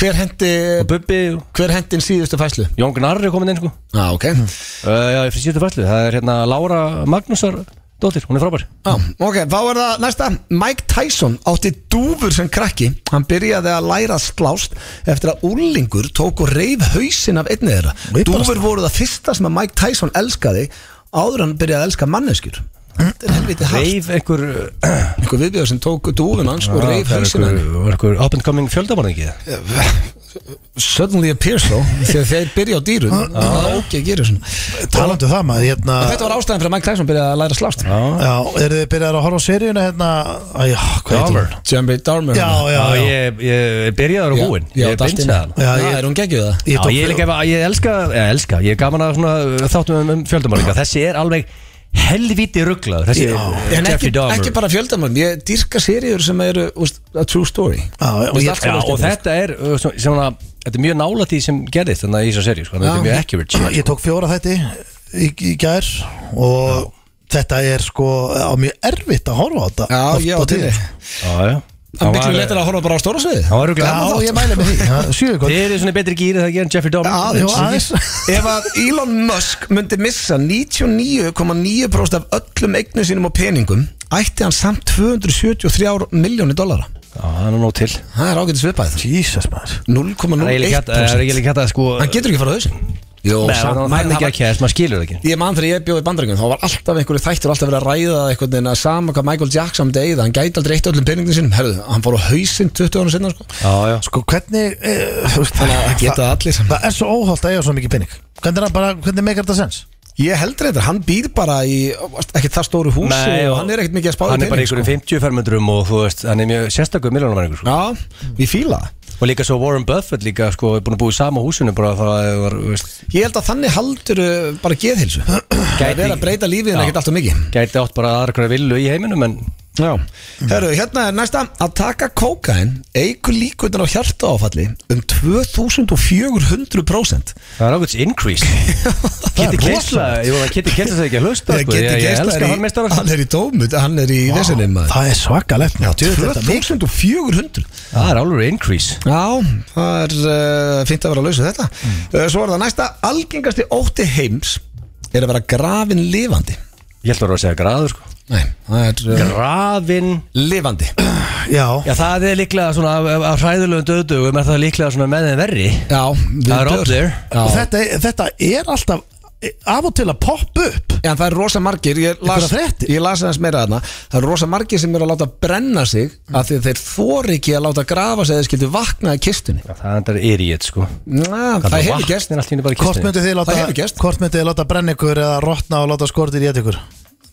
Speaker 6: Hver hendi,
Speaker 3: og Bubbi og
Speaker 6: hver hendi síðustu Hmm. fæslu?
Speaker 3: Jón Gnarr er komin inn sko
Speaker 6: Já, ok,
Speaker 3: uh, Já, ég fyrir síðustu fæslu, það er hérna Lára Magnúsar dóttir, hún er frábær
Speaker 6: Já, ok, þá er það næsta Mike Tyson átti dúfur sem krakki Hann byrjaði að læra að slást Eftir að úlingur tók og reif hausinn af einni þeirra Dúfur voru það fyrsta sem að Mike Tyson elskaði Áður en hann byrjaði að elska manneskjur Þetta er helviti hart
Speaker 3: Reif einhver, uh,
Speaker 6: Einhver viðbjöð sem tók dúfun hans og reif
Speaker 3: það er
Speaker 6: hausinn af henni.
Speaker 3: einhver, einhver up and coming fjöldamann ekki
Speaker 6: Suddenly appears <laughs> though Þegar þeir byrja á dýrun Það er ok að gera svona
Speaker 2: Talandu það maður, hérna
Speaker 6: En Þetta var ástæðan fyrir að Mike Tyson byrjaði að læra að slást
Speaker 2: Já, eru þið byrjar að horfa á seríuna hérna Æ, já, hvað heitir hún?
Speaker 6: Jambi Darmer
Speaker 2: Já, já,
Speaker 3: Já,
Speaker 2: já
Speaker 3: ég, ég byrjaði á húin
Speaker 6: Já,
Speaker 3: Ég
Speaker 6: Dustin.
Speaker 3: byrjaði hann
Speaker 6: Já,
Speaker 2: Já, ég-
Speaker 6: er hún geggjuð það?
Speaker 2: Ég
Speaker 3: Já,
Speaker 2: tók-
Speaker 3: ég, líka, ég elska, ég elska, ég er gaman að svona, uh, þáttum um, um fjöldamálinga Þessi er alveg helviti rugglaður Þessi
Speaker 6: En ekki,
Speaker 3: Jeffrey Dahmer
Speaker 6: ekki bara fjöldamörn, ég dýrka seríur sem eru úst, a true story
Speaker 2: Já, já, og
Speaker 6: Mér
Speaker 2: ég-
Speaker 3: Já,
Speaker 6: finnst allt
Speaker 3: og
Speaker 6: saman skemmtilegt.
Speaker 3: þetta er uh, svona, svona, þetta er mjög nálægt því sem gerðist þannig að í þessar seri, sko, þetta
Speaker 6: Já.
Speaker 3: er mjög accurate
Speaker 2: Ég tók fjóra þætti í, í gær og þetta er sko á mjög erfitt að horfa á þetta
Speaker 6: Já,
Speaker 2: oft
Speaker 6: já,
Speaker 2: á
Speaker 6: til
Speaker 2: tíðum.
Speaker 6: þig
Speaker 3: Já, já
Speaker 6: Það er
Speaker 3: Hann
Speaker 6: miklu
Speaker 3: var-
Speaker 6: letar að horfa bara á stóra sviði
Speaker 3: Hann
Speaker 2: Já,
Speaker 3: var rugglaður
Speaker 6: sko.
Speaker 2: ég mæli með því, já, sjöðu
Speaker 3: Þið
Speaker 2: kvöld
Speaker 3: eru svona betri gýri það að gera en Jeffrey Dahmer
Speaker 2: Aðeins, aðeins
Speaker 6: Ef að Elon Musk myndi missa 99,9% af öllum eignum sínum og peningum ætti hann samt 273 miljónir dollara
Speaker 3: Já, það er nú nóg til
Speaker 6: Það er ágætis viðbæð
Speaker 2: Jesus maður
Speaker 3: Það er eiginlega ekki hægt- það er
Speaker 6: 0,01%
Speaker 3: eiginlega ekki hægt að sko
Speaker 6: Hann getur ekki farað þessum Jó,
Speaker 3: Nei,
Speaker 6: samt-
Speaker 3: það er ekki að kæðast, maður skilur það ekki
Speaker 6: Ég man þegar ég bjóði bandringum, þá var alltaf einhverju þættur alltaf verið að ræða einhvern veginn að sama hvað Michael Jackson degið, hann gæti aldrei eitt öllum peningin sínum, herðu, hann fór á hausinn 20 ára sinna, sko.
Speaker 3: Já, já
Speaker 2: Sko hvernig eh, þú veist,
Speaker 6: Þannig að það geta allir.
Speaker 2: Það er svo óholt að eiga svona mikið pening Hvernig, er það bara, hvernig meikar þetta sens?
Speaker 6: Ég heldur þetta, hann býr bara í ekki það stóru húsi og, hann er ekkert mikið að spáði
Speaker 3: Hann er bara í einhverjum 50 fermetrum og þú veist, hann er mjög sérstakur miljónumæringur sko.
Speaker 6: Já, ég fíla það.
Speaker 3: Og líka svo Warren Buffett líka, sko, er búin að búa í sama húsinu bara það var, þú veist,
Speaker 6: Ég held að þannig haldur uh, bara geðhilsu. Það er að breyta lífið en ekkert alltaf mikið.
Speaker 3: gæti átt bara aðra hverja villu í heiminum en
Speaker 6: Já. Herru, hérna er næsta að taka kókain eigur líkvöldin á hjartaáfalli um 2400%
Speaker 3: það er ákveðs increase Kitty Kessla, ég vona að Kitty Kessla segja ekki að hlusta,
Speaker 6: Ég
Speaker 3: sko,
Speaker 6: geti
Speaker 3: ég, ég
Speaker 6: geist
Speaker 3: elska sko. hann meistar
Speaker 6: Hann er í dómut, hann er í vesinni maður
Speaker 2: Það er svakalegt Já, djú, þetta er mikið.
Speaker 6: 2400
Speaker 3: Það er alveg increase
Speaker 6: Já, það er uh, fínt að vera að lausa þetta uh, Svo er það næsta Algengasti ótti heims er að vera grafin lifandi
Speaker 3: Ég held að vera að segja græður, sko
Speaker 6: Nei, það er uh,
Speaker 3: Grafin
Speaker 6: lifandi
Speaker 2: Já,
Speaker 3: Já það er líklega svona af- af- af hræðulegum döðdögum er það líklega svona með þeim verri
Speaker 6: Já,
Speaker 3: Það er up there
Speaker 2: og
Speaker 6: Já,
Speaker 2: þetta, þetta er alltaf af og til að poppa upp
Speaker 6: en það er rosa margir Ég las,
Speaker 2: Einhverjar fréttir?
Speaker 6: ég las aðeins meira þarna Það er rosa margir sem eru að láta brenna sig af því að þeir þóri ekki að láta grafa sig eða þeir skildu vakna í kistunni
Speaker 3: Já, Það endar er í eitt sko
Speaker 6: Næ, það hefur gerst
Speaker 3: Það er allt í henni bara í
Speaker 2: Hvort
Speaker 3: kistinni
Speaker 2: myndið þið
Speaker 6: Það hefur
Speaker 2: láta,
Speaker 6: gerst.
Speaker 2: hvort myndið þið láta brenna ykkur eða rotna og láta skortir í ykkur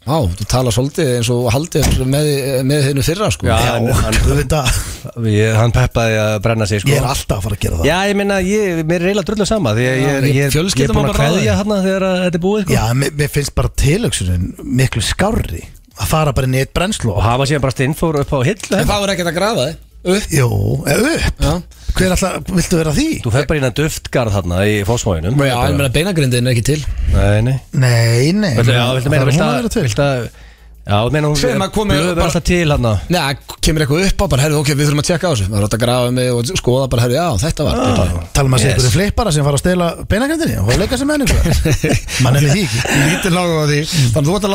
Speaker 6: Já, þú tala svolítið eins og haldið með, með þeirnu fyrra sko
Speaker 3: Já, en
Speaker 2: Já, þú veit að
Speaker 3: Ég, hann peppaði að brenna sig sko
Speaker 2: ég er alltaf að fara að gera það
Speaker 3: Já, ég minna, ég, mér er eiginlega drullu sama Því að ég, er- ég, ég, ég er
Speaker 6: Fjölskyldan
Speaker 3: búin að
Speaker 6: var bara ráðin.
Speaker 3: kveðja hann þegar að þetta er búið sko.
Speaker 2: Já, mér, mér finnst bara tilöksunin miklu skárri að fara bara inn í eitt brennslu
Speaker 3: Og hafa síðan bara stinnfór upp á hérna. hill
Speaker 6: En það voru ekkert að grafa þið upp
Speaker 2: Jó, eða upp
Speaker 6: Já,
Speaker 2: Hver alltaf, viltu vera því?
Speaker 3: Þú fer bara inn að duftgarð hann í fósmóinum
Speaker 6: já en meina beinagrindin er ekki til
Speaker 3: Nei, nei
Speaker 2: Nei, nei
Speaker 3: Viltu, já, viltu
Speaker 2: Það er
Speaker 3: meina, viltu
Speaker 2: hún að
Speaker 3: að,
Speaker 2: vera til.
Speaker 3: viltu að Já, þú meina hún
Speaker 6: Sem að komi
Speaker 3: blöð
Speaker 6: bara-
Speaker 3: er alltaf til hann
Speaker 6: Nei, kemur eitthvað upp á bara, herru, ok, við þurfum að tjekka á þessu Það er hægt að grafa mig og skoða bara, herru, já, þetta var ah.
Speaker 2: Talum um að sé
Speaker 3: Yes.
Speaker 2: ykkur flippara sem fara að stela beinagrindinni og leika sem menn ykkur Mann er því ekki
Speaker 6: Lítið lág á því Þannig að þú ert að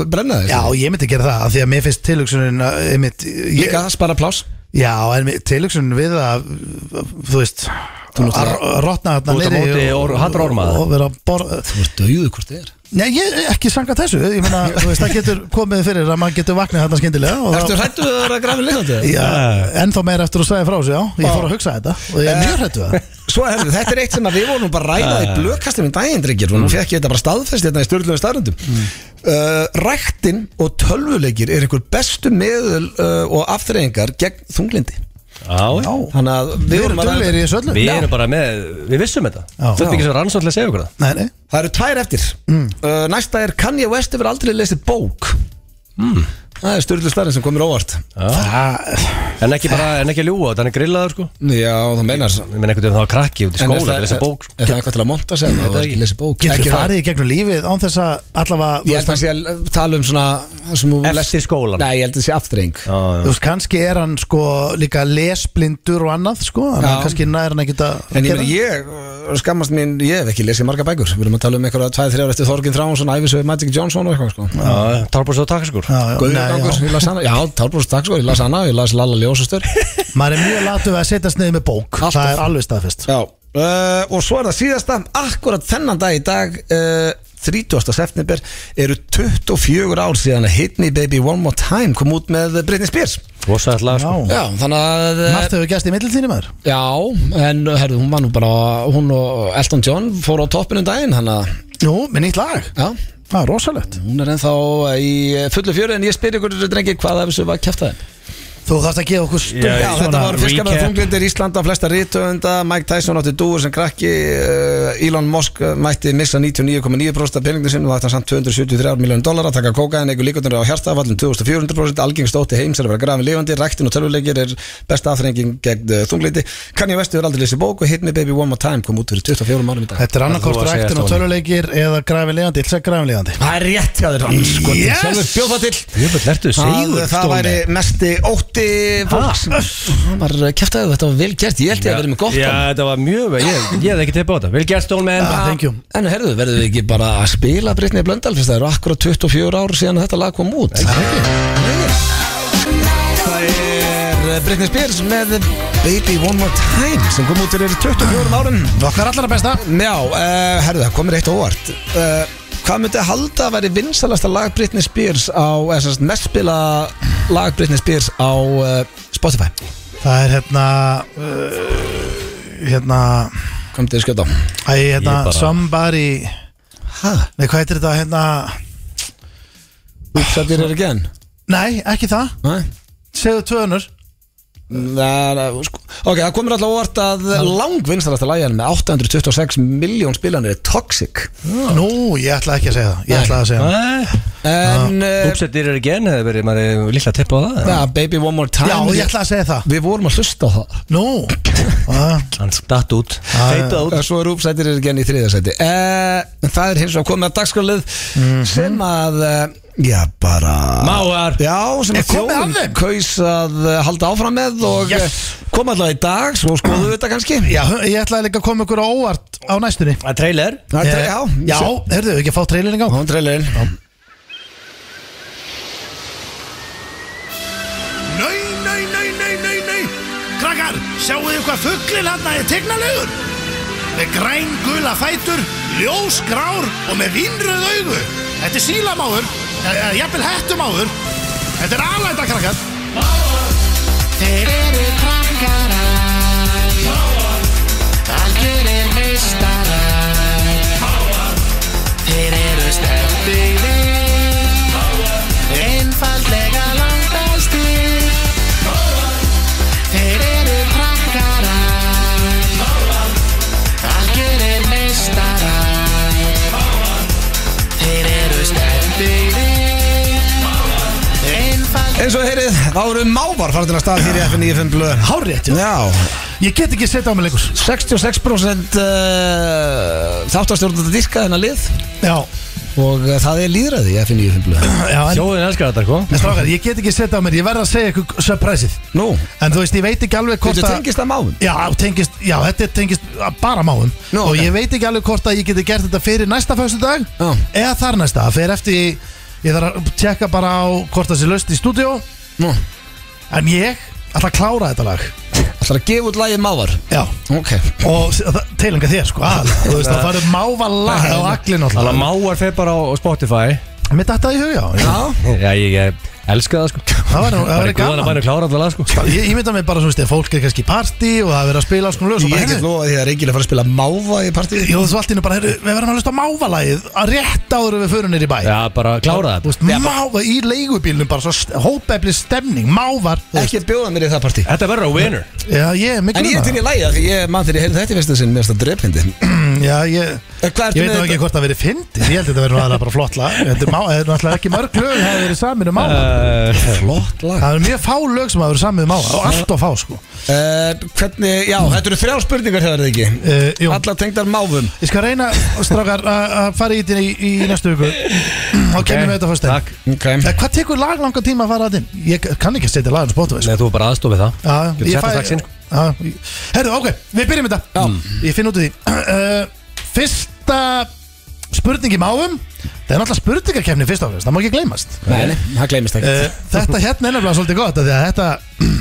Speaker 6: láta brenna þig sko.
Speaker 2: Já, ég myndi gera það af því að mér finnst tilöksunin einmitt, ég,
Speaker 6: Líka, spara pláss
Speaker 2: Já, en tilöksunin við að þú veist að rotna þarna
Speaker 3: Þú ert á
Speaker 2: niðri
Speaker 3: móti
Speaker 2: og-
Speaker 3: or- hatrorma.
Speaker 2: og vera að borða
Speaker 6: Þú ert döðu hvort þið er
Speaker 2: Nei, ég er ekki sangað þessu Ég meina, þú veist, það getur komið fyrir að maður getur vaknað þarna skyndilega og
Speaker 6: Ertu hrættu að vera grafin lifandi?
Speaker 2: Já, ennþá meira eftir að segja frá sig, já Ég fór að hugsa þetta og ég er mjög hrættu það
Speaker 6: Svo herru, þetta er eitt sem að við vorum bara að ræða í blökkastum í dagindryggir og nú fekk ég þetta bara staðfest hérna í stjórnlega starrendum mm. Ræktin og tölvuleikir er einhver bestu meðul uh, og aftreyingar gegn þunglindi
Speaker 3: Já, já
Speaker 6: Þannig að við,
Speaker 2: Við erum
Speaker 6: vorum að
Speaker 2: duglegir
Speaker 6: ræða
Speaker 2: í þessu öllu
Speaker 3: Við erum bara með, við vissum þetta
Speaker 2: Já.
Speaker 3: Þú ert ekki svo rannsóknlega að segja okkur það
Speaker 2: Nei, nei,
Speaker 6: Það eru tvær eftir uh, Næsta er Kanye West hefur aldrei lesið bók Það er stjórnlega starrend sem komir óvart
Speaker 2: það
Speaker 3: En ekki bara, en ekki að ljúga, þannig grillaður sko
Speaker 6: Já, það meinar
Speaker 3: Ég meina einhvern veginn það var krakki út í skóla Það er þess að sko. bók
Speaker 6: Er það eitthvað til að monta sig Það er ekki lesið bók
Speaker 2: Getur
Speaker 6: Ekki
Speaker 2: þú
Speaker 6: það-
Speaker 2: farið í gegnum lífið án þess að allavega
Speaker 6: Ég
Speaker 2: þú veist,
Speaker 6: held að sé að tala um svona það sem hún-
Speaker 3: Eftir skólan.
Speaker 6: Nei, ég held að sé aftreng
Speaker 2: Þú veist, kannski er hann sko líka lesblindur og annað sko Þannig
Speaker 6: Já.
Speaker 2: að kannski nær hann ekki að
Speaker 6: En ég,
Speaker 2: gera
Speaker 6: meni, ég uh, skammast mín, ég hef ekki lesið marga bækur Við erum að tala um einhverja 2-3 eftir Þorgin Þránsson Æfisöð Magic Johnson og eitthvað sko.
Speaker 3: Tárbrús og takkaskúr
Speaker 2: Já, já, nei,
Speaker 6: Gauðgangur,
Speaker 2: já.
Speaker 6: ég las hana Já, Tálbrúst Dagsgóð, ég las hana, ég las Lalla Ljósastur
Speaker 2: Maður er mjög latu við að setjast niður með bók
Speaker 6: Alltaf.
Speaker 2: Það er alveg staðfest
Speaker 6: <laughs> Já, uh, og svo er það síðasta Akkurat þennan dag í dag uh, 30. september eru 24 ár síðan að Hit Me Baby One More Time kom út með Britney Spears
Speaker 3: Rosa ætla sko
Speaker 2: Já,
Speaker 6: Já, þannig að eh,
Speaker 2: margt hefur gæst í milliltíðinu maður
Speaker 6: Já, en uh, herðu, hún var nú bara hún og Elton John fór á toppinu um daginn, hann að
Speaker 2: Jú, með nýtt lag
Speaker 6: Já,
Speaker 2: Það er rosalegt
Speaker 6: hún er ennþá í eh, fullu fjöru en ég spyr ykkur drengi hvað af þessu var að kæfta þeim
Speaker 2: Þú þarfst að gefa okkur stund
Speaker 6: Já, þetta var fyrst með
Speaker 3: recap.
Speaker 6: þunglindir Íslanda, flesta rítönda, Mike Tyson átti dúur sem krakki, uh, Elon Musk eh, mætti missa 99,9% af peninginu sinni og það ætti hann samt 273 miljónu dólar að taka kókaðin, eigur líkundur á hjartafallin 2400%, algengst ótti heims er að vera grafin lifandi, ræktin og tölvuleikir er besta aðþrenging gegn uh, þunglindi. Kanye West hefur aldrei lesið bók og Hit Me Baby One More Time kom út fyrir 24 árum í dag.
Speaker 2: Þetta er annarkort
Speaker 3: Þú að segja
Speaker 2: ræktin og
Speaker 3: þetta,
Speaker 2: töluleikir eða græfin leiðandi, ég ætla að græfin leiðandi
Speaker 6: Það er rétt hjá þér, hann sko,
Speaker 2: Yes!
Speaker 6: sjálfur bjóð það til.
Speaker 3: Jöfnveld, lertu
Speaker 6: Það,
Speaker 3: segur
Speaker 6: það væri mesti ótti fólks Það var kæftæðu, þetta var vel gert Ég held ég að vera með gott
Speaker 3: Já,
Speaker 6: hann.
Speaker 3: þetta var mjög vel, ég, ég hefði ekki tippað á þetta Vel gert Stólmen
Speaker 2: Ah, thank you.
Speaker 6: En herðu, verðum við ekki bara að spila Brittany Blöndal fyrst það eru akkurat 24 ár síðan að þetta lag kom út Það er Brittany Spears með Baby One More Time sem kom út fyrir 24 árum
Speaker 2: Okkar allra besta
Speaker 6: Já, uh, herðu, það komir eitt á óvart uh, Hvað myndi að halda að veri vinsalasta lag Britney Spears á, eða sem sagt mest spila lag Britney Spears á uh, Spotify?
Speaker 2: Það er hérna uh, Hérna
Speaker 6: Kom til að skjóta á
Speaker 2: Æ, hérna,
Speaker 3: Ég bara-
Speaker 2: somebody
Speaker 6: Hæ?
Speaker 2: Nei, hvað heitir þetta, hérna
Speaker 6: Útsettir er ekki enn?
Speaker 2: Nei, ekki það,
Speaker 6: Nei
Speaker 2: segðu tvöðunur
Speaker 6: Nei, nei, sko. Ok, það komur alltaf óvart að langvinnstælasta lægin með 826 miljón spilanir er Toxic
Speaker 2: Ah. Nú, ég ætla ekki að segja það Ég ætla að segja það
Speaker 6: En
Speaker 2: Ah,
Speaker 6: uh,
Speaker 3: Úpsettir er ekki enn, hefði verið, maður er líklega að tippa á það
Speaker 6: ja, Baby One More Time
Speaker 2: Já, ég ætla að segja það
Speaker 6: Við vorum að hlusta á það
Speaker 2: Nú Ah,
Speaker 3: Hann datt út Feita út
Speaker 6: Eh, Svo er uppsættir er ekki enn í þriðasæti uh, Það er hins vegar komið að dagskalið
Speaker 2: Mhm.
Speaker 6: sem að uh, Já, bara
Speaker 3: Máar
Speaker 6: Já, sem
Speaker 2: Er
Speaker 6: að
Speaker 2: komið að
Speaker 6: þjóðin
Speaker 2: þeim?
Speaker 6: kaus að eh, halda áfram með og
Speaker 2: Yes.
Speaker 6: yes. koma alltaf í dag svo skoðu við þetta kannski
Speaker 2: Já, ég ætlaði líka að koma ykkur á óvart á næstunni
Speaker 3: Að trailer
Speaker 6: Það er-
Speaker 2: Eh,
Speaker 6: Já,
Speaker 2: Já, heyrðu, ekki að fá trailerin í gang
Speaker 6: Hún trailerinn
Speaker 2: Krakkar, sjáu þið hvað fugglinn hann er tegnalegur? Með græn gula fætur, ljós grár og með vinnröð augu. Þetta er sílamáður, eða jafnvel hettumáður. Þetta er alæta, krakkar. Þeir eru krakkarar, algjörir meistarar. Þeir eru stefnir, einfallega langbæstir. Þeir eru krakkarar Algjörir meistarar Þeir eru stendir Einfald
Speaker 6: Eins og heyrið, þá eru mávar farin til að stað hér í FN95 blöðum
Speaker 2: Hárrétt, já
Speaker 6: Já,
Speaker 2: Ég get ekki setja á mig leikus
Speaker 6: 66% uh, þáttastjórnum að diska þennan lið
Speaker 2: Já,
Speaker 6: og uh, það er líðræði í FN95 blöðum
Speaker 2: já, en
Speaker 3: Sjóðin elskar þetta, sko
Speaker 2: En strákar, ég get ekki setja á mér Ég verð að segja ykkur surpriseið
Speaker 6: Nú,
Speaker 2: En þú veist, ég veit ekki alveg hvort
Speaker 6: þetta tengist það máum
Speaker 2: Já, tengist, já, þetta er tengist bara máum
Speaker 6: Nú,
Speaker 2: Og
Speaker 6: ok.
Speaker 2: ég veit ekki alveg hvort að ég geti gert þetta fyrir næsta föstudag
Speaker 6: Já.
Speaker 2: Eða þar næsta Það fer eftir Ég þarf að tjekka bara á hvort það sé löst í stúdíó
Speaker 6: Nú,
Speaker 2: En ég ætla að klára þetta lag
Speaker 6: ætlar að gefa út lagið mávar
Speaker 2: Já
Speaker 6: Ok
Speaker 2: Og s- það- tilengja þér sko aðalega. Þú veist það farið máva
Speaker 6: <laughs>
Speaker 2: lag á aglin
Speaker 3: Alla
Speaker 2: alltaf
Speaker 3: máar fer bara á Spotify
Speaker 2: Mér datt það í hug já Já.
Speaker 3: Já, ég eh, elska það, sko
Speaker 2: Það var nú- það
Speaker 3: Bara
Speaker 2: var
Speaker 3: í góðan að
Speaker 2: gaman
Speaker 3: bæna klára allavega, sko
Speaker 2: Ég, ég mynda mig bara svo veist, ef fólk er kannski í partí og það er verið að spila alls konar lög svo
Speaker 6: Ég
Speaker 2: bara,
Speaker 6: hef ekkert
Speaker 2: heyrðu,
Speaker 6: lofað því að Reykjavík fara að spila máva í partíð
Speaker 2: Jó, þú allt innu bara, heyrðu, við verðum að hlusta á mávalagið að rétt áður en við förum nýr í bæ
Speaker 3: Já, bara klára
Speaker 2: Þú
Speaker 3: það
Speaker 2: veist, máva í leigubílnum, bara svo hópefli stemning, mávar þú veist.
Speaker 6: Ekki bjóða mér í það partí
Speaker 3: Þetta verður á winner
Speaker 2: Já, ég er
Speaker 6: En
Speaker 2: mikil
Speaker 6: ég er til í lægja því ég mann þegar ég heyrði þetta í fyrsta sinn Mér finnst það drefindi
Speaker 2: Mm, Já, ég,
Speaker 6: Hvað
Speaker 2: ég
Speaker 6: ertu
Speaker 2: veit
Speaker 6: með
Speaker 2: nú ekki
Speaker 6: þetta?
Speaker 2: hvort það verið fyndið Ég held að þetta verið nú aðra bara flott lag Þetta er má- þetta er náttúrulega ekki mörg lög Það hefur verið samin um máva
Speaker 6: Eh.
Speaker 3: uh,
Speaker 6: Flott lag
Speaker 2: Það eru mjög fá lög sem hafa verið samið um á og allt of fá sko
Speaker 6: uh, Hvernig, já, þetta eru þrjá spurningar hefur þetta ekki
Speaker 2: uh, Jú,
Speaker 6: Allar tengdar máfum
Speaker 2: ég skal reyna strákar að að fara í þetta í, í næstu viku og kemur við þetta fyrst
Speaker 3: Takk
Speaker 6: Ok
Speaker 2: Hvað tekur lag langan tíma að fara að þinn? Ég kann ekki að setja lagin spótuveg
Speaker 3: Nei, þú er bara aðstofið það Getur sett það strax inn, Mm. sko.
Speaker 2: Herðu, ok, við byrjum þetta Ég finn út úr því <clears throat> uh, Fyrsta spurning í máum Það er náttúrulega spurningarkefni fyrst áfram Það má ekki gleymast
Speaker 6: Nei, nei, það gleymist ekki
Speaker 3: Eh.
Speaker 2: uh, Þetta hérna er nefnilega svolítið gott af Því að þetta <clears throat>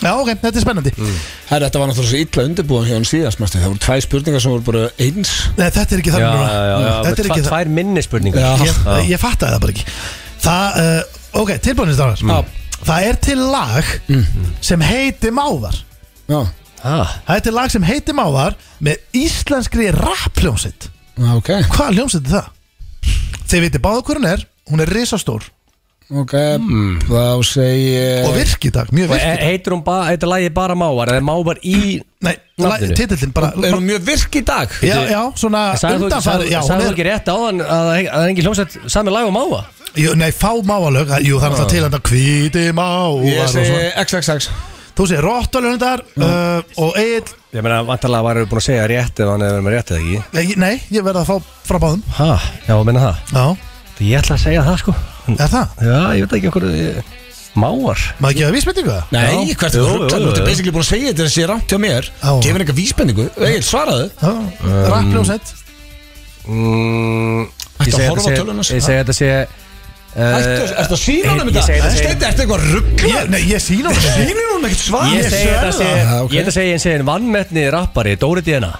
Speaker 2: Já, ok, þetta er spennandi
Speaker 3: Mm.
Speaker 6: Herra, þetta var náttúrulega svo illa undirbúðan hjá hann síðast mæstu. Það voru tvæ spurningar sem voru bara eins
Speaker 2: Nei, þetta er ekki
Speaker 3: Já,
Speaker 2: þannig núna. Mm,
Speaker 3: já, já,
Speaker 2: Þetta er
Speaker 3: tva-
Speaker 2: ekki það
Speaker 3: Tvær minni spurningar
Speaker 6: Já.
Speaker 2: ég, ég fattaði það bara ekki Það, uh, ok, tilbúinir stráðar
Speaker 3: Mm.
Speaker 6: Já.
Speaker 2: Það er til lag sem heiti Mávar
Speaker 6: Já,
Speaker 3: Ah,
Speaker 2: Það er til lag sem heiti Mávar með íslenskri rappljómsitt
Speaker 6: Já, Ah, ok,
Speaker 2: Hvaða ljómsitt er það? Þið viti báða hver hún er, hún er risastór
Speaker 6: ok Þá segi
Speaker 2: og virk í dag, mjög
Speaker 3: Hmm.
Speaker 2: virk í
Speaker 3: Eh. Og e-
Speaker 2: dag
Speaker 3: Heitir hún bara, heitir lagið bara mávar Eða er mávar í
Speaker 2: Nei,
Speaker 3: nafninu?
Speaker 2: titillin bara
Speaker 6: Er hún mjög virk í dag?
Speaker 2: Já, já, svona
Speaker 3: Sagði þú ekki,
Speaker 2: undanfæri
Speaker 3: sagði,
Speaker 2: Já, hún
Speaker 3: sagði þú
Speaker 2: er,
Speaker 3: ekki rétt áðan að það að það er engin hljómsveit sami lag og máva?
Speaker 2: jú, nei, fá mávalög Jú, það er alltaf til hann að kvíti mávar
Speaker 6: Ég
Speaker 2: og
Speaker 6: segi
Speaker 2: svona.
Speaker 6: XXX
Speaker 2: Þú segir rottalöndar
Speaker 3: Mm.
Speaker 2: uh, og Egil
Speaker 3: Ég meina, vantarlega varum við búin að segja rétt ef hann hefur verið með rétt eða ekki
Speaker 2: Nei, ég verði að fá frá báðum
Speaker 3: Hæ, já, meina það
Speaker 2: Já,
Speaker 3: Ég ætla að segja það sko
Speaker 2: er það?
Speaker 3: Já, ég veit ekki okkur ég... Mávar
Speaker 2: Maður gefa vísbendingu það?
Speaker 6: Nei,
Speaker 3: Já.
Speaker 6: hvert
Speaker 3: Jú,
Speaker 6: er
Speaker 3: jú,
Speaker 6: rugglað?
Speaker 3: jú,
Speaker 6: Þú ert
Speaker 3: jú.
Speaker 6: basically búin að segja þetta þessi rámt hjá mér
Speaker 2: Já.
Speaker 6: Gefur eitthvað vísbendingu Egil, svaraðu
Speaker 2: Já,
Speaker 3: Um,
Speaker 2: rappljósett
Speaker 3: mm,
Speaker 6: Ættu
Speaker 3: Ég
Speaker 6: að
Speaker 3: segi þetta
Speaker 6: horfa á sko?
Speaker 3: sé-
Speaker 6: töluna,
Speaker 3: Ég segi þetta sé
Speaker 6: Ættu
Speaker 3: eh,
Speaker 6: að sína honum
Speaker 3: ég- ég segi
Speaker 6: þetta
Speaker 3: þetta sé-
Speaker 6: Steindi, ertu eitthvað rugglað?
Speaker 2: Nei, ég sína
Speaker 3: <laughs>
Speaker 2: hún þetta
Speaker 6: Sýnir honum ekkert svar
Speaker 3: Ég segi þetta sé
Speaker 6: það. Ah, ok.
Speaker 3: Ég ætla að segja eins og einn vannmettni rappari Dóri Dina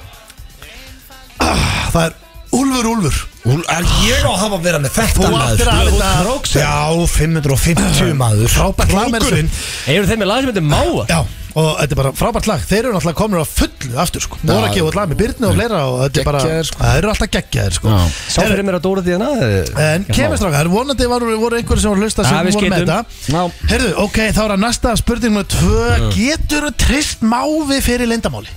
Speaker 2: Það er Úlfur, Úlfur
Speaker 6: Úl, Er ég á að hafa að vera með þetta
Speaker 2: Þú áttir að þetta
Speaker 6: Já, <clears throat> 550 maður
Speaker 2: Frábært lag með þessu.
Speaker 3: Eru þeir með lag sem heitir Mávar?
Speaker 2: Já, og þetta er bara frábært lag Þeir eru náttúrulega komin á fullu aftur sko Nú er að gefa út lag með Byrnu og fleira og þetta er bara
Speaker 6: Geggjaðir, sko.
Speaker 2: Það eru alltaf geggjaðir sko
Speaker 6: Já.
Speaker 3: Sá fyrir mér að Dóri Dina
Speaker 2: En kemur strákar, vonandi voru, voru einhverjir sem voru hlusta sem
Speaker 3: Ja, við
Speaker 2: voru með
Speaker 3: skeytum.
Speaker 2: þetta
Speaker 6: Já.
Speaker 2: Herðu, ok, þá er að næsta spurning nummer tvö Getur þú treyst mávi fyrir
Speaker 6: <laughs>
Speaker 2: lindamáli?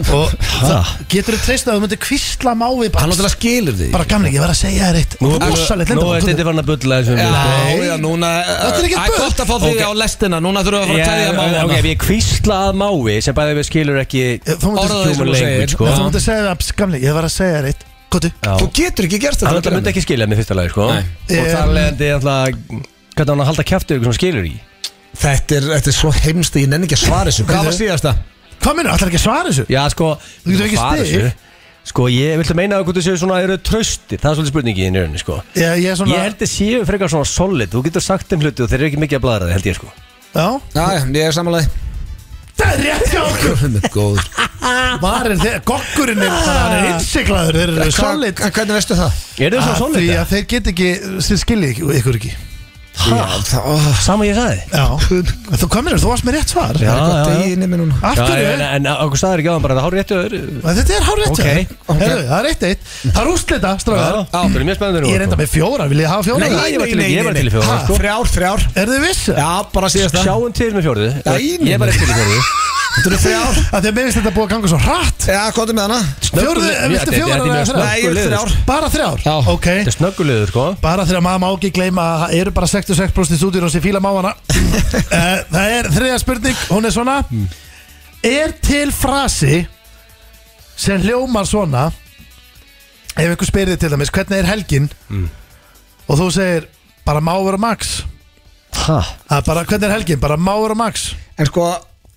Speaker 2: Og það, getur þú treyst að þú myndir kvistla mávi
Speaker 6: Hann
Speaker 2: bara,
Speaker 6: náttúrulega skilur því
Speaker 2: bara gamlega, ég verð að segja þér eitt
Speaker 3: Nú er
Speaker 2: Rosalegt
Speaker 3: Nú er
Speaker 2: lindamál
Speaker 3: þetta fann að bulla um þessum
Speaker 6: Já,
Speaker 2: Nei.
Speaker 6: já, núna
Speaker 2: Þetta er ekkert
Speaker 6: Æ,
Speaker 2: bull.
Speaker 6: gott að fá því
Speaker 3: Ok.
Speaker 6: á lestina Núna þurfum við að hérna. fara
Speaker 3: Já,
Speaker 6: að tæja
Speaker 3: ok,
Speaker 6: máma
Speaker 3: ok, ef ég kvísla að mái sem bæði við skilur ekki
Speaker 2: Þú myndir-
Speaker 6: Orðaðu
Speaker 3: human
Speaker 6: sem þú segir.
Speaker 3: language sko.
Speaker 2: Ef Þú myndir segja það, gamlega, ég verð að segja þér eitt Kottu,
Speaker 3: Já.
Speaker 6: Þú getur ekki gert
Speaker 3: Hann
Speaker 6: þetta
Speaker 3: alltaf myndi ekki skilja mig í fyrsta lagi sko.
Speaker 6: Nei.
Speaker 3: og þar leðandi hvernig á hann að halda kæftu ykkur sem hann skilur í
Speaker 6: Þetta er, þetta er svo heimst Ég nenni ekki að svara þessu Hvað var síðasta?
Speaker 2: hvað minnur, ætlar ekki að svara þessu?
Speaker 3: Já sko
Speaker 2: Þú getur ekki
Speaker 3: hvað
Speaker 2: stig.
Speaker 3: þessu? Sko ég viltu meina að hvort þú séu svona eru trösti það er svolítið spurningi í nörðinni sko
Speaker 2: Ég, ég er svona,
Speaker 3: Ég held að séu frekar svona solid þú getur sagt þeim hluti og þeir eru ekki mikið að bladra það held ég sko
Speaker 2: já,
Speaker 6: Já, já, ég er samanlega
Speaker 2: Það er rétt hjá okkur
Speaker 6: Guð minn <laughs> góður.
Speaker 2: Var er þeir, gokkurinn er bara hann er innsiklaður Þeir eru solid
Speaker 6: Hvað- Hvernig veistu það?
Speaker 3: Er þið svo
Speaker 2: Af
Speaker 3: solid?
Speaker 2: Því
Speaker 3: eða?
Speaker 2: að þeir get ekki, þeir skilja ekki, ykkur ekki
Speaker 6: Já, það ó,
Speaker 3: Sama ég sagði
Speaker 2: Já, þú komir þér, þú varst með rétt svar
Speaker 6: Það er
Speaker 3: já,
Speaker 6: gott
Speaker 3: já.
Speaker 6: í inni mér núna
Speaker 2: Af
Speaker 3: Já,
Speaker 2: hverju?
Speaker 3: en- En okkur sagði ekki á hann bara að það hár réttu öðru
Speaker 2: En Þetta er hár rétt
Speaker 3: Ok,
Speaker 2: okay. Heru, Það er eitt eitt Það er úrslita, strafgar
Speaker 3: Það er mjög spennandi sko. nú
Speaker 2: Ég er enda með fjóra, vil ég hafa fjóra?
Speaker 3: Nei, ég var til í- ég var til í fjóra,
Speaker 6: Ha,
Speaker 3: sko.
Speaker 6: Þrjár, þrjár
Speaker 2: Er þið vissu?
Speaker 6: Já, bara síðast það
Speaker 3: Sjáum til með fjórðu
Speaker 6: Nei,
Speaker 3: Ég var ekki til í fjórðu
Speaker 6: Þetta eru þrjár
Speaker 2: Af Því að mér finnst þetta búið að ganga svo hratt
Speaker 6: Já, komdu með hana
Speaker 2: Fjórðu,
Speaker 3: Þetta-
Speaker 2: viltu
Speaker 3: þetta-
Speaker 2: fjóra
Speaker 3: þetta er
Speaker 2: eða
Speaker 3: mjög
Speaker 2: þrjár?
Speaker 6: Nei, ég vil
Speaker 3: liður,
Speaker 6: þrjár
Speaker 2: Bara þrjár?
Speaker 6: Já.
Speaker 2: Ok
Speaker 3: Þetta er snöggulegur sko
Speaker 2: Bara þegar maður má ekki gleyma að það eru bara 66% í stúdíun og sér fíla máana Það er þriðja spurning, hún er svona Er til frasi sem hljómar svona ef einhver spyrir þig til dæmis hvernig er helgin og þú segir bara máur og max
Speaker 3: Ha?
Speaker 2: Það er bara hvernig er helgin, bara máur og max
Speaker 6: En sko,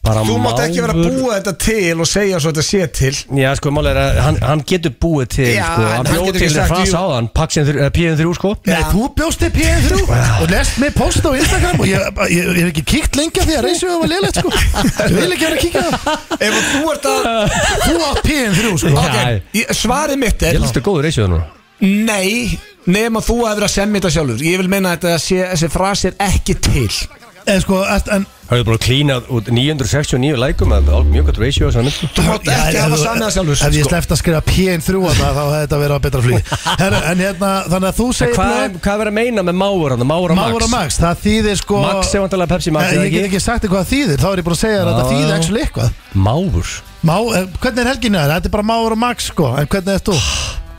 Speaker 3: Bara
Speaker 6: þú mátt ekki vera að
Speaker 3: mágur.
Speaker 6: búa þetta til og segja svo þetta sé til
Speaker 3: Já sko mál er að hann, hann getur búið til
Speaker 6: Já,
Speaker 3: sko,
Speaker 6: en
Speaker 3: Hann
Speaker 6: hann
Speaker 3: bjóð
Speaker 6: getur
Speaker 3: til
Speaker 6: ekki sagt
Speaker 3: frans
Speaker 6: jú.
Speaker 3: á hann Paksin píðin þrjú sko
Speaker 2: Nei, þú bjóst til PN3 og lest mig posta á Instagram og ég, ég, ég hef ekki kíkt lengi því að reysum var liðlegt sko Ég vil ekki vera að kíkja á það
Speaker 6: Ef þú ert að
Speaker 2: Þú átt PN3
Speaker 6: <laughs>
Speaker 2: sko
Speaker 3: Já.
Speaker 6: Ok, ég- svarið mitt
Speaker 3: Ég
Speaker 6: er
Speaker 3: helstu góður reysið nú
Speaker 6: Nei, nema þú hefur að semja þetta sjálfur Ég vil meina að þetta sé, þessi frasi er ekki til
Speaker 2: En sko, ert- en
Speaker 3: Hörðu bara að klína út 969 lækum Það er mjög gott reysið á þessu mynd
Speaker 6: Þú mátt
Speaker 2: Já,
Speaker 6: ekki
Speaker 2: ef
Speaker 6: hafa
Speaker 2: þú-
Speaker 6: samið það sjálfur
Speaker 2: Ef ég
Speaker 6: sko.
Speaker 2: sleft að skrifa PN3 þarna, þá hefði þetta verið að betra
Speaker 6: <laughs>
Speaker 2: flý Herru, En hérna, þannig að þú segir
Speaker 3: Hvað er hvað er að meina með máur hann? Máur og
Speaker 2: Máur og
Speaker 3: max
Speaker 2: Max, það þýðir sko
Speaker 3: Max er vantarlega Pepsi Max
Speaker 2: Eh,
Speaker 3: eða
Speaker 2: Ég get
Speaker 3: ekki?
Speaker 2: ekki sagt eitthvað þýðir, þá er ég búin að segja þér að
Speaker 3: Já,
Speaker 2: það þýðir
Speaker 3: já.
Speaker 2: ekki eitthvað
Speaker 3: Máur
Speaker 2: Má, eh, Hvernig er helginu þér? Þetta er bara Máur og Max sko, en hvernig
Speaker 3: <sighs>
Speaker 2: ert þú?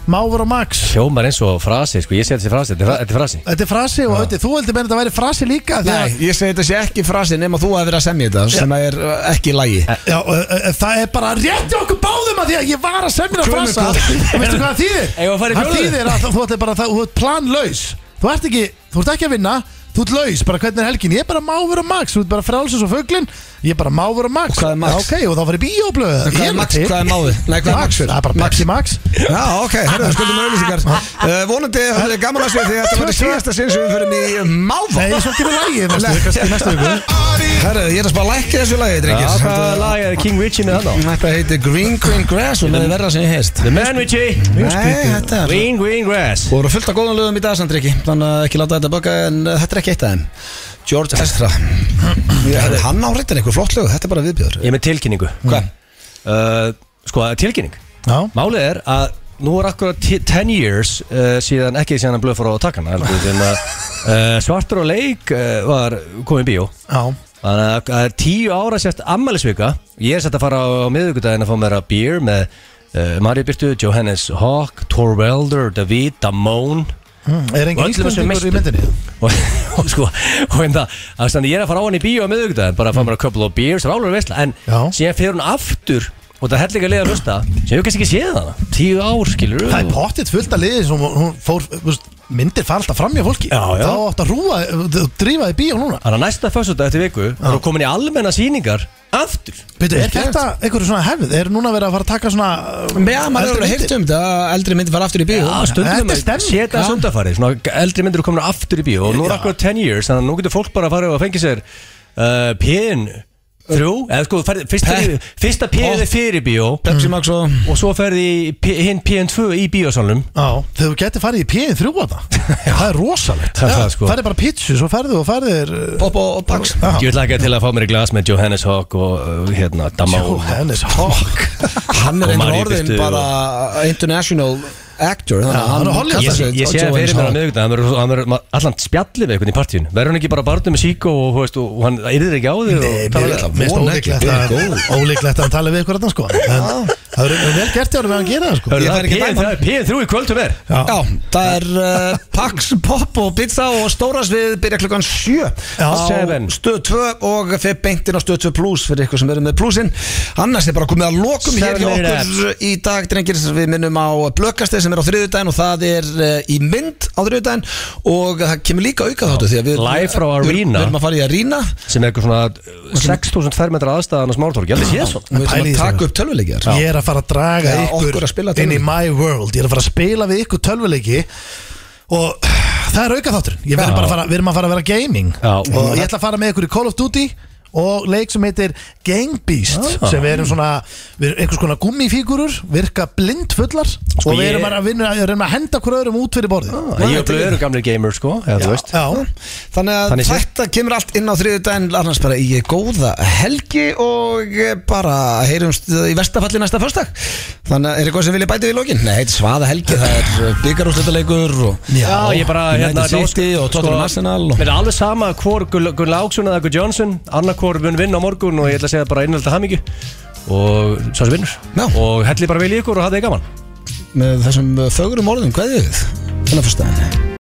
Speaker 2: Máur og Max
Speaker 3: Hljómar eins og frasi sko Ég segi þessi frasi Þetta er fra- þetta er frasi
Speaker 2: Þetta er frasi og auðvitað, þú heldur meina þetta væri frasi líka því að-
Speaker 6: Nei, ég segi þetta sé ekki frasi nema þú hefur að semja þetta sem er uh, ekki í lagi
Speaker 2: Já, og, eh, eh, það er bara rétt hjá okkur báðum að því að ég var að semja að
Speaker 6: Guð minn
Speaker 2: frasa
Speaker 6: góður.
Speaker 2: Og <laughs> Veistu hvað það þýðir?
Speaker 3: Eigum við að fara í
Speaker 2: Það
Speaker 3: fjórðu?
Speaker 2: þýðir að þú ætlir bara það, þú ert planlaus Þú ert ekki, þú ert ekki að vinna Þú ert laus, bara hvernig er helgin? Ég er bara máfur og max, þú ert bara frálsins og fuglin Ég er bara máfur og max
Speaker 6: Og hvað er Max?
Speaker 2: Já, Ok, og þá fyrir bíóblöð
Speaker 6: En hvað er Max- hvað er máður? Nei, hvað er Max fyrir?
Speaker 2: Það er bara Pepsi Max
Speaker 6: Já, ok, herru, skuldum auðlýsingar uh, Vonandi hafið þið gaman að segja því að þetta var í síðasta sinn sem við förum í máfa <laughs>
Speaker 2: Nei, ég er svo ekki með lagi næstu, kannski í næstu viku
Speaker 6: Herru, ég er að spara lækka þessu lagi,
Speaker 3: Já,
Speaker 6: drengir
Speaker 3: Hvaða lag er King Richie með hann á?
Speaker 6: Þetta heitir Green Green Grass og með verða sem ég heist
Speaker 3: The Man Richie
Speaker 6: Nei, þetta er
Speaker 3: Green Green Grass
Speaker 6: Og eru fullt af góðan lögum í dag, Sandriki Þannig að ekki láta þetta baka En uh, þetta er ekki eitt af þeim George Ezra Ég- Hann á reyndin einhver flott lög Þetta er bara viðbjör
Speaker 3: Ég er með tilkynningu
Speaker 6: Mm. Hvað?
Speaker 3: uh, Sko, tilkynning
Speaker 2: Já,
Speaker 3: Málið er að nú er akkurat 10 years uh, síðan ekki síðan hann blöð fór á takkana heldur, sem að uh, Svartur og leik uh, var komið í bíó
Speaker 2: já
Speaker 3: Þannig að það er 10 ára sérst ammælisvika Ég er sett að fara á, á miðvikudaginn að fá mér að beer með uh, Mario Byrtu, Johannes Hawk, Thor Welder, David, Damone
Speaker 2: Mm, Er
Speaker 3: Og
Speaker 2: engin
Speaker 3: öllum þessum
Speaker 2: íslendingur í
Speaker 3: meistum.
Speaker 2: myndinni?
Speaker 3: og, <laughs> og sko og en það, að standi, ég er að fara á hann í bíó á miðugdæðin, bara að fá mér að couple of beers það er alveg veistla, en
Speaker 2: Mm. Já.
Speaker 3: síðan fer hún aftur og það er hellinga leið að hlusta sem ég kannski ekki séð hana, tíu ár skilur
Speaker 2: Það er pottitt fullt að liði sem hún hún fór, þú veist, myndir fara alltaf fram hjá fólki
Speaker 3: Já, já.
Speaker 2: Þá átt að rúa, þú drífa í bíó núna
Speaker 3: þannig að næsta föstudag eftir viku þá er hún komin í almenna sýningar aftur
Speaker 2: Beidu, er þetta einhverju svona hefð? Er núna verið að fara að taka svona Mm.
Speaker 6: Já, maður hefur heyrt um þetta að Eldri myndi fara aftur í bíó
Speaker 3: Já, sko.
Speaker 2: þetta
Speaker 3: stundum um
Speaker 2: er stemning,
Speaker 3: setja
Speaker 2: já.
Speaker 3: söndafarið, svona eldri myndir eru komin aftur í bíó og nú er
Speaker 2: Já.
Speaker 3: akkur 10 years, þannig að nú getur fólk bara að fara og fengi sér uh, píðin þrjú, eða sko ferð, fyrsta,
Speaker 6: Pe-
Speaker 3: fyrsta
Speaker 2: Oh.
Speaker 3: píðið fyrir bíó
Speaker 2: Mm.
Speaker 6: Pepsi Max og
Speaker 3: og svo ferði í P- hinn PN2 í bíósalunum
Speaker 2: Já, þegar þú getur farið í píðin þrjú
Speaker 6: <laughs>
Speaker 2: að það Það er rosalegt
Speaker 3: Það er það, sko.
Speaker 2: Farið bara pítsu, svo ferðu og uh, farðir
Speaker 6: Bob og og Pax
Speaker 3: Ég vil laka til að fá mér í glas með Johannes Hawk og uh, hérna, Damá
Speaker 2: Jóhannes Hawk
Speaker 6: Hann
Speaker 3: Og
Speaker 6: er einhver
Speaker 3: Mario
Speaker 6: orðin
Speaker 3: Birtu
Speaker 6: bara international actor þannig að
Speaker 2: Já, hann er Hollywood.
Speaker 6: kallar
Speaker 3: Ég,
Speaker 6: sig
Speaker 3: ég sé það fyrir mér á
Speaker 6: Johannes Hawk.
Speaker 3: miðvikudag hann verður- hann verður ma- allan spjallið við einhvern í partíun verður hann ekki bara barnum með sík og, þú veist, og hann yrðir ekki á því og
Speaker 6: mér-
Speaker 3: talar-
Speaker 6: ætla að
Speaker 2: Mér finnst
Speaker 6: vona
Speaker 2: ólíklegt
Speaker 6: ekki,
Speaker 2: að-
Speaker 6: guð minn
Speaker 2: Ólíklegt að hann tala við ykkur þarna sko En það er vel gert hjá hann við hann gera það sko
Speaker 3: Hörðu,
Speaker 6: Ég
Speaker 3: það
Speaker 6: fer ekki að dæma
Speaker 3: er PN3 í kvöldum er
Speaker 6: Já, það er uh, Pax, Pop og Pizza og Stóras við byrja klukkan 7
Speaker 2: Já.
Speaker 3: Seven.
Speaker 6: Stöð 2 og þeir beintin á Stöð 2 Plus fyrir ykkur sem eru með Plusin annars er bara komið að lokum hér hjá
Speaker 3: Seven
Speaker 6: okkur í dag drengir við minnum á Blökkasteg sem er á þriðudaginn og það er uh, í mynd á þriðudaginn og það kemur líka auka þáttu því að við,
Speaker 3: Live frá
Speaker 6: við-
Speaker 3: Arena.
Speaker 6: við erum að fara í Arena
Speaker 3: sem er eitthvað svona uh, 6000 fermetra aðstæðan á smártorg ég held að sé svo
Speaker 6: og
Speaker 2: Pælið
Speaker 6: við ætlum
Speaker 2: í
Speaker 6: að
Speaker 2: þessu.
Speaker 6: taka upp tölvuleikjar
Speaker 2: Ég er að fara að draga
Speaker 6: Já, okkur að spila
Speaker 2: ykkur inn í
Speaker 6: tölvuleiki.
Speaker 2: my world Ég er að fara að spila við ykkur tölvuleiki Og það er auka þátturinn Ég verð bara að fara, Við erum að fara að vera gaming
Speaker 3: Já.
Speaker 2: Og ég ætla að fara með ykkur í Call of Duty og leik sem heitir Gang Beast
Speaker 3: Ah.
Speaker 2: sem við erum svona, við erum einhvers konar gummifígurur virka blindfullar og við
Speaker 3: Sko, ég- Ah,
Speaker 2: erum bara að vinna, við erum að henda hver öðrum út fyrir borðið
Speaker 3: Ég er blöður gamli gamer sko eða, þú veist.
Speaker 2: Já,
Speaker 6: Þannig að
Speaker 3: Þannig sé.
Speaker 6: þetta kemur allt inn á þriðu daginn annars bara í góða helgi og eh, bara heyrumst í vestafalli næsta fyrstak Þannig að er eitthvað sem vilja bæta við í lokin? Nei, þetta er svaða helgi, það er byggarúslutaleikur og
Speaker 3: Já, ég bara hérna, Sko-
Speaker 6: United City
Speaker 3: ná-
Speaker 6: og Tottenham Arsenal og-
Speaker 3: Mér er alveg sama hvort Gull, Gull Láksson eða Gull Johnson annar hvort mun vinna á morgun og ég ætla að segja bara innvelda hamingju og svo sem vinnur
Speaker 6: Já.
Speaker 3: og helli bara vel í ykkur og hafið þið gaman
Speaker 6: Hérna með þessum fögrum orðum, hvað er þið? Þannig að fyrstæðin